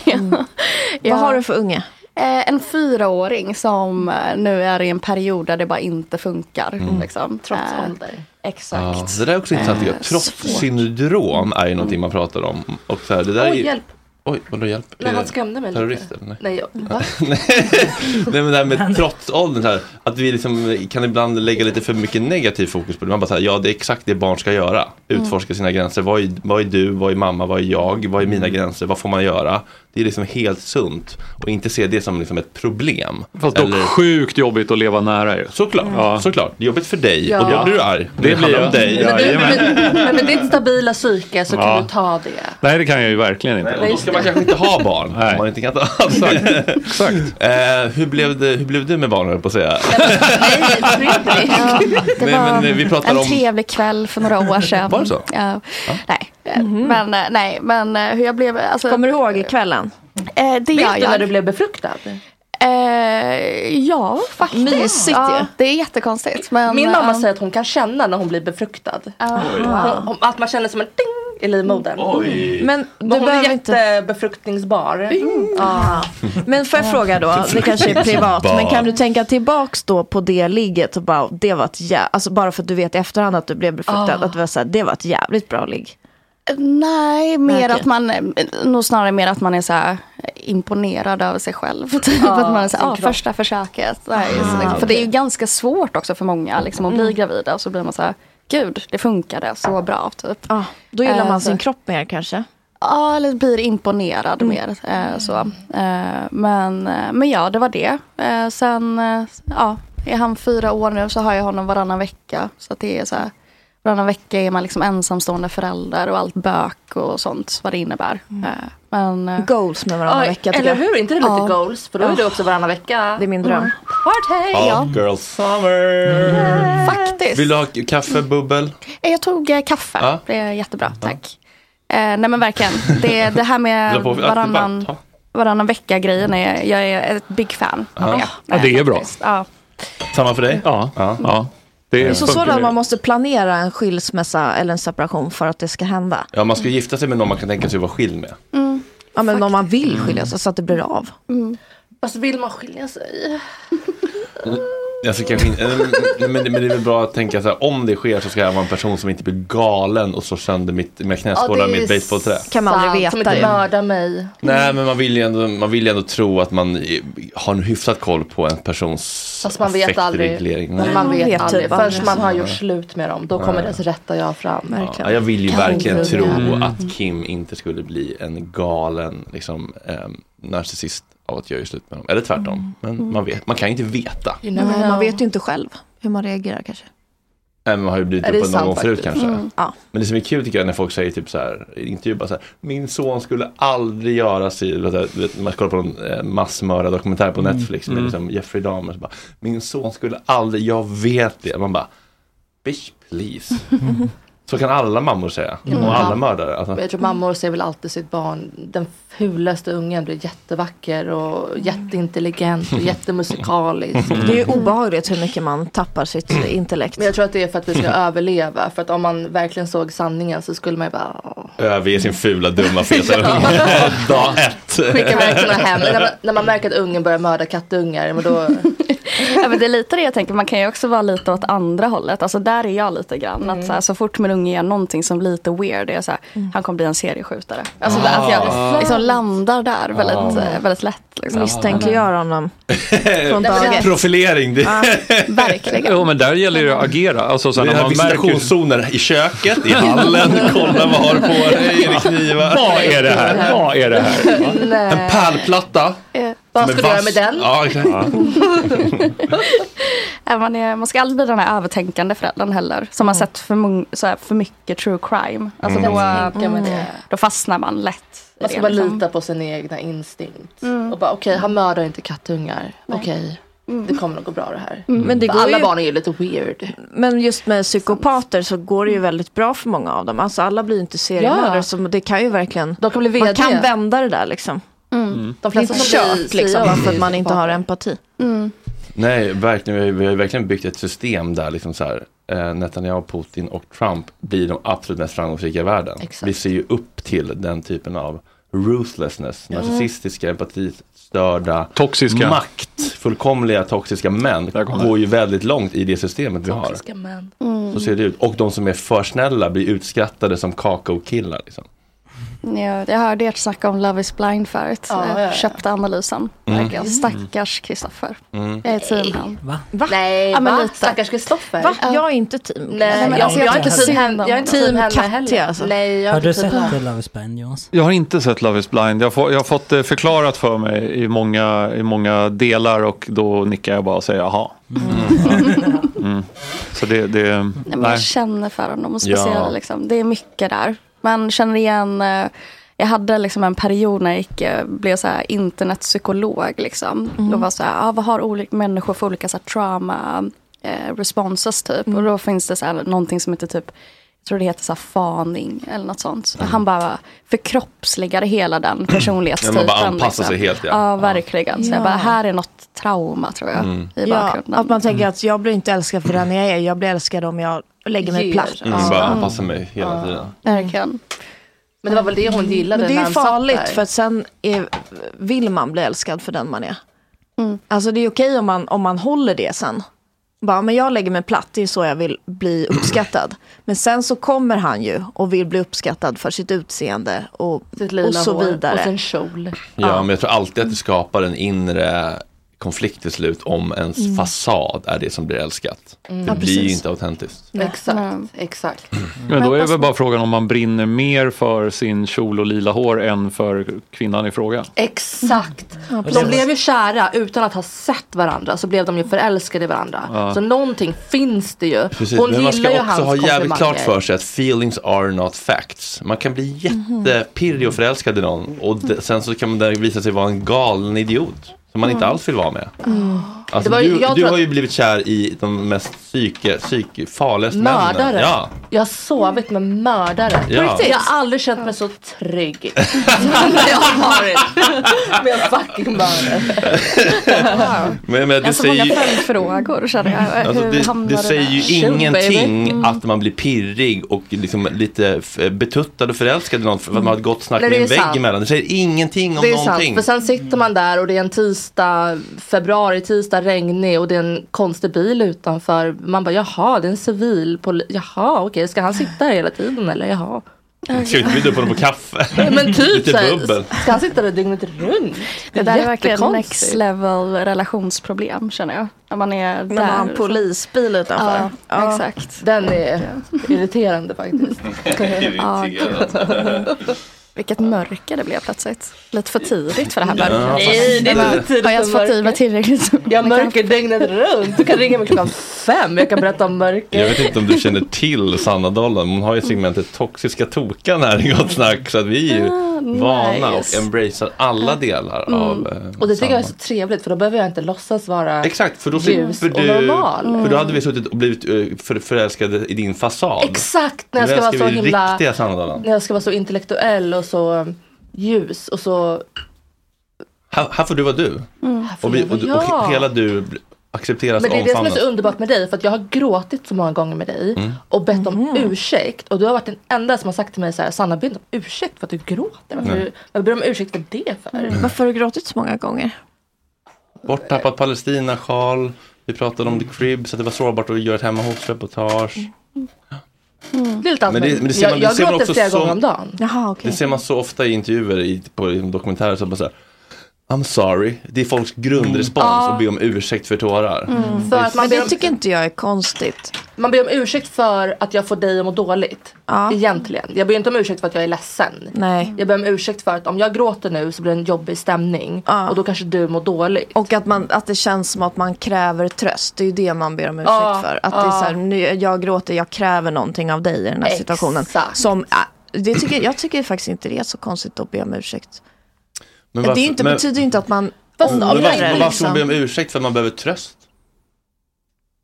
S5: Vad har du för unge?
S7: Eh, en fyraåring som eh, nu är i en period där det bara inte funkar.
S3: Mm.
S7: Liksom. Trots ålder. Exakt.
S3: Ja, det där är också intressant. tycker
S7: Eh,
S3: jag. Trotssyndrom är ju någonting man pratar om. Och så här, det där är
S4: Oj,
S3: ju...
S4: hjälp.
S3: Oj, vadå hjälp?
S4: Nej,
S3: Är
S4: han
S3: det
S4: skrämde mig
S3: Terrorister?
S4: lite.
S3: Nej.
S4: Nej, jag, va?
S3: Nej men det här med trotsåldern, så här, att vi liksom kan ibland lägga lite för mycket negativ fokus på det. Man bara så här, ja det är exakt det barn ska göra.
S2: Mm.
S3: Utforska sina gränser. Vad är, vad är du, vad är mamma, vad är jag, vad är mina
S7: Mm.
S3: gränser, vad får man göra? Det är liksom helt sunt och inte se det som liksom ett problem.
S6: Fast dock sjukt jobbigt att leva nära ju.
S3: Såklart,
S7: Mm.
S3: såklart. Det är jobbigt för dig
S4: Ja.
S3: och då blir du arg.
S6: Det blir
S3: handlar om
S6: jag.
S3: dig.
S6: Men du-
S4: Men, men med ditt stabila psyke så
S3: Ja.
S4: kan du ta det.
S6: Nej, det kan jag ju verkligen inte.
S3: Nej, och då ska man kanske inte ha barn. Om man inte kan ta *laughs* Exakt. Eh, hur, blev det, hur blev det med barn höll jag på att säga?
S7: Ja, det
S3: Nej,
S7: var
S3: men, eh, vi pratar
S7: en
S3: om-
S7: trevlig kväll för några år sedan.
S3: Var det så?
S7: Ja. Nej. Men, eh, nej, men eh, hur jag blev... Alltså, Kommer du ihåg kvällen? Eh, det gör
S4: Vet du
S7: jag.
S4: när du blev befruktad?
S7: Eh, ja, faktiskt.
S4: Mysigt
S7: ja,
S4: ju.
S7: Det är jättekonstigt. Men,
S4: Min mamma
S7: ja.
S4: säger att hon kan känna när hon blir befruktad.
S7: Oj.
S4: Hon- hon- Att man känner som en ding i livmodern.
S5: Men
S4: Men
S5: du
S4: hon är
S5: behöver inte...
S4: jättebefruktningsbar. Mm.
S5: Ah. Men får jag fråga då, det kanske är privat, men kan du tänka tillbaks då på det ligget och bara, det var ett jä... alltså bara för att du vet i efterhand att du blev befruktad,
S7: Ah.
S5: att det var, så här, det var ett jävligt bra ligg.
S7: Nej, mer
S5: okej.
S7: att man, nog snarare mer att man är så här imponerad över sig själv. Typ
S5: Ja,
S7: att man är så här,
S5: sin
S7: ah,
S5: kropp."
S7: första försöket. Så här, så
S3: Ah.
S7: liksom. För det är
S4: Mm.
S7: ju ganska svårt också för många liksom, att bli gravida och så blir man så här, gud, det funkade så bra. Typ.
S5: Då gillar
S7: Eh,
S5: man
S7: så-
S5: sin kropp mer kanske.
S7: Ja, eller blir imponerad
S4: Mm.
S7: mer. Eh, så. Eh, men, eh, men ja, det var det. Eh, sen eh, ja, är han fyra år nu så har jag honom varannan vecka. Så att det är så här, varannan vecka är man liksom ensamstående förälder och allt bök och sånt vad det innebär. Eh, men, eh,
S5: Mm. Goals med varannan
S7: Oj,
S5: vecka. tycker
S4: Eller
S5: jag.
S4: hur? Inte det lite goals? För då är det också varannan vecka.
S5: Det är min dröm.
S4: Mm. Party!
S3: Ja, girl summer.
S7: Faktiskt.
S3: Vill du ha kaffe, bubbel?
S7: Eh, Jag tog eh, kaffe.
S3: Ja.
S7: Det är jättebra, tack. Eh, nej men verkligen. Det, det här med
S3: Dra på-
S7: varannan,
S3: Ja.
S7: varannan vecka-grejen, är, jag är ett big fan.
S3: Ja.
S6: Ja, det är bra.
S7: Ja.
S3: Samma för dig?
S6: Ja.
S3: ja.
S5: Det är så sådant man måste planera en skilsmässa eller en separation för att det ska hända.
S3: Ja, man ska gifta sig med någon man kan tänka sig vara skild med.
S7: Mm.
S5: Ja, men om man vill skilja sig så att det blir av.
S4: Fast Alltså, vill man skilja sig?
S3: Alltså, kanske inte, eh, men, men det är väl bra att tänka så här, om det sker så ska jag vara en person som inte blir galen och slår sönder mitt, mina knäskålar med ett basebollträ.
S5: Kan man aldrig
S4: sant,
S5: veta
S4: Som inte
S5: ju.
S4: mördar mig.
S3: Nej, men man vill, ju ändå, man vill ju ändå tro att man eh, har en hyfsad koll på en persons
S4: Fast man vet aldrig.
S3: affektreglering.
S4: Man,
S3: Nej.
S4: vet,
S5: vet
S4: aldrig.
S5: typ
S4: Förrän
S5: aldrig.
S4: man har gjort slut med dem. Då
S3: Ja.
S4: kommer deras rätta jag fram.
S3: Ja, jag vill ju
S4: Kan
S3: verkligen
S4: du
S3: tro
S4: det?
S3: att Kim inte skulle bli en galen liksom, ehm, narcissist av att jag gör slut med honom. Eller
S5: Mm.
S3: tvärtom. Men man, vet, man kan ju inte veta.
S5: Nej,
S4: Mm.
S5: man vet ju inte själv hur man reagerar kanske.
S3: Nej, men man har ju blivit
S5: Är det
S3: det på någon
S5: sant
S3: gång förut
S5: faktiskt?
S3: kanske.
S5: Mm. Ja.
S3: Men det som är kul tycker jag när folk säger typ så här, i intervjuer bara så här, min son skulle aldrig göra sig, du vet, du vet, man kollar på någon eh, massmördardokumentär på
S6: Mm.
S3: Netflix med
S6: Mm.
S3: liksom Jeffrey Dahmer, så bara, min son skulle aldrig, jag vet det. Man bara, bitch
S5: *laughs*
S3: please. Så kan alla mammor säga,
S4: Mm.
S3: och alla mördare. Alltså.
S4: Jag tror mammor ser väl alltid sitt barn. Den fulaste ungen blir jättevacker och jätteintelligent och jättemusikalisk.
S5: Det är ju obehagligt hur mycket man tappar sitt intellekt.
S4: Men jag tror att det är för att vi ska överleva. För att om man verkligen såg sanningen så skulle man ju bara "Åh,
S3: Överge sin fula, dumma,
S4: *laughs*
S3: feta unge. Dag ett.
S4: skicka iväg sådana hem. Men När man, när man märker att ungen börjar mörda kattungar. Men då,
S7: ja, men det är lite det jag tänker. Man kan ju också vara lite åt andra hållet. Alltså där är jag lite grann. Att så, här, så fort min unge gör någonting som lite weird, är jag så här, han kommer bli en serieskjutare. Alltså
S5: Ah.
S7: att jag liksom landar där väldigt,
S3: Ah.
S7: eh, väldigt lätt. Liksom.
S5: Misstänkliggör honom.
S7: Från dagen.
S3: Profilering. Det...
S7: Verkligen.
S6: Jo, men där gäller det att agera. Alltså, sen
S3: Det
S6: när
S3: här
S6: man märker...
S3: visitationszoner i köket, i hallen, kolla vad har du på dig, är det knivar?
S6: Vad är det här? Vad är
S7: *laughs*
S6: det här?
S3: En pärlplatta.
S4: vad
S3: som är
S4: ska du göra
S3: vass.
S4: med den?
S3: Ja, exakt.
S7: Eh, Man, är, man ska aldrig bli den här övertänkande föräldern heller. Som har sett för, mång- så här, för mycket true crime. Alltså,
S4: Mm.
S7: då,
S4: Jag kan tänka mig det.
S7: då fastnar man lätt. i
S4: man ska
S7: det,
S4: bara
S7: liksom.
S4: lita på sin egna instinkt. Och bara okej, han mördar inte kattungar. Okej, det kommer nog gå bra det här.
S5: Mm. Men det
S4: För
S5: går
S4: alla
S5: ju-
S4: barn är ju lite weird.
S5: Men just med psykopater så går det ju väldigt bra för många av dem. Alltså alla blir ju inte seriemördare.
S4: Ja.
S5: Så det kan ju verkligen...
S4: De kan bli
S5: Man
S4: VD.
S5: kan vända det där liksom.
S4: Mm. De
S5: Det är
S4: flesta
S5: ett
S4: som blir
S5: kört liksom.
S4: CIA
S5: Bara
S4: är
S5: för
S4: ju
S5: att man inte har
S4: psykopater.
S5: empati.
S3: Nej, verkligen. Vi har, ju- vi har ju verkligen byggt ett system där liksom så här, eh, Netanyahu, Putin och Trump blir de absolut mest framgångsrika i världen.
S4: Exakt.
S3: Vi ser ju upp till den typen av ruthlessness, narcissistiska, empatistörda,
S6: Toxiska.
S3: maktfullkomliga toxiska män går ju väldigt långt i det systemet vi har.
S4: Toxiska män.
S3: Så ser det ut. Och de som är för snälla blir utskrattade som kakao-killar. Liksom.
S7: Ja, jag hörde ert snacka om Love is blind förut.
S4: Ja,
S7: jag
S4: ja, ja.
S7: köpte analysen.
S3: Mm.
S7: Verkligen. Stackars Kristoffer.
S3: Mm.
S7: Jag är team han.
S8: Va?
S4: Nej,
S7: Ja, men
S4: va?
S7: lite.
S4: Stackars Kristoffer.
S7: Va?
S4: Jag
S7: är inte team.
S4: Nej,
S7: men
S4: jag,
S7: alltså,
S4: jag,
S7: jag
S4: är inte
S7: tycker
S4: team
S7: synd
S4: henne.
S7: om
S4: Jag är inte
S7: honom.
S4: team
S7: Team
S4: henne heller.
S7: Katja, alltså.
S4: Nej, jag är
S8: Har du
S4: inte team
S8: sett
S4: henne.
S8: The Love is blind Jonas?
S6: Jag har inte sett Love is blind. Jag, får, jag har fått det förklarat för mig i många, i många delar och då nickar jag bara och säger jaha. Mm. Ja. Mm. Så det, det
S3: Mm.
S7: Nej,
S5: Mm.
S7: men jag känner för honom. Och
S6: Ja.
S7: speciellt, liksom, det är mycket där. Man känner igen. eh, Jag hade liksom en period när jag gick, eh, blev så här internetpsykolog. Liksom.
S21: Mm.
S7: Och var så här, ah, vad har olika människor för olika så här, trauma eh, responses typ.
S3: Mm.
S7: Och då finns det så här, någonting som heter typ jag tror det heter så här faning eller något sånt.
S3: Mm.
S7: Han bara förkroppsligade hela den personlighetstypen. liksom.
S3: Ja, man bara anpassar sig helt, ja.
S7: ja verkligen. Så jag
S5: Ja.
S7: bara, här är något trauma tror jag
S3: Mm.
S7: i
S5: Ja,
S7: bakgrunden.
S5: att man tänker att jag blir inte älskad för den jag är. Jag blir älskad om jag lägger mig
S7: Ger.
S5: platt.
S3: Mm, bara anpassar mig hela tiden.
S7: Verkligen.
S4: Men det var väl det hon gillade
S5: Men det
S4: när
S5: är
S4: han
S5: ju
S4: satt
S5: farligt
S4: där.
S5: för att sen är, vill man bli älskad för den man är.
S7: Mm.
S5: Alltså det är okej om man, om man håller det sen. Bara, men jag lägger mig platt, det är så jag vill bli uppskattad. Men sen så kommer han ju och vill bli uppskattad för sitt utseende och,
S4: lila
S5: och så
S4: hår
S5: vidare.
S4: och sin kjol.
S3: Ja, men jag tror alltid att det skapar en inre konflikt till slut om ens
S4: Mm.
S3: fasad är det som blir älskat.
S4: Mm.
S3: Det
S4: Ja,
S3: blir ju
S4: precis.
S3: inte autentiskt.
S4: Exakt, exakt.
S6: Men då är väl bara frågan om man brinner mer för sin kjol och lila hår än för kvinnan i fråga.
S4: Exakt.
S3: Alltså,
S6: precis.
S4: de blev ju kära utan att ha sett varandra. Så blev de ju förälskade i varandra.
S3: Ja.
S4: Så någonting finns det ju.
S3: Precis,
S4: Hon
S3: men man
S4: gillar
S3: ska
S4: ju
S3: också
S4: hans
S3: ha jävligt
S4: komplimanger.
S3: klart för sig att feelings are not facts. Man kan bli
S4: Mhm.
S3: jättepirrig och förälskad i någon och
S4: Mm.
S3: d- sen så kan man där visa sig vara en galen idiot som man inte
S4: Mm.
S3: alls vill vara med. Alltså,
S4: Det var ju-
S3: du
S4: jag
S3: du
S4: tror
S3: har
S4: att-
S3: ju blivit kär i de mest psyke, psyke, farligaste männen.
S4: Mördare.
S3: Ja.
S4: Jag har sovit med mördare.
S3: Ja. På riktigt?
S4: Jag har aldrig känt mig så trygg. som när jag har varit med en fucking mördare.
S3: Men, men, det
S7: Alltså många
S3: säger ju,
S7: följdfrågor känner jag.
S3: alltså,
S7: Hur
S3: det,
S7: hamnade
S3: det säger
S7: där?
S3: ju
S7: Shoot,
S3: ingenting
S7: baby. Mm.
S3: att man blir pirrig och liksom lite f- betuttad och förälskad i någon för att man har ett gott snack
S4: Nej,
S3: med
S4: det
S3: en
S4: är sant.
S3: vägg emellan. Det säger ingenting om
S4: Det är sant,
S3: någonting.
S4: för sen sitter man där och det är en tisdag, februari, tisdag, regnig och det är en konstig bil utanför. Man bara jaha, det är en civil poli- Jaha, okej, ska han sitta här hela tiden eller jaha?
S3: *laughs* Ska vi inte bjuda upp honom på kaffe?
S4: Men typ
S3: Lite
S4: såhär, *laughs*
S3: bubbel.
S4: ska han sitta där dygnet runt?
S7: Det där är verkligen
S4: jättekonstigt.
S7: next level relationsproblem känner jag. När man är där.
S5: man har en
S7: polisbil
S5: utanför.
S7: Ja,
S5: Ja.
S7: exakt.
S4: Den är irriterande faktiskt.
S7: Ja,
S4: typ.
S7: gud. Vilket mörker det blev plötsligt. Lite för tidigt för det här
S4: Ja.
S7: mörkret.
S4: Nej, det är
S7: Men-
S4: lite tidigt
S7: Har jag ens
S4: för
S7: fått i mig
S4: mörker.
S7: tillräckligt?
S4: Jag mörker dygnet runt. Du kan ringa mig *laughs* klockan fem. Jag kan berätta om mörker.
S3: Jag vet inte om du känner till Sanna Dollan, men hon har ju segmentet toxiska tokan här i Gott Snack. Så att vi är ju vana
S4: Ah, nice.
S3: och embracear alla delar
S4: Mm.
S3: av eh,
S4: Och det tycker jag är
S3: samma.
S4: så trevligt för då behöver jag inte låtsas vara
S3: Exakt, för då,
S4: ljus
S3: slipper
S4: och
S3: du,
S4: normal. Mm.
S3: för då hade vi suttit och blivit eh, för, förälskade i din fasad.
S4: Exakt, när jag
S3: Nu
S4: ska vara
S3: älskar
S4: så
S3: vi
S4: himla-
S3: riktiga Sanna Dollan.
S4: När jag ska vara så intellektuell och så ljus och så
S3: Här, här får du vara du.
S4: Mm.
S3: Och, vi, och, och,
S4: Ja.
S3: hela du bl- accepteras
S4: Men det är det som är
S3: omfamnas.
S4: så underbart med dig för att jag har gråtit så många gånger med dig
S3: Mm.
S4: och bett om ursäkt och du har varit den enda som har sagt till mig så här Sanna be inte om ursäkt för att du gråter. Varför,
S3: Mm.
S4: varför ber du om ursäkt för det för?
S5: Varför har du gråtit så många gånger?
S3: Borttappat Palestina-sjal. Vi pratade om The Crib, så att det var sårbart att göra ett hemma hos-reportage.
S4: Det är lite allt
S3: Men det-
S4: möjligt.
S3: men det ser man-
S4: jag
S3: det
S4: jag
S3: ser man
S4: gråter
S3: också
S4: flera
S3: som-
S4: gånger om dagen.
S5: Jaha,
S3: Det ser man så ofta i intervjuer i, på liksom, dokumentärer. Så bara så här, I'm sorry. Det är folks grundrespons
S4: Mm.
S3: att be om ursäkt för tårar.
S4: För att man
S5: Men det
S4: ber om-
S5: tycker inte jag är konstigt.
S4: Man ber om ursäkt för att jag får dig att må dåligt. Egentligen. Jag ber inte om ursäkt för att jag är ledsen.
S5: Nej.
S4: Jag ber om ursäkt för att om jag gråter nu så blir det en jobbig stämning. Och då kanske du mår dåligt.
S5: Och att, man, att det känns som att man kräver tröst. Det är ju det man ber om ursäkt
S4: Ja,
S5: för. Att det är
S4: ja.
S5: så här, nu, jag gråter, jag kräver någonting av dig i den här
S4: Exakt.
S5: situationen. Som, ah, det tycker, jag tycker faktiskt inte det är så konstigt att be om ursäkt.
S3: Men
S5: det är ju inte,
S3: men,
S5: betyder ju inte att man
S3: men
S5: ångrar
S3: varför,
S5: det.
S3: men varför man
S5: Liksom.
S3: be om ursäkt för att man behöver tröst?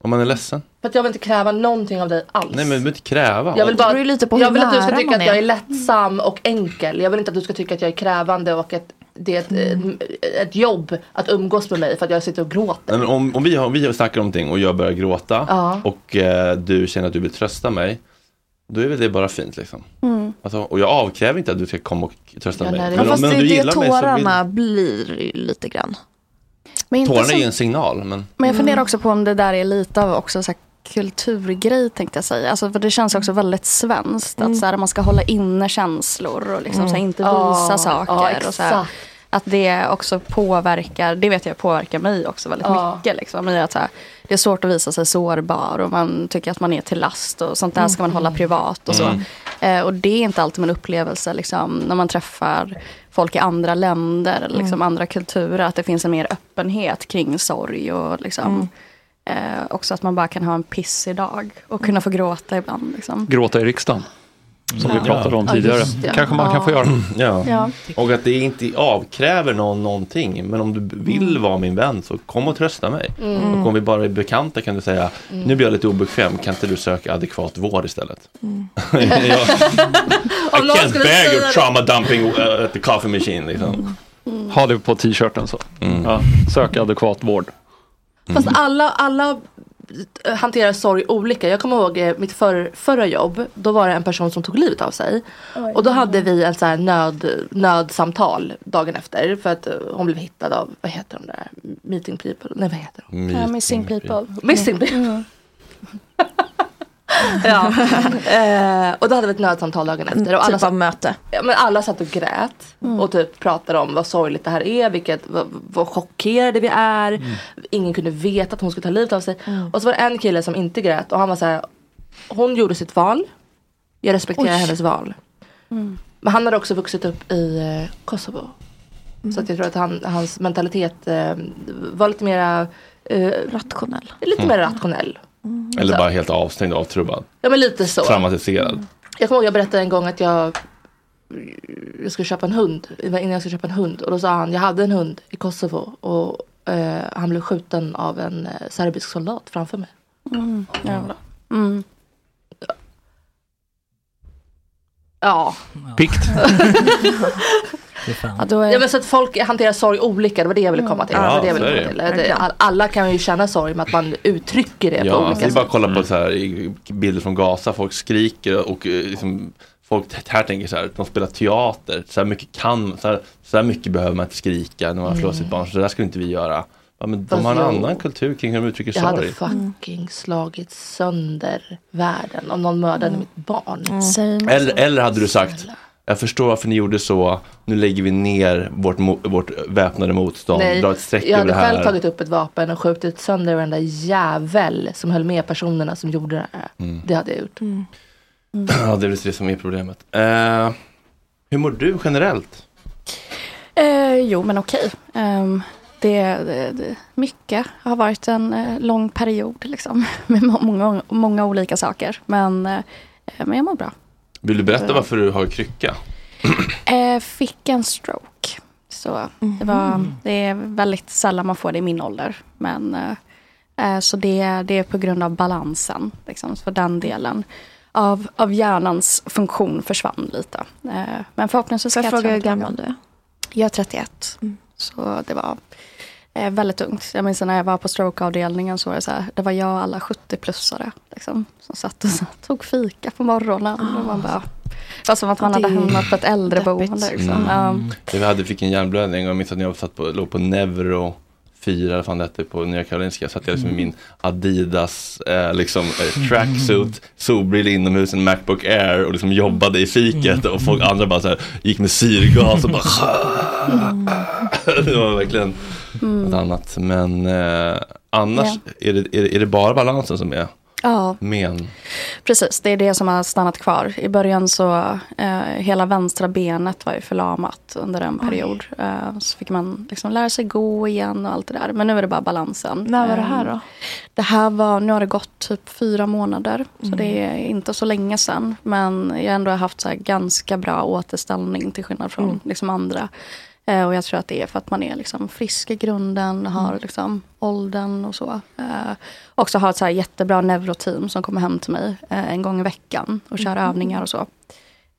S3: Om man är ledsen?
S4: För att jag vill inte kräva någonting av dig
S3: Nej
S4: alls.
S3: men du behöver inte kräva.
S4: Jag vill
S5: Det
S4: bara
S5: beror ju lite på hur
S4: jag vill att du ska
S5: nära
S4: tycka
S5: man
S4: att jag
S5: är.
S4: är lättsam och enkel. Jag vill inte att du ska tycka att jag är krävande och att det är ett,
S5: Mm.
S4: ett, ett jobb att umgås med mig för att jag sitter och gråter.
S3: Nej, men om, om, vi har, om vi snackar om någonting och jag börjar gråta
S4: Ja.
S3: och eh, du känner att du vill trösta mig. Då är väl det bara fint liksom.
S5: Mm.
S3: Alltså, och jag avkräver inte att du ska komma och trösta mig.
S5: Ja, fast det är
S3: du
S5: det
S3: mig så
S5: tårarna blir ju lite grann.
S7: Men,
S3: blir...
S7: inte
S3: Tårarna
S7: som,
S3: är ju en signal. Men...
S7: men jag
S4: Mm.
S7: funderar också på om det där är lite av också så här kulturgrej tänkte jag säga. Alltså, för det känns också väldigt svenskt. Att så här, man ska hålla inne känslor och liksom, så här,
S4: Mm.
S7: inte
S4: Ja,
S7: visa
S4: ja,
S7: saker. och så här,
S4: exakt.
S7: att det också påverkar, det vet jag påverkar mig också väldigt
S4: Ja.
S7: mycket. Liksom, i att, så här, det är svårt att visa sig sårbar och man tycker att man är till last och sånt där ska man hålla privat och så.
S4: Mm.
S7: Eh, och det är inte alltid min upplevelse liksom, när man träffar folk i andra länder, eller liksom,
S4: Mm.
S7: andra kulturer, att det finns en mer öppenhet kring sorg och liksom, eh, också att man bara kan ha en pissig dag och kunna få gråta ibland. Liksom.
S6: Gråta i riksdagen. Som
S3: Ja.
S6: vi pratade om
S7: Ja,
S6: tidigare.
S7: just det.
S6: Kanske man kan få göra.
S3: Ja.
S7: Ja.
S3: Och att det inte avkräver någon någonting. Men om du vill vara min vän så kom och trösta mig.
S14: Mm.
S3: Och om vi bara är bekanta kan du säga,
S14: Mm.
S3: nu blir jag lite obekväm, kan inte du söka adekvat vård istället? *laughs*
S14: *laughs*
S3: I
S14: Om Mm. någon
S3: can't
S14: skulle
S3: bear
S14: säga
S3: your
S14: det. Mm.
S3: trauma dumping uh, at the coffee machine. Liksom.
S6: Ha det på t-shirten så. Ja. Sök adekvat vård.
S5: Mm.
S4: Fast alla, alla eh, hanterar sorg olika. Jag kommer ihåg eh, mitt för, förra jobb. Då var det en person som tog livet av sig.
S13: Oj.
S4: Och då hade vi ett så här nöd, nödsamtal dagen efter. För att eh, hon blev hittad av, vad heter de där, meeting people? Nej vad heter de?
S7: Ja, missing people. Mm.
S4: Missing people. *laughs*
S7: *laughs*
S4: ja. Eh, och då hade vi ett nödsamtal dagen efter. Och alla
S5: Typ av möte.
S4: Ja, men alla satt och grät och typ pratade om vad sorgligt det här är, vilket, vad, vad chockerade vi är. Ingen kunde veta att hon skulle ta livet av sig. Och så var det en kille som inte grät och han var så här, hon gjorde sitt val. Jag respekterar
S5: Oj.
S4: hennes val. Men han hade också vuxit upp i eh, Kosovo. Så att jag tror att han, hans mentalitet eh, var lite mera eh,
S5: rationell.
S4: Lite
S3: Mm.
S4: mer rationell.
S3: Eller bara helt avstängd och avtrubbad.
S4: Ja men lite så.
S3: Traumatiserad.
S4: Jag kommer ihåg jag berättade en gång att jag, jag skulle köpa en hund. Det var Innan jag skulle köpa en hund. Och då sa han, jag hade en hund i Kosovo. Och eh, han blev skjuten av en eh, serbisk soldat framför mig.
S7: Mm. Jävlar. Mm.
S4: Ja.
S6: Pikt.
S4: ja, men så att folk hanterar sorg olika. Det var det jag ville komma till.
S3: Ja,
S4: det var det jag
S3: så
S4: ville
S3: är
S4: komma
S3: det.
S4: till. Det- all- Alla kan ju känna sorg med att man uttrycker det på
S3: Ja, det
S4: olika
S3: är bara
S4: sätt.
S3: att kolla på så här, i- bilder från Gaza, folk skriker och eh, liksom, folk t- här tänker så här, de spelar teater, så här mycket kan, så här, så här mycket behöver man inte skrika när man förlorar sitt barn, så det där skulle inte vi göra. Ja, men de
S4: Mm. Fast
S3: har en
S4: jo.
S3: annan kultur kring hur de uttrycker
S4: Jag hade
S3: sorg.
S7: Mm.
S4: fucking slagit sönder världen om någon mördade
S7: Mm.
S4: mitt barn.
S3: Eller, eller hade du sagt, jag förstår varför ni gjorde så, nu lägger vi ner vårt, mo- vårt väpnade motstånd,
S4: Nej,
S3: drar ett streck över
S4: jag hade
S3: det här.
S4: själv tagit upp ett vapen och skjutit sönder varenda jävel som höll med personerna som gjorde det här.
S3: Mm.
S4: Det hade jag gjort.
S3: *clears throat* ja, det är väl det som är problemet. Eh, hur mår du generellt?
S7: Eh, jo, men okej. Ehm, det, det, det, mycket har varit en eh, lång period liksom, *laughs* med må- många, många olika saker. Men, eh, men jag mår bra.
S3: Vill du berätta
S4: Eh.
S7: Ja.
S3: varför du har krycka?
S7: Eh, fick en stroke. Så det, var, det är väldigt sällan man får det i min ålder. Men, eh, eh, så det, det är på grund av balansen, liksom, för den delen. Av, av hjärnans funktion försvann lite. Eh, men förhoppningsvis
S5: Får jag fråga hur
S7: gammal du är? Jag är 31. Så det var eh, väldigt tungt. Jag minns när jag var på strokeavdelningen så var det så här, det var jag och alla 70-plussare liksom, som satt och så, här, tog fika på morgonen. Och man bara, det var som att man
S5: Ja, det
S7: hade
S5: är
S7: hamnat på ett äldreboende.
S3: deppigt.
S7: Liksom.
S3: Mm.
S7: Ja.
S3: Jag hade, fick en hjärnblödning och jag minns att när jag satt på, låg på Neuro 4, eller fan det hette, på Nya Karolinska. Satt jag liksom i min Adidas eh, liksom, eh, tracksuit, solbrillor inomhus, en Macbook Air och liksom jobbade i fiket. Och folk andra bara så här, gick med syrgas och bara *laughs* Det var verkligen
S7: Mm.
S3: något annat. Men eh, annars, är, det, är, det, är det bara balansen som är
S7: ja,
S3: men?
S7: precis. Det är det som har stannat kvar. I början så, eh, hela vänstra benet var ju förlamat under en period. Eh, så fick man liksom lära sig gå igen och allt det där. Men nu är det bara balansen.
S5: När var det här
S7: Eh,
S5: då?
S7: Det här var, nu har det gått typ fyra månader. Så
S5: Mm.
S7: det är inte så länge sedan. Men jag har ändå haft så här ganska bra återställning till skillnad från
S5: Mm.
S7: liksom andra. Eh, och jag tror att det är för att man är liksom frisk i grunden, har liksom åldern och så. Eh, också har ett så här jättebra neuroteam som kommer hem till mig eh, en gång i veckan och kör
S5: Mhm.
S7: övningar och så.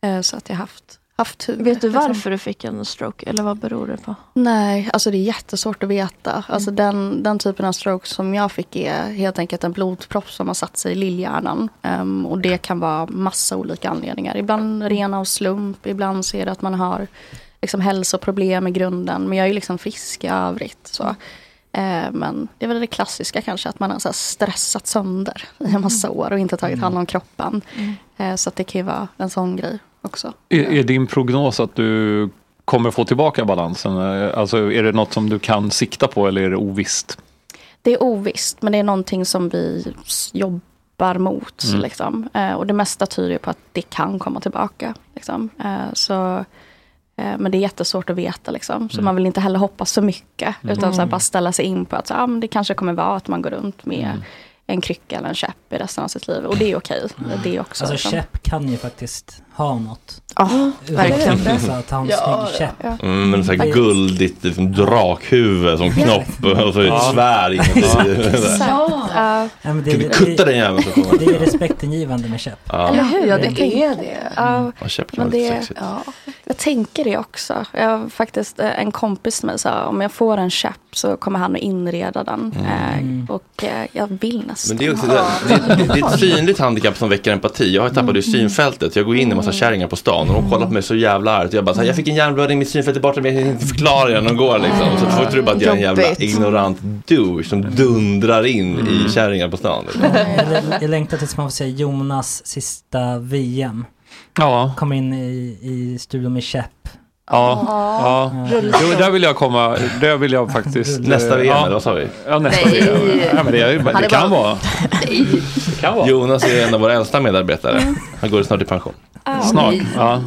S7: Eh, så att jag har haft, haft tur.
S5: Vet du
S7: liksom.
S5: varför du fick en stroke eller vad beror det på?
S7: Nej, alltså det är jättesvårt att veta.
S8: Mm.
S7: Alltså den, den typen av stroke som jag fick är helt enkelt en blodpropp som har satt sig i lillhjärnan. Ehm, och det kan vara massa olika anledningar. Ibland
S8: Mm.
S7: rena av slump, ibland ser det att man har liksom hälsoproblem i grunden. Men jag är ju liksom frisk i övrigt. Så. Ehm, men det är väl det klassiska kanske, att man har så här stressat sönder i en massa år och inte tagit hand om kroppen. Ehm, så att det kan ju vara en sån grej också.
S6: Är, är din prognos att du kommer få tillbaka balansen? Eh, Alltså är det något som du kan sikta på eller är det ovisst?
S7: Det är ovisst, men det är någonting som vi s- jobbar mot.
S6: Mm.
S7: Liksom. Eh, och det mesta tyder ju på att det kan komma tillbaka. Liksom. Eh, så, eh, men det är jättesvårt att veta. Liksom. Så
S5: Mm.
S7: man vill inte heller hoppas så mycket.
S5: Mm.
S7: Utan så här,
S5: Mm.
S7: bara ställa sig in på att så, ah, men det kanske kommer vara att man går runt med
S8: Mm.
S7: en krycka eller en käpp i resten av sitt liv. Och det är okej. Det är också.
S8: Alltså
S7: liksom.
S8: käpp kan ju faktiskt ha något.
S7: Ja,
S8: Utan
S7: verkligen.
S8: att visa Att ha en
S7: Ja,
S8: snygg käpp.
S3: Mm, men så här guldigt liksom, drakhuvud som knopp och så ett
S8: Ja.
S3: svärd *laughs* inuti.
S7: Ja.
S8: Nej, men
S3: Kan vi kutta den jäveln så kommer-
S8: Det är respektingivande med käpp.
S3: Ja.
S7: Eller hur?
S4: Ja,
S7: Jag
S4: det
S7: tänkte-
S4: är det.
S7: Ja,
S3: Ja, käpp kan
S7: men
S3: vara lite
S7: det,
S3: sexigt.
S7: ja, jag tänker det också. Jag har faktiskt eh, en kompis med mig sa om jag får en käpp så kommer han att inreda den.
S3: Mm.
S7: Eh, och eh, jag vill nästan.
S3: Men det är också
S7: ha
S3: det, det, det är ett
S7: den.
S3: synligt handikapp som väcker empati. Jag har tappat ur
S7: Mm.
S3: synfältet. Jag går in i en massa kärringar på stan och de kollar på mig så jävla argt. Jag bara så här, jag fick en hjärnblödning, mitt synfält är borta men jag kan inte förklara det när de går liksom. Så folk tror bara att jag är en jävla
S8: Jobbigt.
S3: ignorant douche som dundrar in i
S6: Mm.
S3: kärringar på stan. Liksom.
S8: Jag, jag längtar tills man får se Jonas sista VM.
S6: Ja.
S8: Kom in i, i studion med käpp.
S6: Ja,
S8: Ja.
S6: ja.
S8: Rulla.
S6: Jo, där vill jag komma. Där vill jag faktiskt...
S3: *laughs* Nästa
S6: eh,
S3: VM,
S6: ja.
S3: eller vad sa vi?
S6: Ja, nästa
S3: Nej.
S6: VM. Ja, men det, är ju-
S3: Han är
S6: det kan
S3: bara-
S6: vara.
S3: Jonas är en av våra äldsta medarbetare.
S4: Mm.
S3: Han går snart i pension.
S6: Snart. Ja.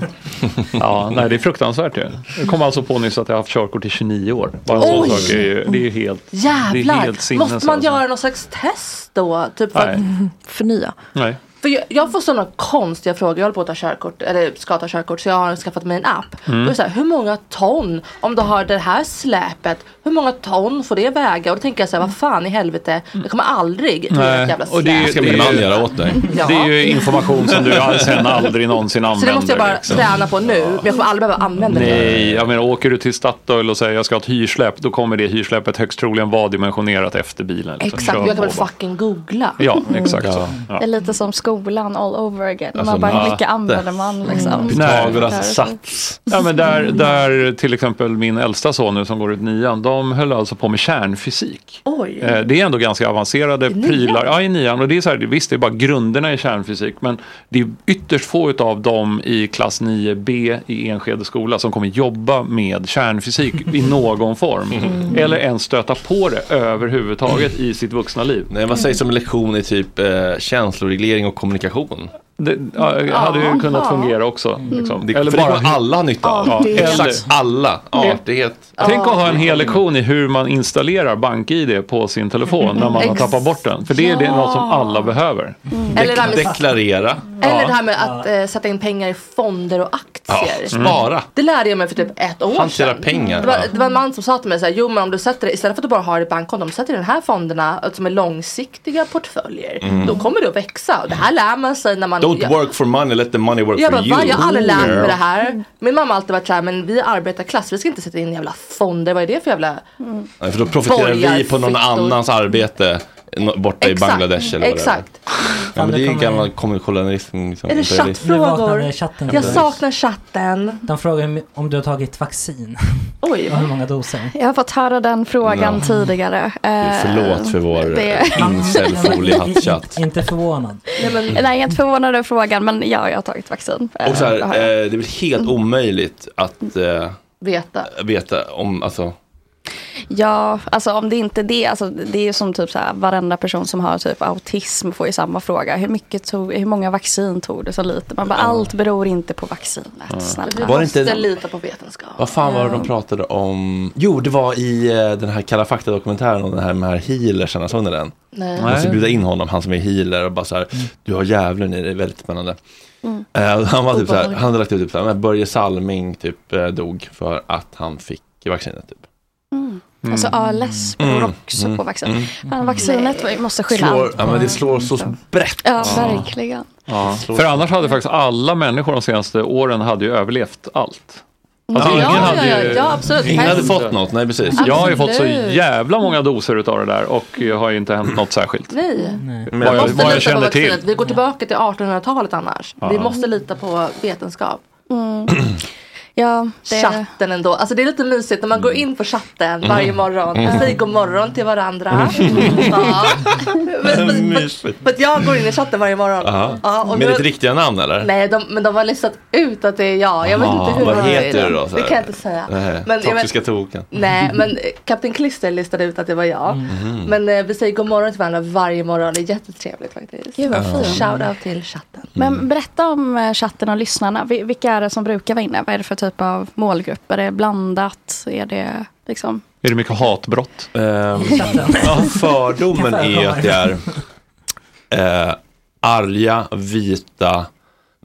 S6: ja, nej det är fruktansvärt ju. Jag kom alltså på nyss att jag har haft körkort i 29 år. Bara en sån
S4: Oj!
S6: sak är ju, det är ju helt... Det är
S4: Jävlar!
S6: helt sinnes,
S4: Måste man
S6: alltså.
S4: göra någon slags test då? Typ för, att,
S6: Nej.
S5: Förnya.
S6: Nej.
S4: för jag, jag får sådana konstiga frågor. Jag håller på att ta körkort, eller ska ta körkort, så jag har skaffat mig en app.
S5: Mm.
S4: Och det är så här, hur många ton, om du har det här släpet, hur många ton får det väga? Och då tänker jag så här, vad fan i helvete, jag kommer aldrig göra ett jävla släp.
S6: Mm. Och det, är ju-
S3: Ska
S6: det,
S3: min man
S6: är ju-
S3: göra åt dig?
S6: det är ju information som
S4: *laughs*
S6: du all- sen aldrig någonsin använder.
S4: så det måste jag bara
S6: liksom.
S4: träna på nu, men jag kommer aldrig behöva använda det.
S6: Nej, jag menar åker du till Statoil och säger jag ska ha ett hyrsläpp, då kommer det hyrsläppet högst troligen vara dimensionerat efter bilen. liksom.
S4: Exakt,
S6: Kör
S4: jag kan väl
S6: på bara.
S4: fucking googla.
S6: Ja, exakt så. Ja.
S7: Det är lite som skolan all over again.
S6: Alltså,
S7: man bara, hur
S6: matte.
S7: mycket använder man liksom?
S6: Nej. Ja, men där, där till exempel min äldsta son nu som går ut nian, de höll alltså på med kärnfysik.
S4: Oj.
S6: Eh, Det är ändå ganska avancerade
S4: nian?
S6: prylar. Ja, i nian. Och det är så här, det- visst, det är bara grunderna i kärnfysik, men det är ytterst få av dem i klass 9B i Enskede skola som kommer jobba med kärnfysik i någon form.
S3: Mm.
S6: Eller ens stöta på det överhuvudtaget i sitt vuxna liv.
S3: Nej, vad sägs om en lektion i typ eh, känsloreglering och kommunikation?
S6: Det ja, hade ju kunnat fungera också. Liksom.
S3: Det, för det kommer alla ha nytta av.
S6: Ja,
S3: Exakt
S6: eller-
S3: alla. Artighet.
S6: Tänk att ha en hel lektion i hur man installerar bank-id på sin telefon när man har
S4: Ex-
S6: tappat bort den. För det är det
S4: Ja.
S6: något som alla behöver.
S4: Mm. Eller det här med-
S3: Deklarera.
S4: Eller det här med att eh, sätta in pengar i fonder och aktier.
S3: Ja, spara.
S4: Det lärde jag mig för typ ett år
S3: Hantera
S4: sedan.
S3: pengar,
S4: Det var,
S3: ja.
S4: det var en man som sa till mig så här, jo men om du sätter det, istället för att du bara har det i bankkonto, om du sätter i de här fonderna eh, som är långsiktiga portföljer,
S3: Mm.
S4: då kommer det att växa. Och det här lär man sig när man...
S3: Don't
S4: jag,
S3: work for money, let the money work
S4: jag
S3: for
S4: bara,
S3: you.
S4: va? Jag har aldrig lärt mig
S3: Girl.
S4: det
S8: Mm.
S4: här. Min mamma har alltid varit så här, men vi är arbetarklass, vi ska inte sätta in jävla fonder, vad är det för jävla...
S8: Mm.
S3: Nej, för då profiterar vi på någon
S4: Borgarfittor.
S3: annans arbete nå- borta i
S4: Exakt,
S3: Bangladesh eller vad det är.
S4: exakt.
S3: Ja, men det är ju gammal kolonialism. Liksom,
S4: Eller
S3: imperialism.
S4: chattfrågor.
S8: chatten.
S4: Jag saknar chatten.
S8: De frågar om- om du har tagit vaccin.
S4: Oj.
S8: *laughs* Och hur många doser.
S7: Jag har fått höra den frågan
S8: Ja.
S7: tidigare. Eh,
S3: Förlåt för vår eh,
S7: det-
S8: *laughs*
S3: incel-foliehatt-chatt.
S8: Inte förvånad.
S7: Nej, jag är inte förvånad över frågan, men ja, jag har tagit vaccin. Eh,
S3: Och så här,
S7: det har
S3: eh,
S7: jag. Mm.
S3: det är väl helt omöjligt att eh,
S4: Veta.
S3: veta om, alltså,
S7: Ja, alltså om det inte är det. Alltså, det är ju som typ så här, varenda person som har typ autism får ju samma fråga. Hur, mycket tog, hur många vaccin tog du? Så lite. Man bara, allt beror inte på vaccinet.
S3: Ja.
S7: Snälla.
S3: Var det inte- Måste
S4: lita på vetenskap.
S3: vad fan var det de pratade om? Jo, det var i eh, den här Kalla fakta-dokumentären om den här med här healersen, såg ni den?
S4: Nej.
S3: Man måste
S4: Nej.
S3: bjuda in honom, han som är healer och bara så här, du har djävulen i dig, väldigt spännande. Eh, och han, var typ så här,
S4: Mm. Obehagligt.
S3: han hade lagt ut typ så här, men Börje Salming typ eh, dog för att han fick vaccinet. Typ. Mm.
S7: Alltså ALS beror
S3: Mm.
S7: också
S3: Mm.
S7: på vaccin.
S3: Mm.
S7: Fan, vaccinet vi måste skylla
S3: Slår,
S7: allt
S3: ja,
S7: på-
S3: men det slår så
S4: Mm.
S3: brett.
S7: Ja, verkligen.
S6: Ja. För annars hade faktiskt alla människor de senaste åren hade ju överlevt allt. Alltså,
S4: Ja,
S6: ingen
S4: ja,
S6: hade
S4: ja,
S6: ju,
S4: ja, absolut.
S22: Ingen hade fått något, nej precis.
S6: Jag har ju fått så
S4: Absolut.
S6: jävla många doser utav det där och det har ju inte hänt något särskilt.
S4: Nej.
S6: Vad jag,
S4: Måste
S6: vad jag
S4: lita på
S6: känner till.
S4: vaccinet. Vi går tillbaka till 1800-talet annars.
S6: Ja.
S4: Vi måste lita på vetenskap.
S7: Ja, det-
S4: Chatten ändå. Alltså det är lite mysigt när man går in på chatten varje
S7: Mm.
S4: morgon.
S7: Mm.
S4: Mm. Säger god morgon till varandra.
S3: Mm. *laughs*
S4: Ja.
S3: Mysigt.
S4: För att jag går in i chatten varje morgon.
S3: Aha.
S4: Ja, och
S3: Med
S4: då-
S3: ditt riktiga namn eller?
S4: Nej, de, men de har listat ut att det är jag. Jag vet
S3: Aha.
S4: inte hur
S3: Vad
S4: de har
S3: heter
S4: gjort.
S3: du då, så
S4: Det
S3: här?
S4: kan jag inte säga.
S3: Nej,
S4: Men jag vet-
S3: Eh, toxiska token.
S4: Nej, men eh, Kapten Klister listade ut att det var jag.
S3: Mhm.
S4: Men eh, vi säger god morgon till varandra varje morgon. Det är jättetrevligt faktiskt.
S7: Gud, vad fint.
S4: Shoutout till chatten.
S7: Men berätta om eh, chatten och lyssnarna. Vi- Vilka är det som brukar vara inne? Vad är det för typ av målgrupp? Är det blandat? Är det liksom...
S6: Är det mycket hatbrott?
S3: ja, fördomen är att det är eh, arga, vita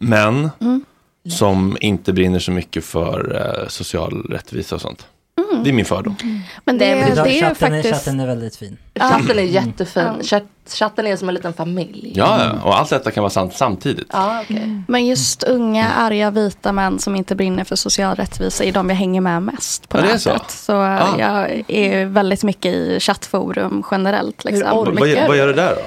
S3: män
S7: Mm.
S3: som inte brinner så mycket för eh, social rättvisa och sånt.
S7: Mm.
S3: Det är min fördom.
S7: Men det,
S4: Nej, men
S7: det, är ju
S8: chatten,
S7: faktiskt...
S8: är, chatten är väldigt fin.
S4: Chatten är jättefin. Chat, chatten är som en liten familj.
S3: Ja, ja, och allt detta kan vara sant samtidigt.
S4: Ja,
S7: Men just unga, arga, vita män som inte brinner för social rättvisa är de jag hänger med mest på
S3: Ja, det är
S7: nätet.
S3: så.
S7: Så eh, jag är väldigt mycket i chattforum generellt. Liksom.
S3: Vad, vad, vad gör du där då?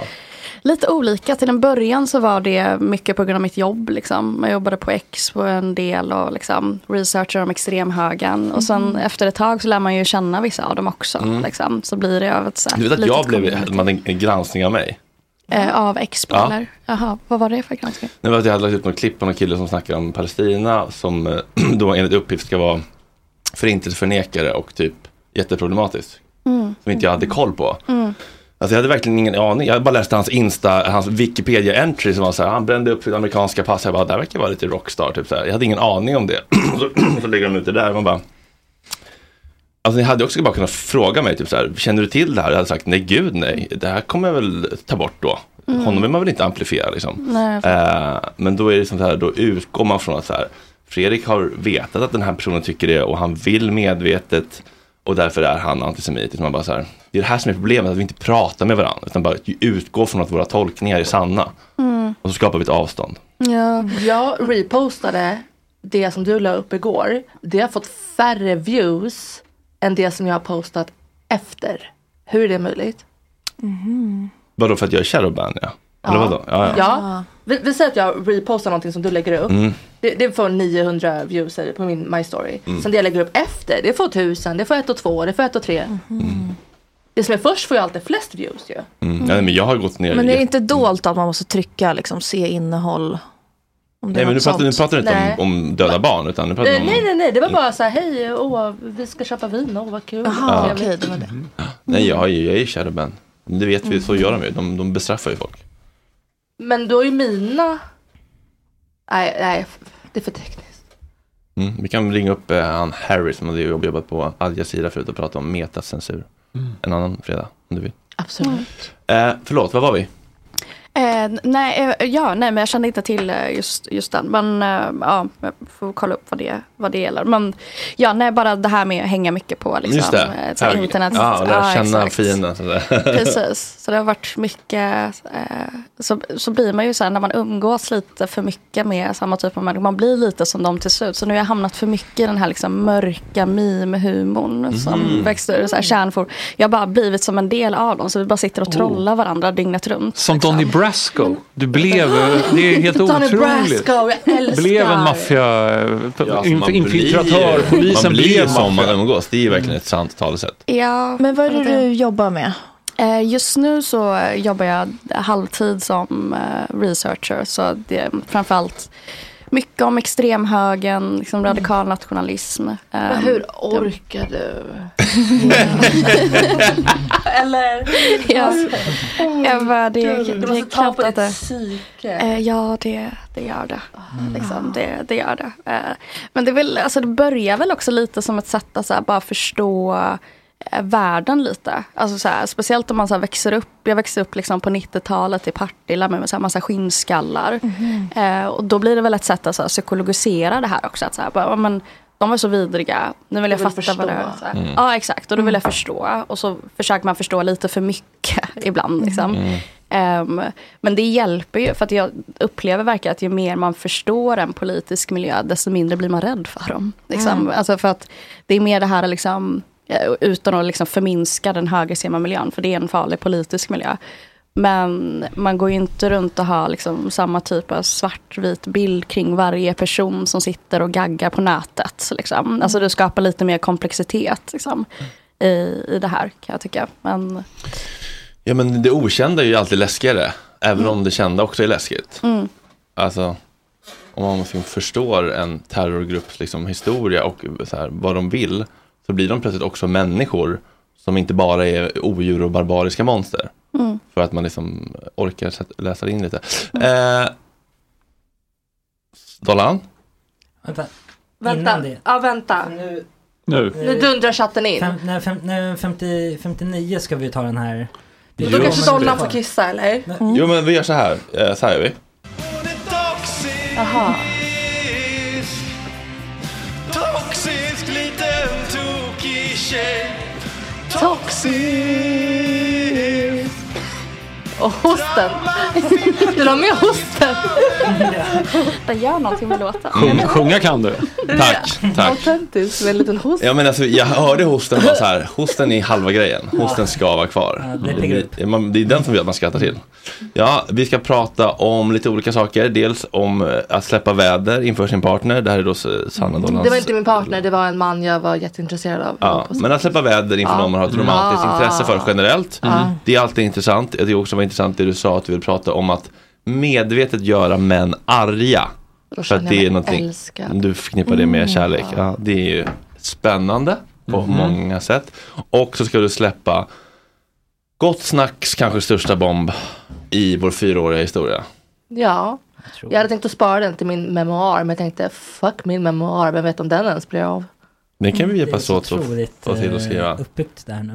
S7: Lite olika. Till en början så var det mycket på grund av mitt jobb. Liksom. Jag jobbade på X på en del och liksom, researchade om extremhögern.
S5: Mm.
S7: Och sen efter ett tag så lär man ju känna vissa av dem också.
S3: Mm.
S7: Liksom. Så blir det av ett så här,
S3: Du vet att
S7: litet
S3: jag blev,
S7: community.
S3: hade man en en granskning av mig.
S7: Eh, av Expo
S3: Ja.
S7: eller? Jaha, vad var det för granskning?
S3: Det var att jag hade lagt ut något klipp på någon kille som snackade om Palestina som eh, *clears throat* då enligt uppgift ska vara förintelseförnekare och typ jätteproblematisk.
S7: Mm.
S3: Som inte jag hade koll på.
S7: Mm.
S3: Alltså jag hade verkligen ingen aning. Jag bara läste hans Insta, hans Wikipedia-entry som var så här, han brände upp sitt amerikanska pass. Jag bara, det här verkar vara lite rockstar, typ så här. Jag hade ingen aning om det. *clears throat* så, så lägger de ut det där, man bara. Alltså ni hade också bara kunnat fråga mig, typ så här, känner du till det här? Jag hade sagt, nej gud nej, det här kommer jag väl ta bort då.
S7: Mm.
S3: Honom vill man väl inte amplifiera liksom.
S7: Nej, jag
S3: Eh, men då är det som så här, då utgår man från att så här, Fredrik har vetat att den här personen tycker det och han vill medvetet och därför är han antisemit. Man bara så här, det är det här som är problemet, att vi inte pratar med varandra utan bara utgår från att våra tolkningar är sanna.
S4: Mm.
S3: Och så skapar vi ett avstånd.
S7: Ja.
S3: Mm.
S4: Jag repostade det som du la upp igår. Det har fått färre views än det som jag har postat efter. Hur är det möjligt?
S3: Vadå för att jag är shadowban ja? Eller vadå? Ja, ja.
S4: Ja. Vi, vi säger att jag repostar någonting som du lägger upp.
S3: Mm.
S4: Det, det får 900 views säger det, på min My Story.
S3: Mm.
S4: Sen det jag lägger upp efter, det får 1000, det får 1 och 2, det får 1 och 3.
S7: Mm.
S4: Det som är först får ju alltid flest views ju.
S3: Mm. Nej, men jag har gått ner
S5: Men
S3: i
S5: är det inte dolt att man måste trycka, liksom, se innehåll? Om det
S3: Nej
S5: är
S3: men nu
S5: något
S3: pratar, nu
S5: sånt.
S3: pratar du inte
S4: Nej.
S3: om, om döda barn utan nu pratar du
S4: Eh,
S3: om
S4: nej, nej, nej, det var bara så här, hej, åh, vi ska köpa vin, åh vad kul.
S3: Jaha,
S4: Trevligt.
S5: okej, det var det.
S3: Nej jag, har ju- jag är ju shadowban. Det vet vi, så gör de ju. De, de bestraffar ju folk.
S4: Men då är ju mina... Nej, nej, det är för tekniskt.
S3: Mm. Vi kan ringa upp eh, han Harry som hade jobb- jobbat på Al Jazeera förut och prata om metacensur.
S4: Mm.
S3: En annan fredag om du vill.
S4: Absolut.
S3: Eh, förlåt, vad var vi?
S7: Eh, n- nej, eh, ja, nej, men jag kände inte till eh, just, just den. Men eh, ja, jag får kolla upp vad det, vad det gäller. Men ja, nej, bara det här med att hänga mycket på liksom,
S3: Just det.
S7: eh, så här
S3: Hög-
S7: internet.
S3: Ja, och lära känna
S7: exakt.
S3: fienden. sådär.
S7: Precis, så det har varit mycket, eh, så, så blir man ju så här när man umgås lite för mycket med samma typ av människor, man blir lite som dem till slut. Så nu har jag hamnat för mycket i den här liksom mörka meme-humorn som
S5: Mhm.
S7: växte ur så här kärnfor. Jag har bara blivit som en del av dem, så vi bara sitter och trollar varandra dygnet runt.
S6: Oh. Som Donny Brasco. Du blev, det är helt otroligt.
S4: jag älskar.
S6: Blev en maffia,
S3: Ja, *laughs*
S6: inf-
S3: man
S6: infiltratör,
S3: blir-
S6: polisen
S3: Man blir
S6: blev
S3: som man
S6: maffia.
S3: umgås, det är ju verkligen ett sant talesätt.
S7: Ja,
S5: Men vad är det du jobbar med?
S7: Eh, Just nu så eh, jobbar jag halvtid som eh, researcher. Så det är framförallt mycket om extremhögern, liksom radikal nationalism.
S4: Men
S7: Eh,
S4: hur
S7: det-
S4: orkar du? *laughs* Eller?
S7: Ehm, Ja.
S4: Oh,
S7: Eva, det, är-
S4: Du
S7: det är
S4: måste ta
S7: knappt
S4: på
S7: att
S4: ditt
S7: det...
S4: psyke.
S7: Eh, ja, det, det gör det.
S4: Mm.
S7: Liksom, det, det, gör det. Eh, men det, är väl, alltså, det börjar väl också lite som ett sätt att så här, bara förstå eh, världen lite. Alltså, så här, speciellt om man så här, växer upp. Jag växte upp liksom, på 90-talet i Partille med en massa
S4: Mm-hmm.
S7: skinnskallar. Eh, och då blir det väl ett sätt att så här, psykologisera det här också. Att, så här, bara, ja, men, de var så vidriga. Nu vill jag
S4: Du vill
S7: fatta vad det är.
S4: förstå.
S7: Så här.
S4: Mm.
S7: Ja, exakt. Och då vill jag förstå. Och så försöker man förstå lite för mycket *laughs* ibland. Liksom.
S23: Mm.
S7: Ehm, men det hjälper ju, för att jag upplever verkligen att ju mer man förstår en politisk miljö, desto mindre blir man rädd för dem. Liksom.
S4: Mm.
S7: Alltså för att det är mer det här, liksom, eh, utan att liksom förminska den högerextrema miljön, för det är en farlig politisk miljö. Men man går ju inte runt och har liksom samma typ av svartvit bild kring varje person som sitter och gaggar på nätet. Liksom. Alltså det skapar lite mer komplexitet liksom, i, i det här, kan jag tycka. Men,
S3: Ja men det okända är ju alltid läskigare. Även om det kända också är läskigt.
S7: mm.
S3: Alltså, om man liksom förstår en terrorgrupps liksom, historia och så här, vad de vill. Så blir de plötsligt också människor som inte bara är odjur och barbariska monster.
S7: Mm.
S3: För att man liksom orkar sätt- läsa in lite.
S7: Mm.
S3: Eh, Dollan?
S8: Vänta.
S4: Vänta.
S8: Innan det.
S4: Ja, vänta.
S8: Nu,
S3: Nu.
S4: nu dundrar chatten in.
S8: Fem, nej, fem, nej, 50, 59 ska vi ta den här.
S4: Och då kanske Dollan får kissa eller?
S7: Mm.
S3: Jo men vi gör så här. Eh, så här gör vi.
S4: Jaha.
S10: Toxisk liten tokig tjej
S4: Toxisk. Och *laughs* hosten. Du la med hosten.
S7: Den gör någonting med låten.
S23: Sjung, sjunga kan du.
S3: Tack, tack.
S4: Autentiskt med en liten host.
S3: Ja men alltså jag hörde hosten vara så här, hosten är halva grejen, hosten ska vara kvar.
S8: Ja, det piggar upp.
S3: Det- man- det är den som gör att man skrattar till. Ja, vi ska prata om lite olika saker, dels om eh, att släppa väder inför sin partner, det här är då eh, Sanna Dollans.
S4: Mm. Det var inte min partner, det var en man jag var jätteintresserad av.
S3: Ja, men att släppa väder inför
S4: Ja.
S3: någon man har ett
S4: Mm.
S3: romantiskt
S4: Ah.
S3: intresse för generellt.
S4: Mm.
S3: Det är alltid intressant. Jag tycker också det var intressant det du sa att du vill prata om att medvetet göra män arga.
S4: Då känner jag mig
S3: någonting-
S4: älskad.
S3: du förknippar det
S4: Mm.
S3: med kärlek. Ja, det är ju spännande på
S4: Mhm.
S3: många sätt. Och så ska du släppa Gott Snacks kanske största bomb i vår fyraåriga historia.
S4: Ja. Jag hade tänkt att spara den till min memoar, men jag tänkte fuck min memoar, vem vet om den ens blir av?
S3: Den kan vi hjälpas
S8: Mm, så
S3: åt att
S8: otroligt,
S3: få till
S8: eh,
S3: att skriva.
S8: *laughs* Uppbyggt där nu.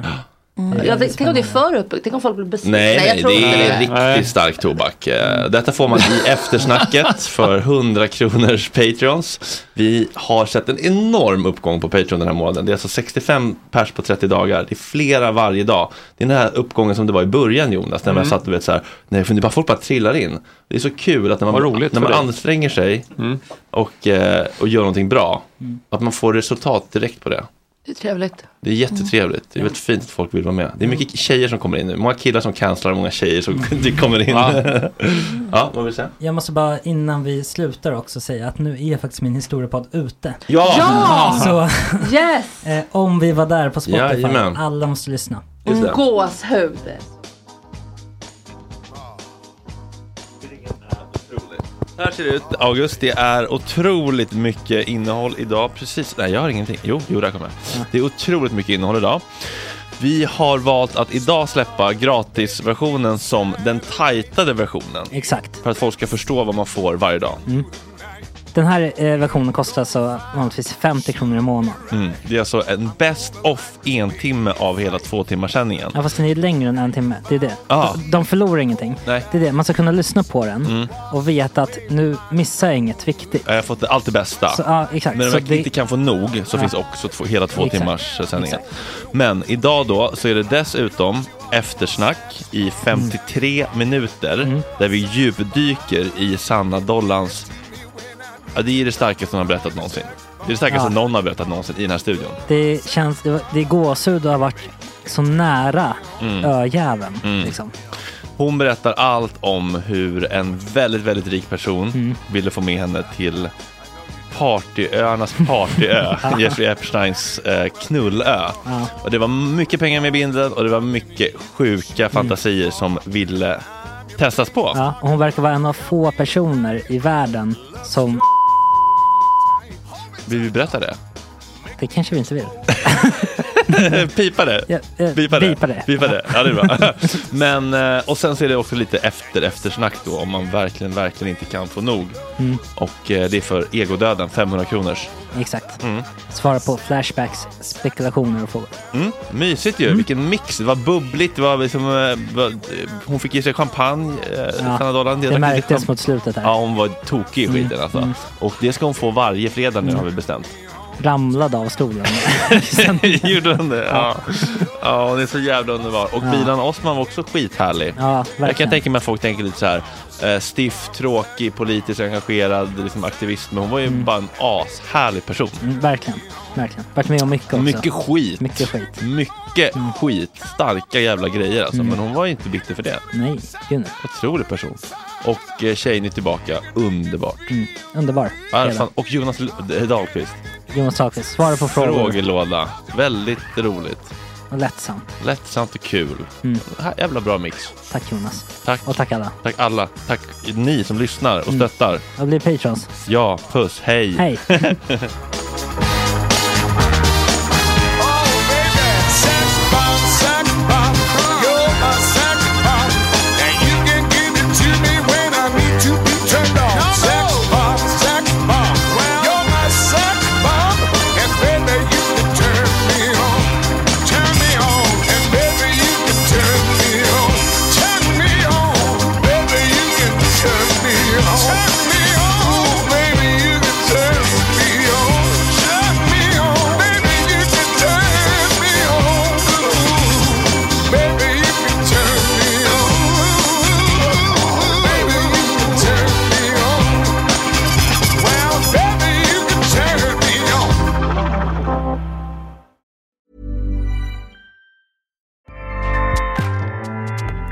S4: Jag tänk, tänk om det är för uppbyggt, tänk om folk blir besvikna.
S3: Nej,
S4: jag
S3: nej,
S4: tror inte
S3: det är riktigt stark tobak. Eh, Detta får man
S4: *laughs*
S3: i eftersnacket för 100 kronors Patreons. Vi har sett en enorm uppgång på Patreon den här månaden. Det är alltså 65 pers på 30 dagar. Det är flera varje dag. Det är den här uppgången som det var i början Jonas, när man
S24: Mm.
S3: satt och vet så här, nej, för det bara, folk bara trillar in. Det är så kul att när man,
S24: Vad roligt
S3: när
S24: för
S3: man
S24: dig. Mm.
S3: anstränger sig och, eh, och gör någonting bra, att man får resultat direkt på det.
S4: Det är trevligt.
S3: Det är jättetrevligt. Det är väldigt fint att folk vill vara med. Det
S8: Mm.
S3: är mycket tjejer som kommer in nu. Många killar som cancelar, många tjejer som *laughs* kommer in. Ja, vad vill du säga?
S8: Jag måste bara innan vi slutar också säga att nu är faktiskt min historiepodd ute.
S3: Ja! Ja!
S8: Så
S4: Yes!
S8: eh, om vi var där på Spotify,
S3: Jajamän.
S8: alla måste lyssna.
S3: Just det.
S4: Gåshud.
S3: Så här ser det ut, August. Det är otroligt mycket innehåll idag. Precis, nej jag har ingenting. Jo, jo där kommer jag. Det är otroligt mycket innehåll idag. Vi har valt att idag släppa gratisversionen som den tajtade versionen.
S8: Exakt.
S3: För att folk ska förstå vad man får varje dag.
S8: Mm. Den här eh, versionen kostar så vanligtvis 50 kronor i månaden.
S3: Mm. Det är alltså en best off en timme av hela två timmars sändningen.
S8: Ja, fast den är längre än en timme. Det är det.
S3: Ja.
S8: De förlorar ingenting.
S3: Nej.
S8: Det är det. Man ska kunna lyssna på den och veta att nu missar jag inget viktigt.
S3: Jag har fått allt det bästa.
S8: Så, ja, exakt.
S3: Men om
S8: Så
S3: jag
S8: det-
S3: inte kan få nog så
S8: Ja.
S3: finns också två, hela två
S8: Exakt.
S3: timmars sändningar.
S8: Exakt.
S3: Men idag då så är det dessutom eftersnack
S8: Mm.
S3: i 53 minuter där vi djupdyker i Sanna Dollans... Ja, det är det starkaste hon har berättat någonsin. Det är det starkaste
S8: Ja.
S3: någon har berättat någonsin i den här studion.
S8: Det känns, det, var- det är gåshud och har varit så nära
S3: Mm.
S8: öjäveln.
S3: Mm.
S8: Liksom.
S3: Hon berättar allt om hur en väldigt, väldigt rik person ville få med henne till partyöarnas partyö,
S24: Ja.
S3: Jeffrey Epsteins eh, knullö.
S24: Ja.
S3: Och det var mycket pengar med bindeln och det var mycket sjuka fantasier som ville testas på.
S8: Ja, och hon verkar vara en av få personer i världen som...
S3: Vill vi berätta det? *laughs*
S8: Det kanske vi inte vill.
S3: Pipa det.
S8: Ja, eh,
S3: Bipa det.
S8: bipa det.
S3: Bipa det. Ja, det är bra. Men, eh, och sen så är det också lite efter eftersnack då om man verkligen, verkligen inte kan få nog.
S8: Mm.
S3: Och eh, det är för egodöden, 500 kronors.
S8: Exakt.
S3: Mm.
S8: Svara på flashbacks, spekulationer och frågor.
S3: Mm, mysigt ju, vilken mix. Det var bubbligt, det var liksom, eh, var, eh, hon fick i sig champagne. Eh, Sanna Dolan,
S8: det
S3: drack lite
S8: märktes
S3: champ-
S8: mot slutet här.
S3: Ja, hon var tokig i skiten
S8: Mm,
S3: alltså.
S8: mm.
S3: Och det ska hon få varje fredag nu
S8: Mm.
S3: har vi bestämt.
S8: ramlade av stolen.
S3: *laughs* Gjorde den det? Ja. ja, det är så jävla underbar. Och
S8: Ja.
S3: Bilan Osman var också skithärlig.
S8: Ja,
S3: jag kan
S8: verkligen.
S3: tänka mig att folk tänker lite så här, eh, stiff, tråkig, politiskt engagerad, liksom aktivist. Men hon var ju bara en ashärlig person.
S8: Mm, verkligen, verkligen. Varit med om mycket också.
S3: Mycket skit.
S8: Mycket skit.
S3: Mycket skit. Starka jävla grejer alltså.
S8: Mm.
S3: Men hon var ju inte bitter för det.
S8: Nej, gud nej.
S3: Otrolig person. Och eh, tjejen är tillbaka. Underbart.
S8: Mm. Underbar.
S3: Ja,
S8: Hela.
S3: fan. Och Jonas L- Dahlqvist.
S8: Jonas Dahlqvist, svara på frågor.
S3: Frågelåda. Väldigt roligt.
S8: Och lättsam.
S3: Lättsamt och kul.
S8: Mm.
S3: Här- Jävla bra mix.
S8: Tack Jonas.
S3: Tack.
S8: Och tack alla.
S3: Tack alla. Tack ni som lyssnar och
S8: Mm.
S3: stöttar.
S8: Jag blir patrons.
S3: Ja, puss. Hej.
S8: Hej.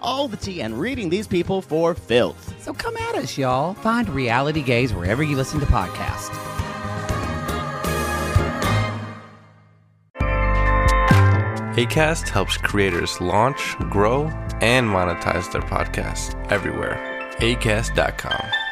S25: all the tea and reading these people for filth.
S26: so come at us, y'all. Find Reality Gaze wherever you listen to podcasts.
S10: ACAST helps creators launch, grow, and monetize their podcasts everywhere. ACAST.com.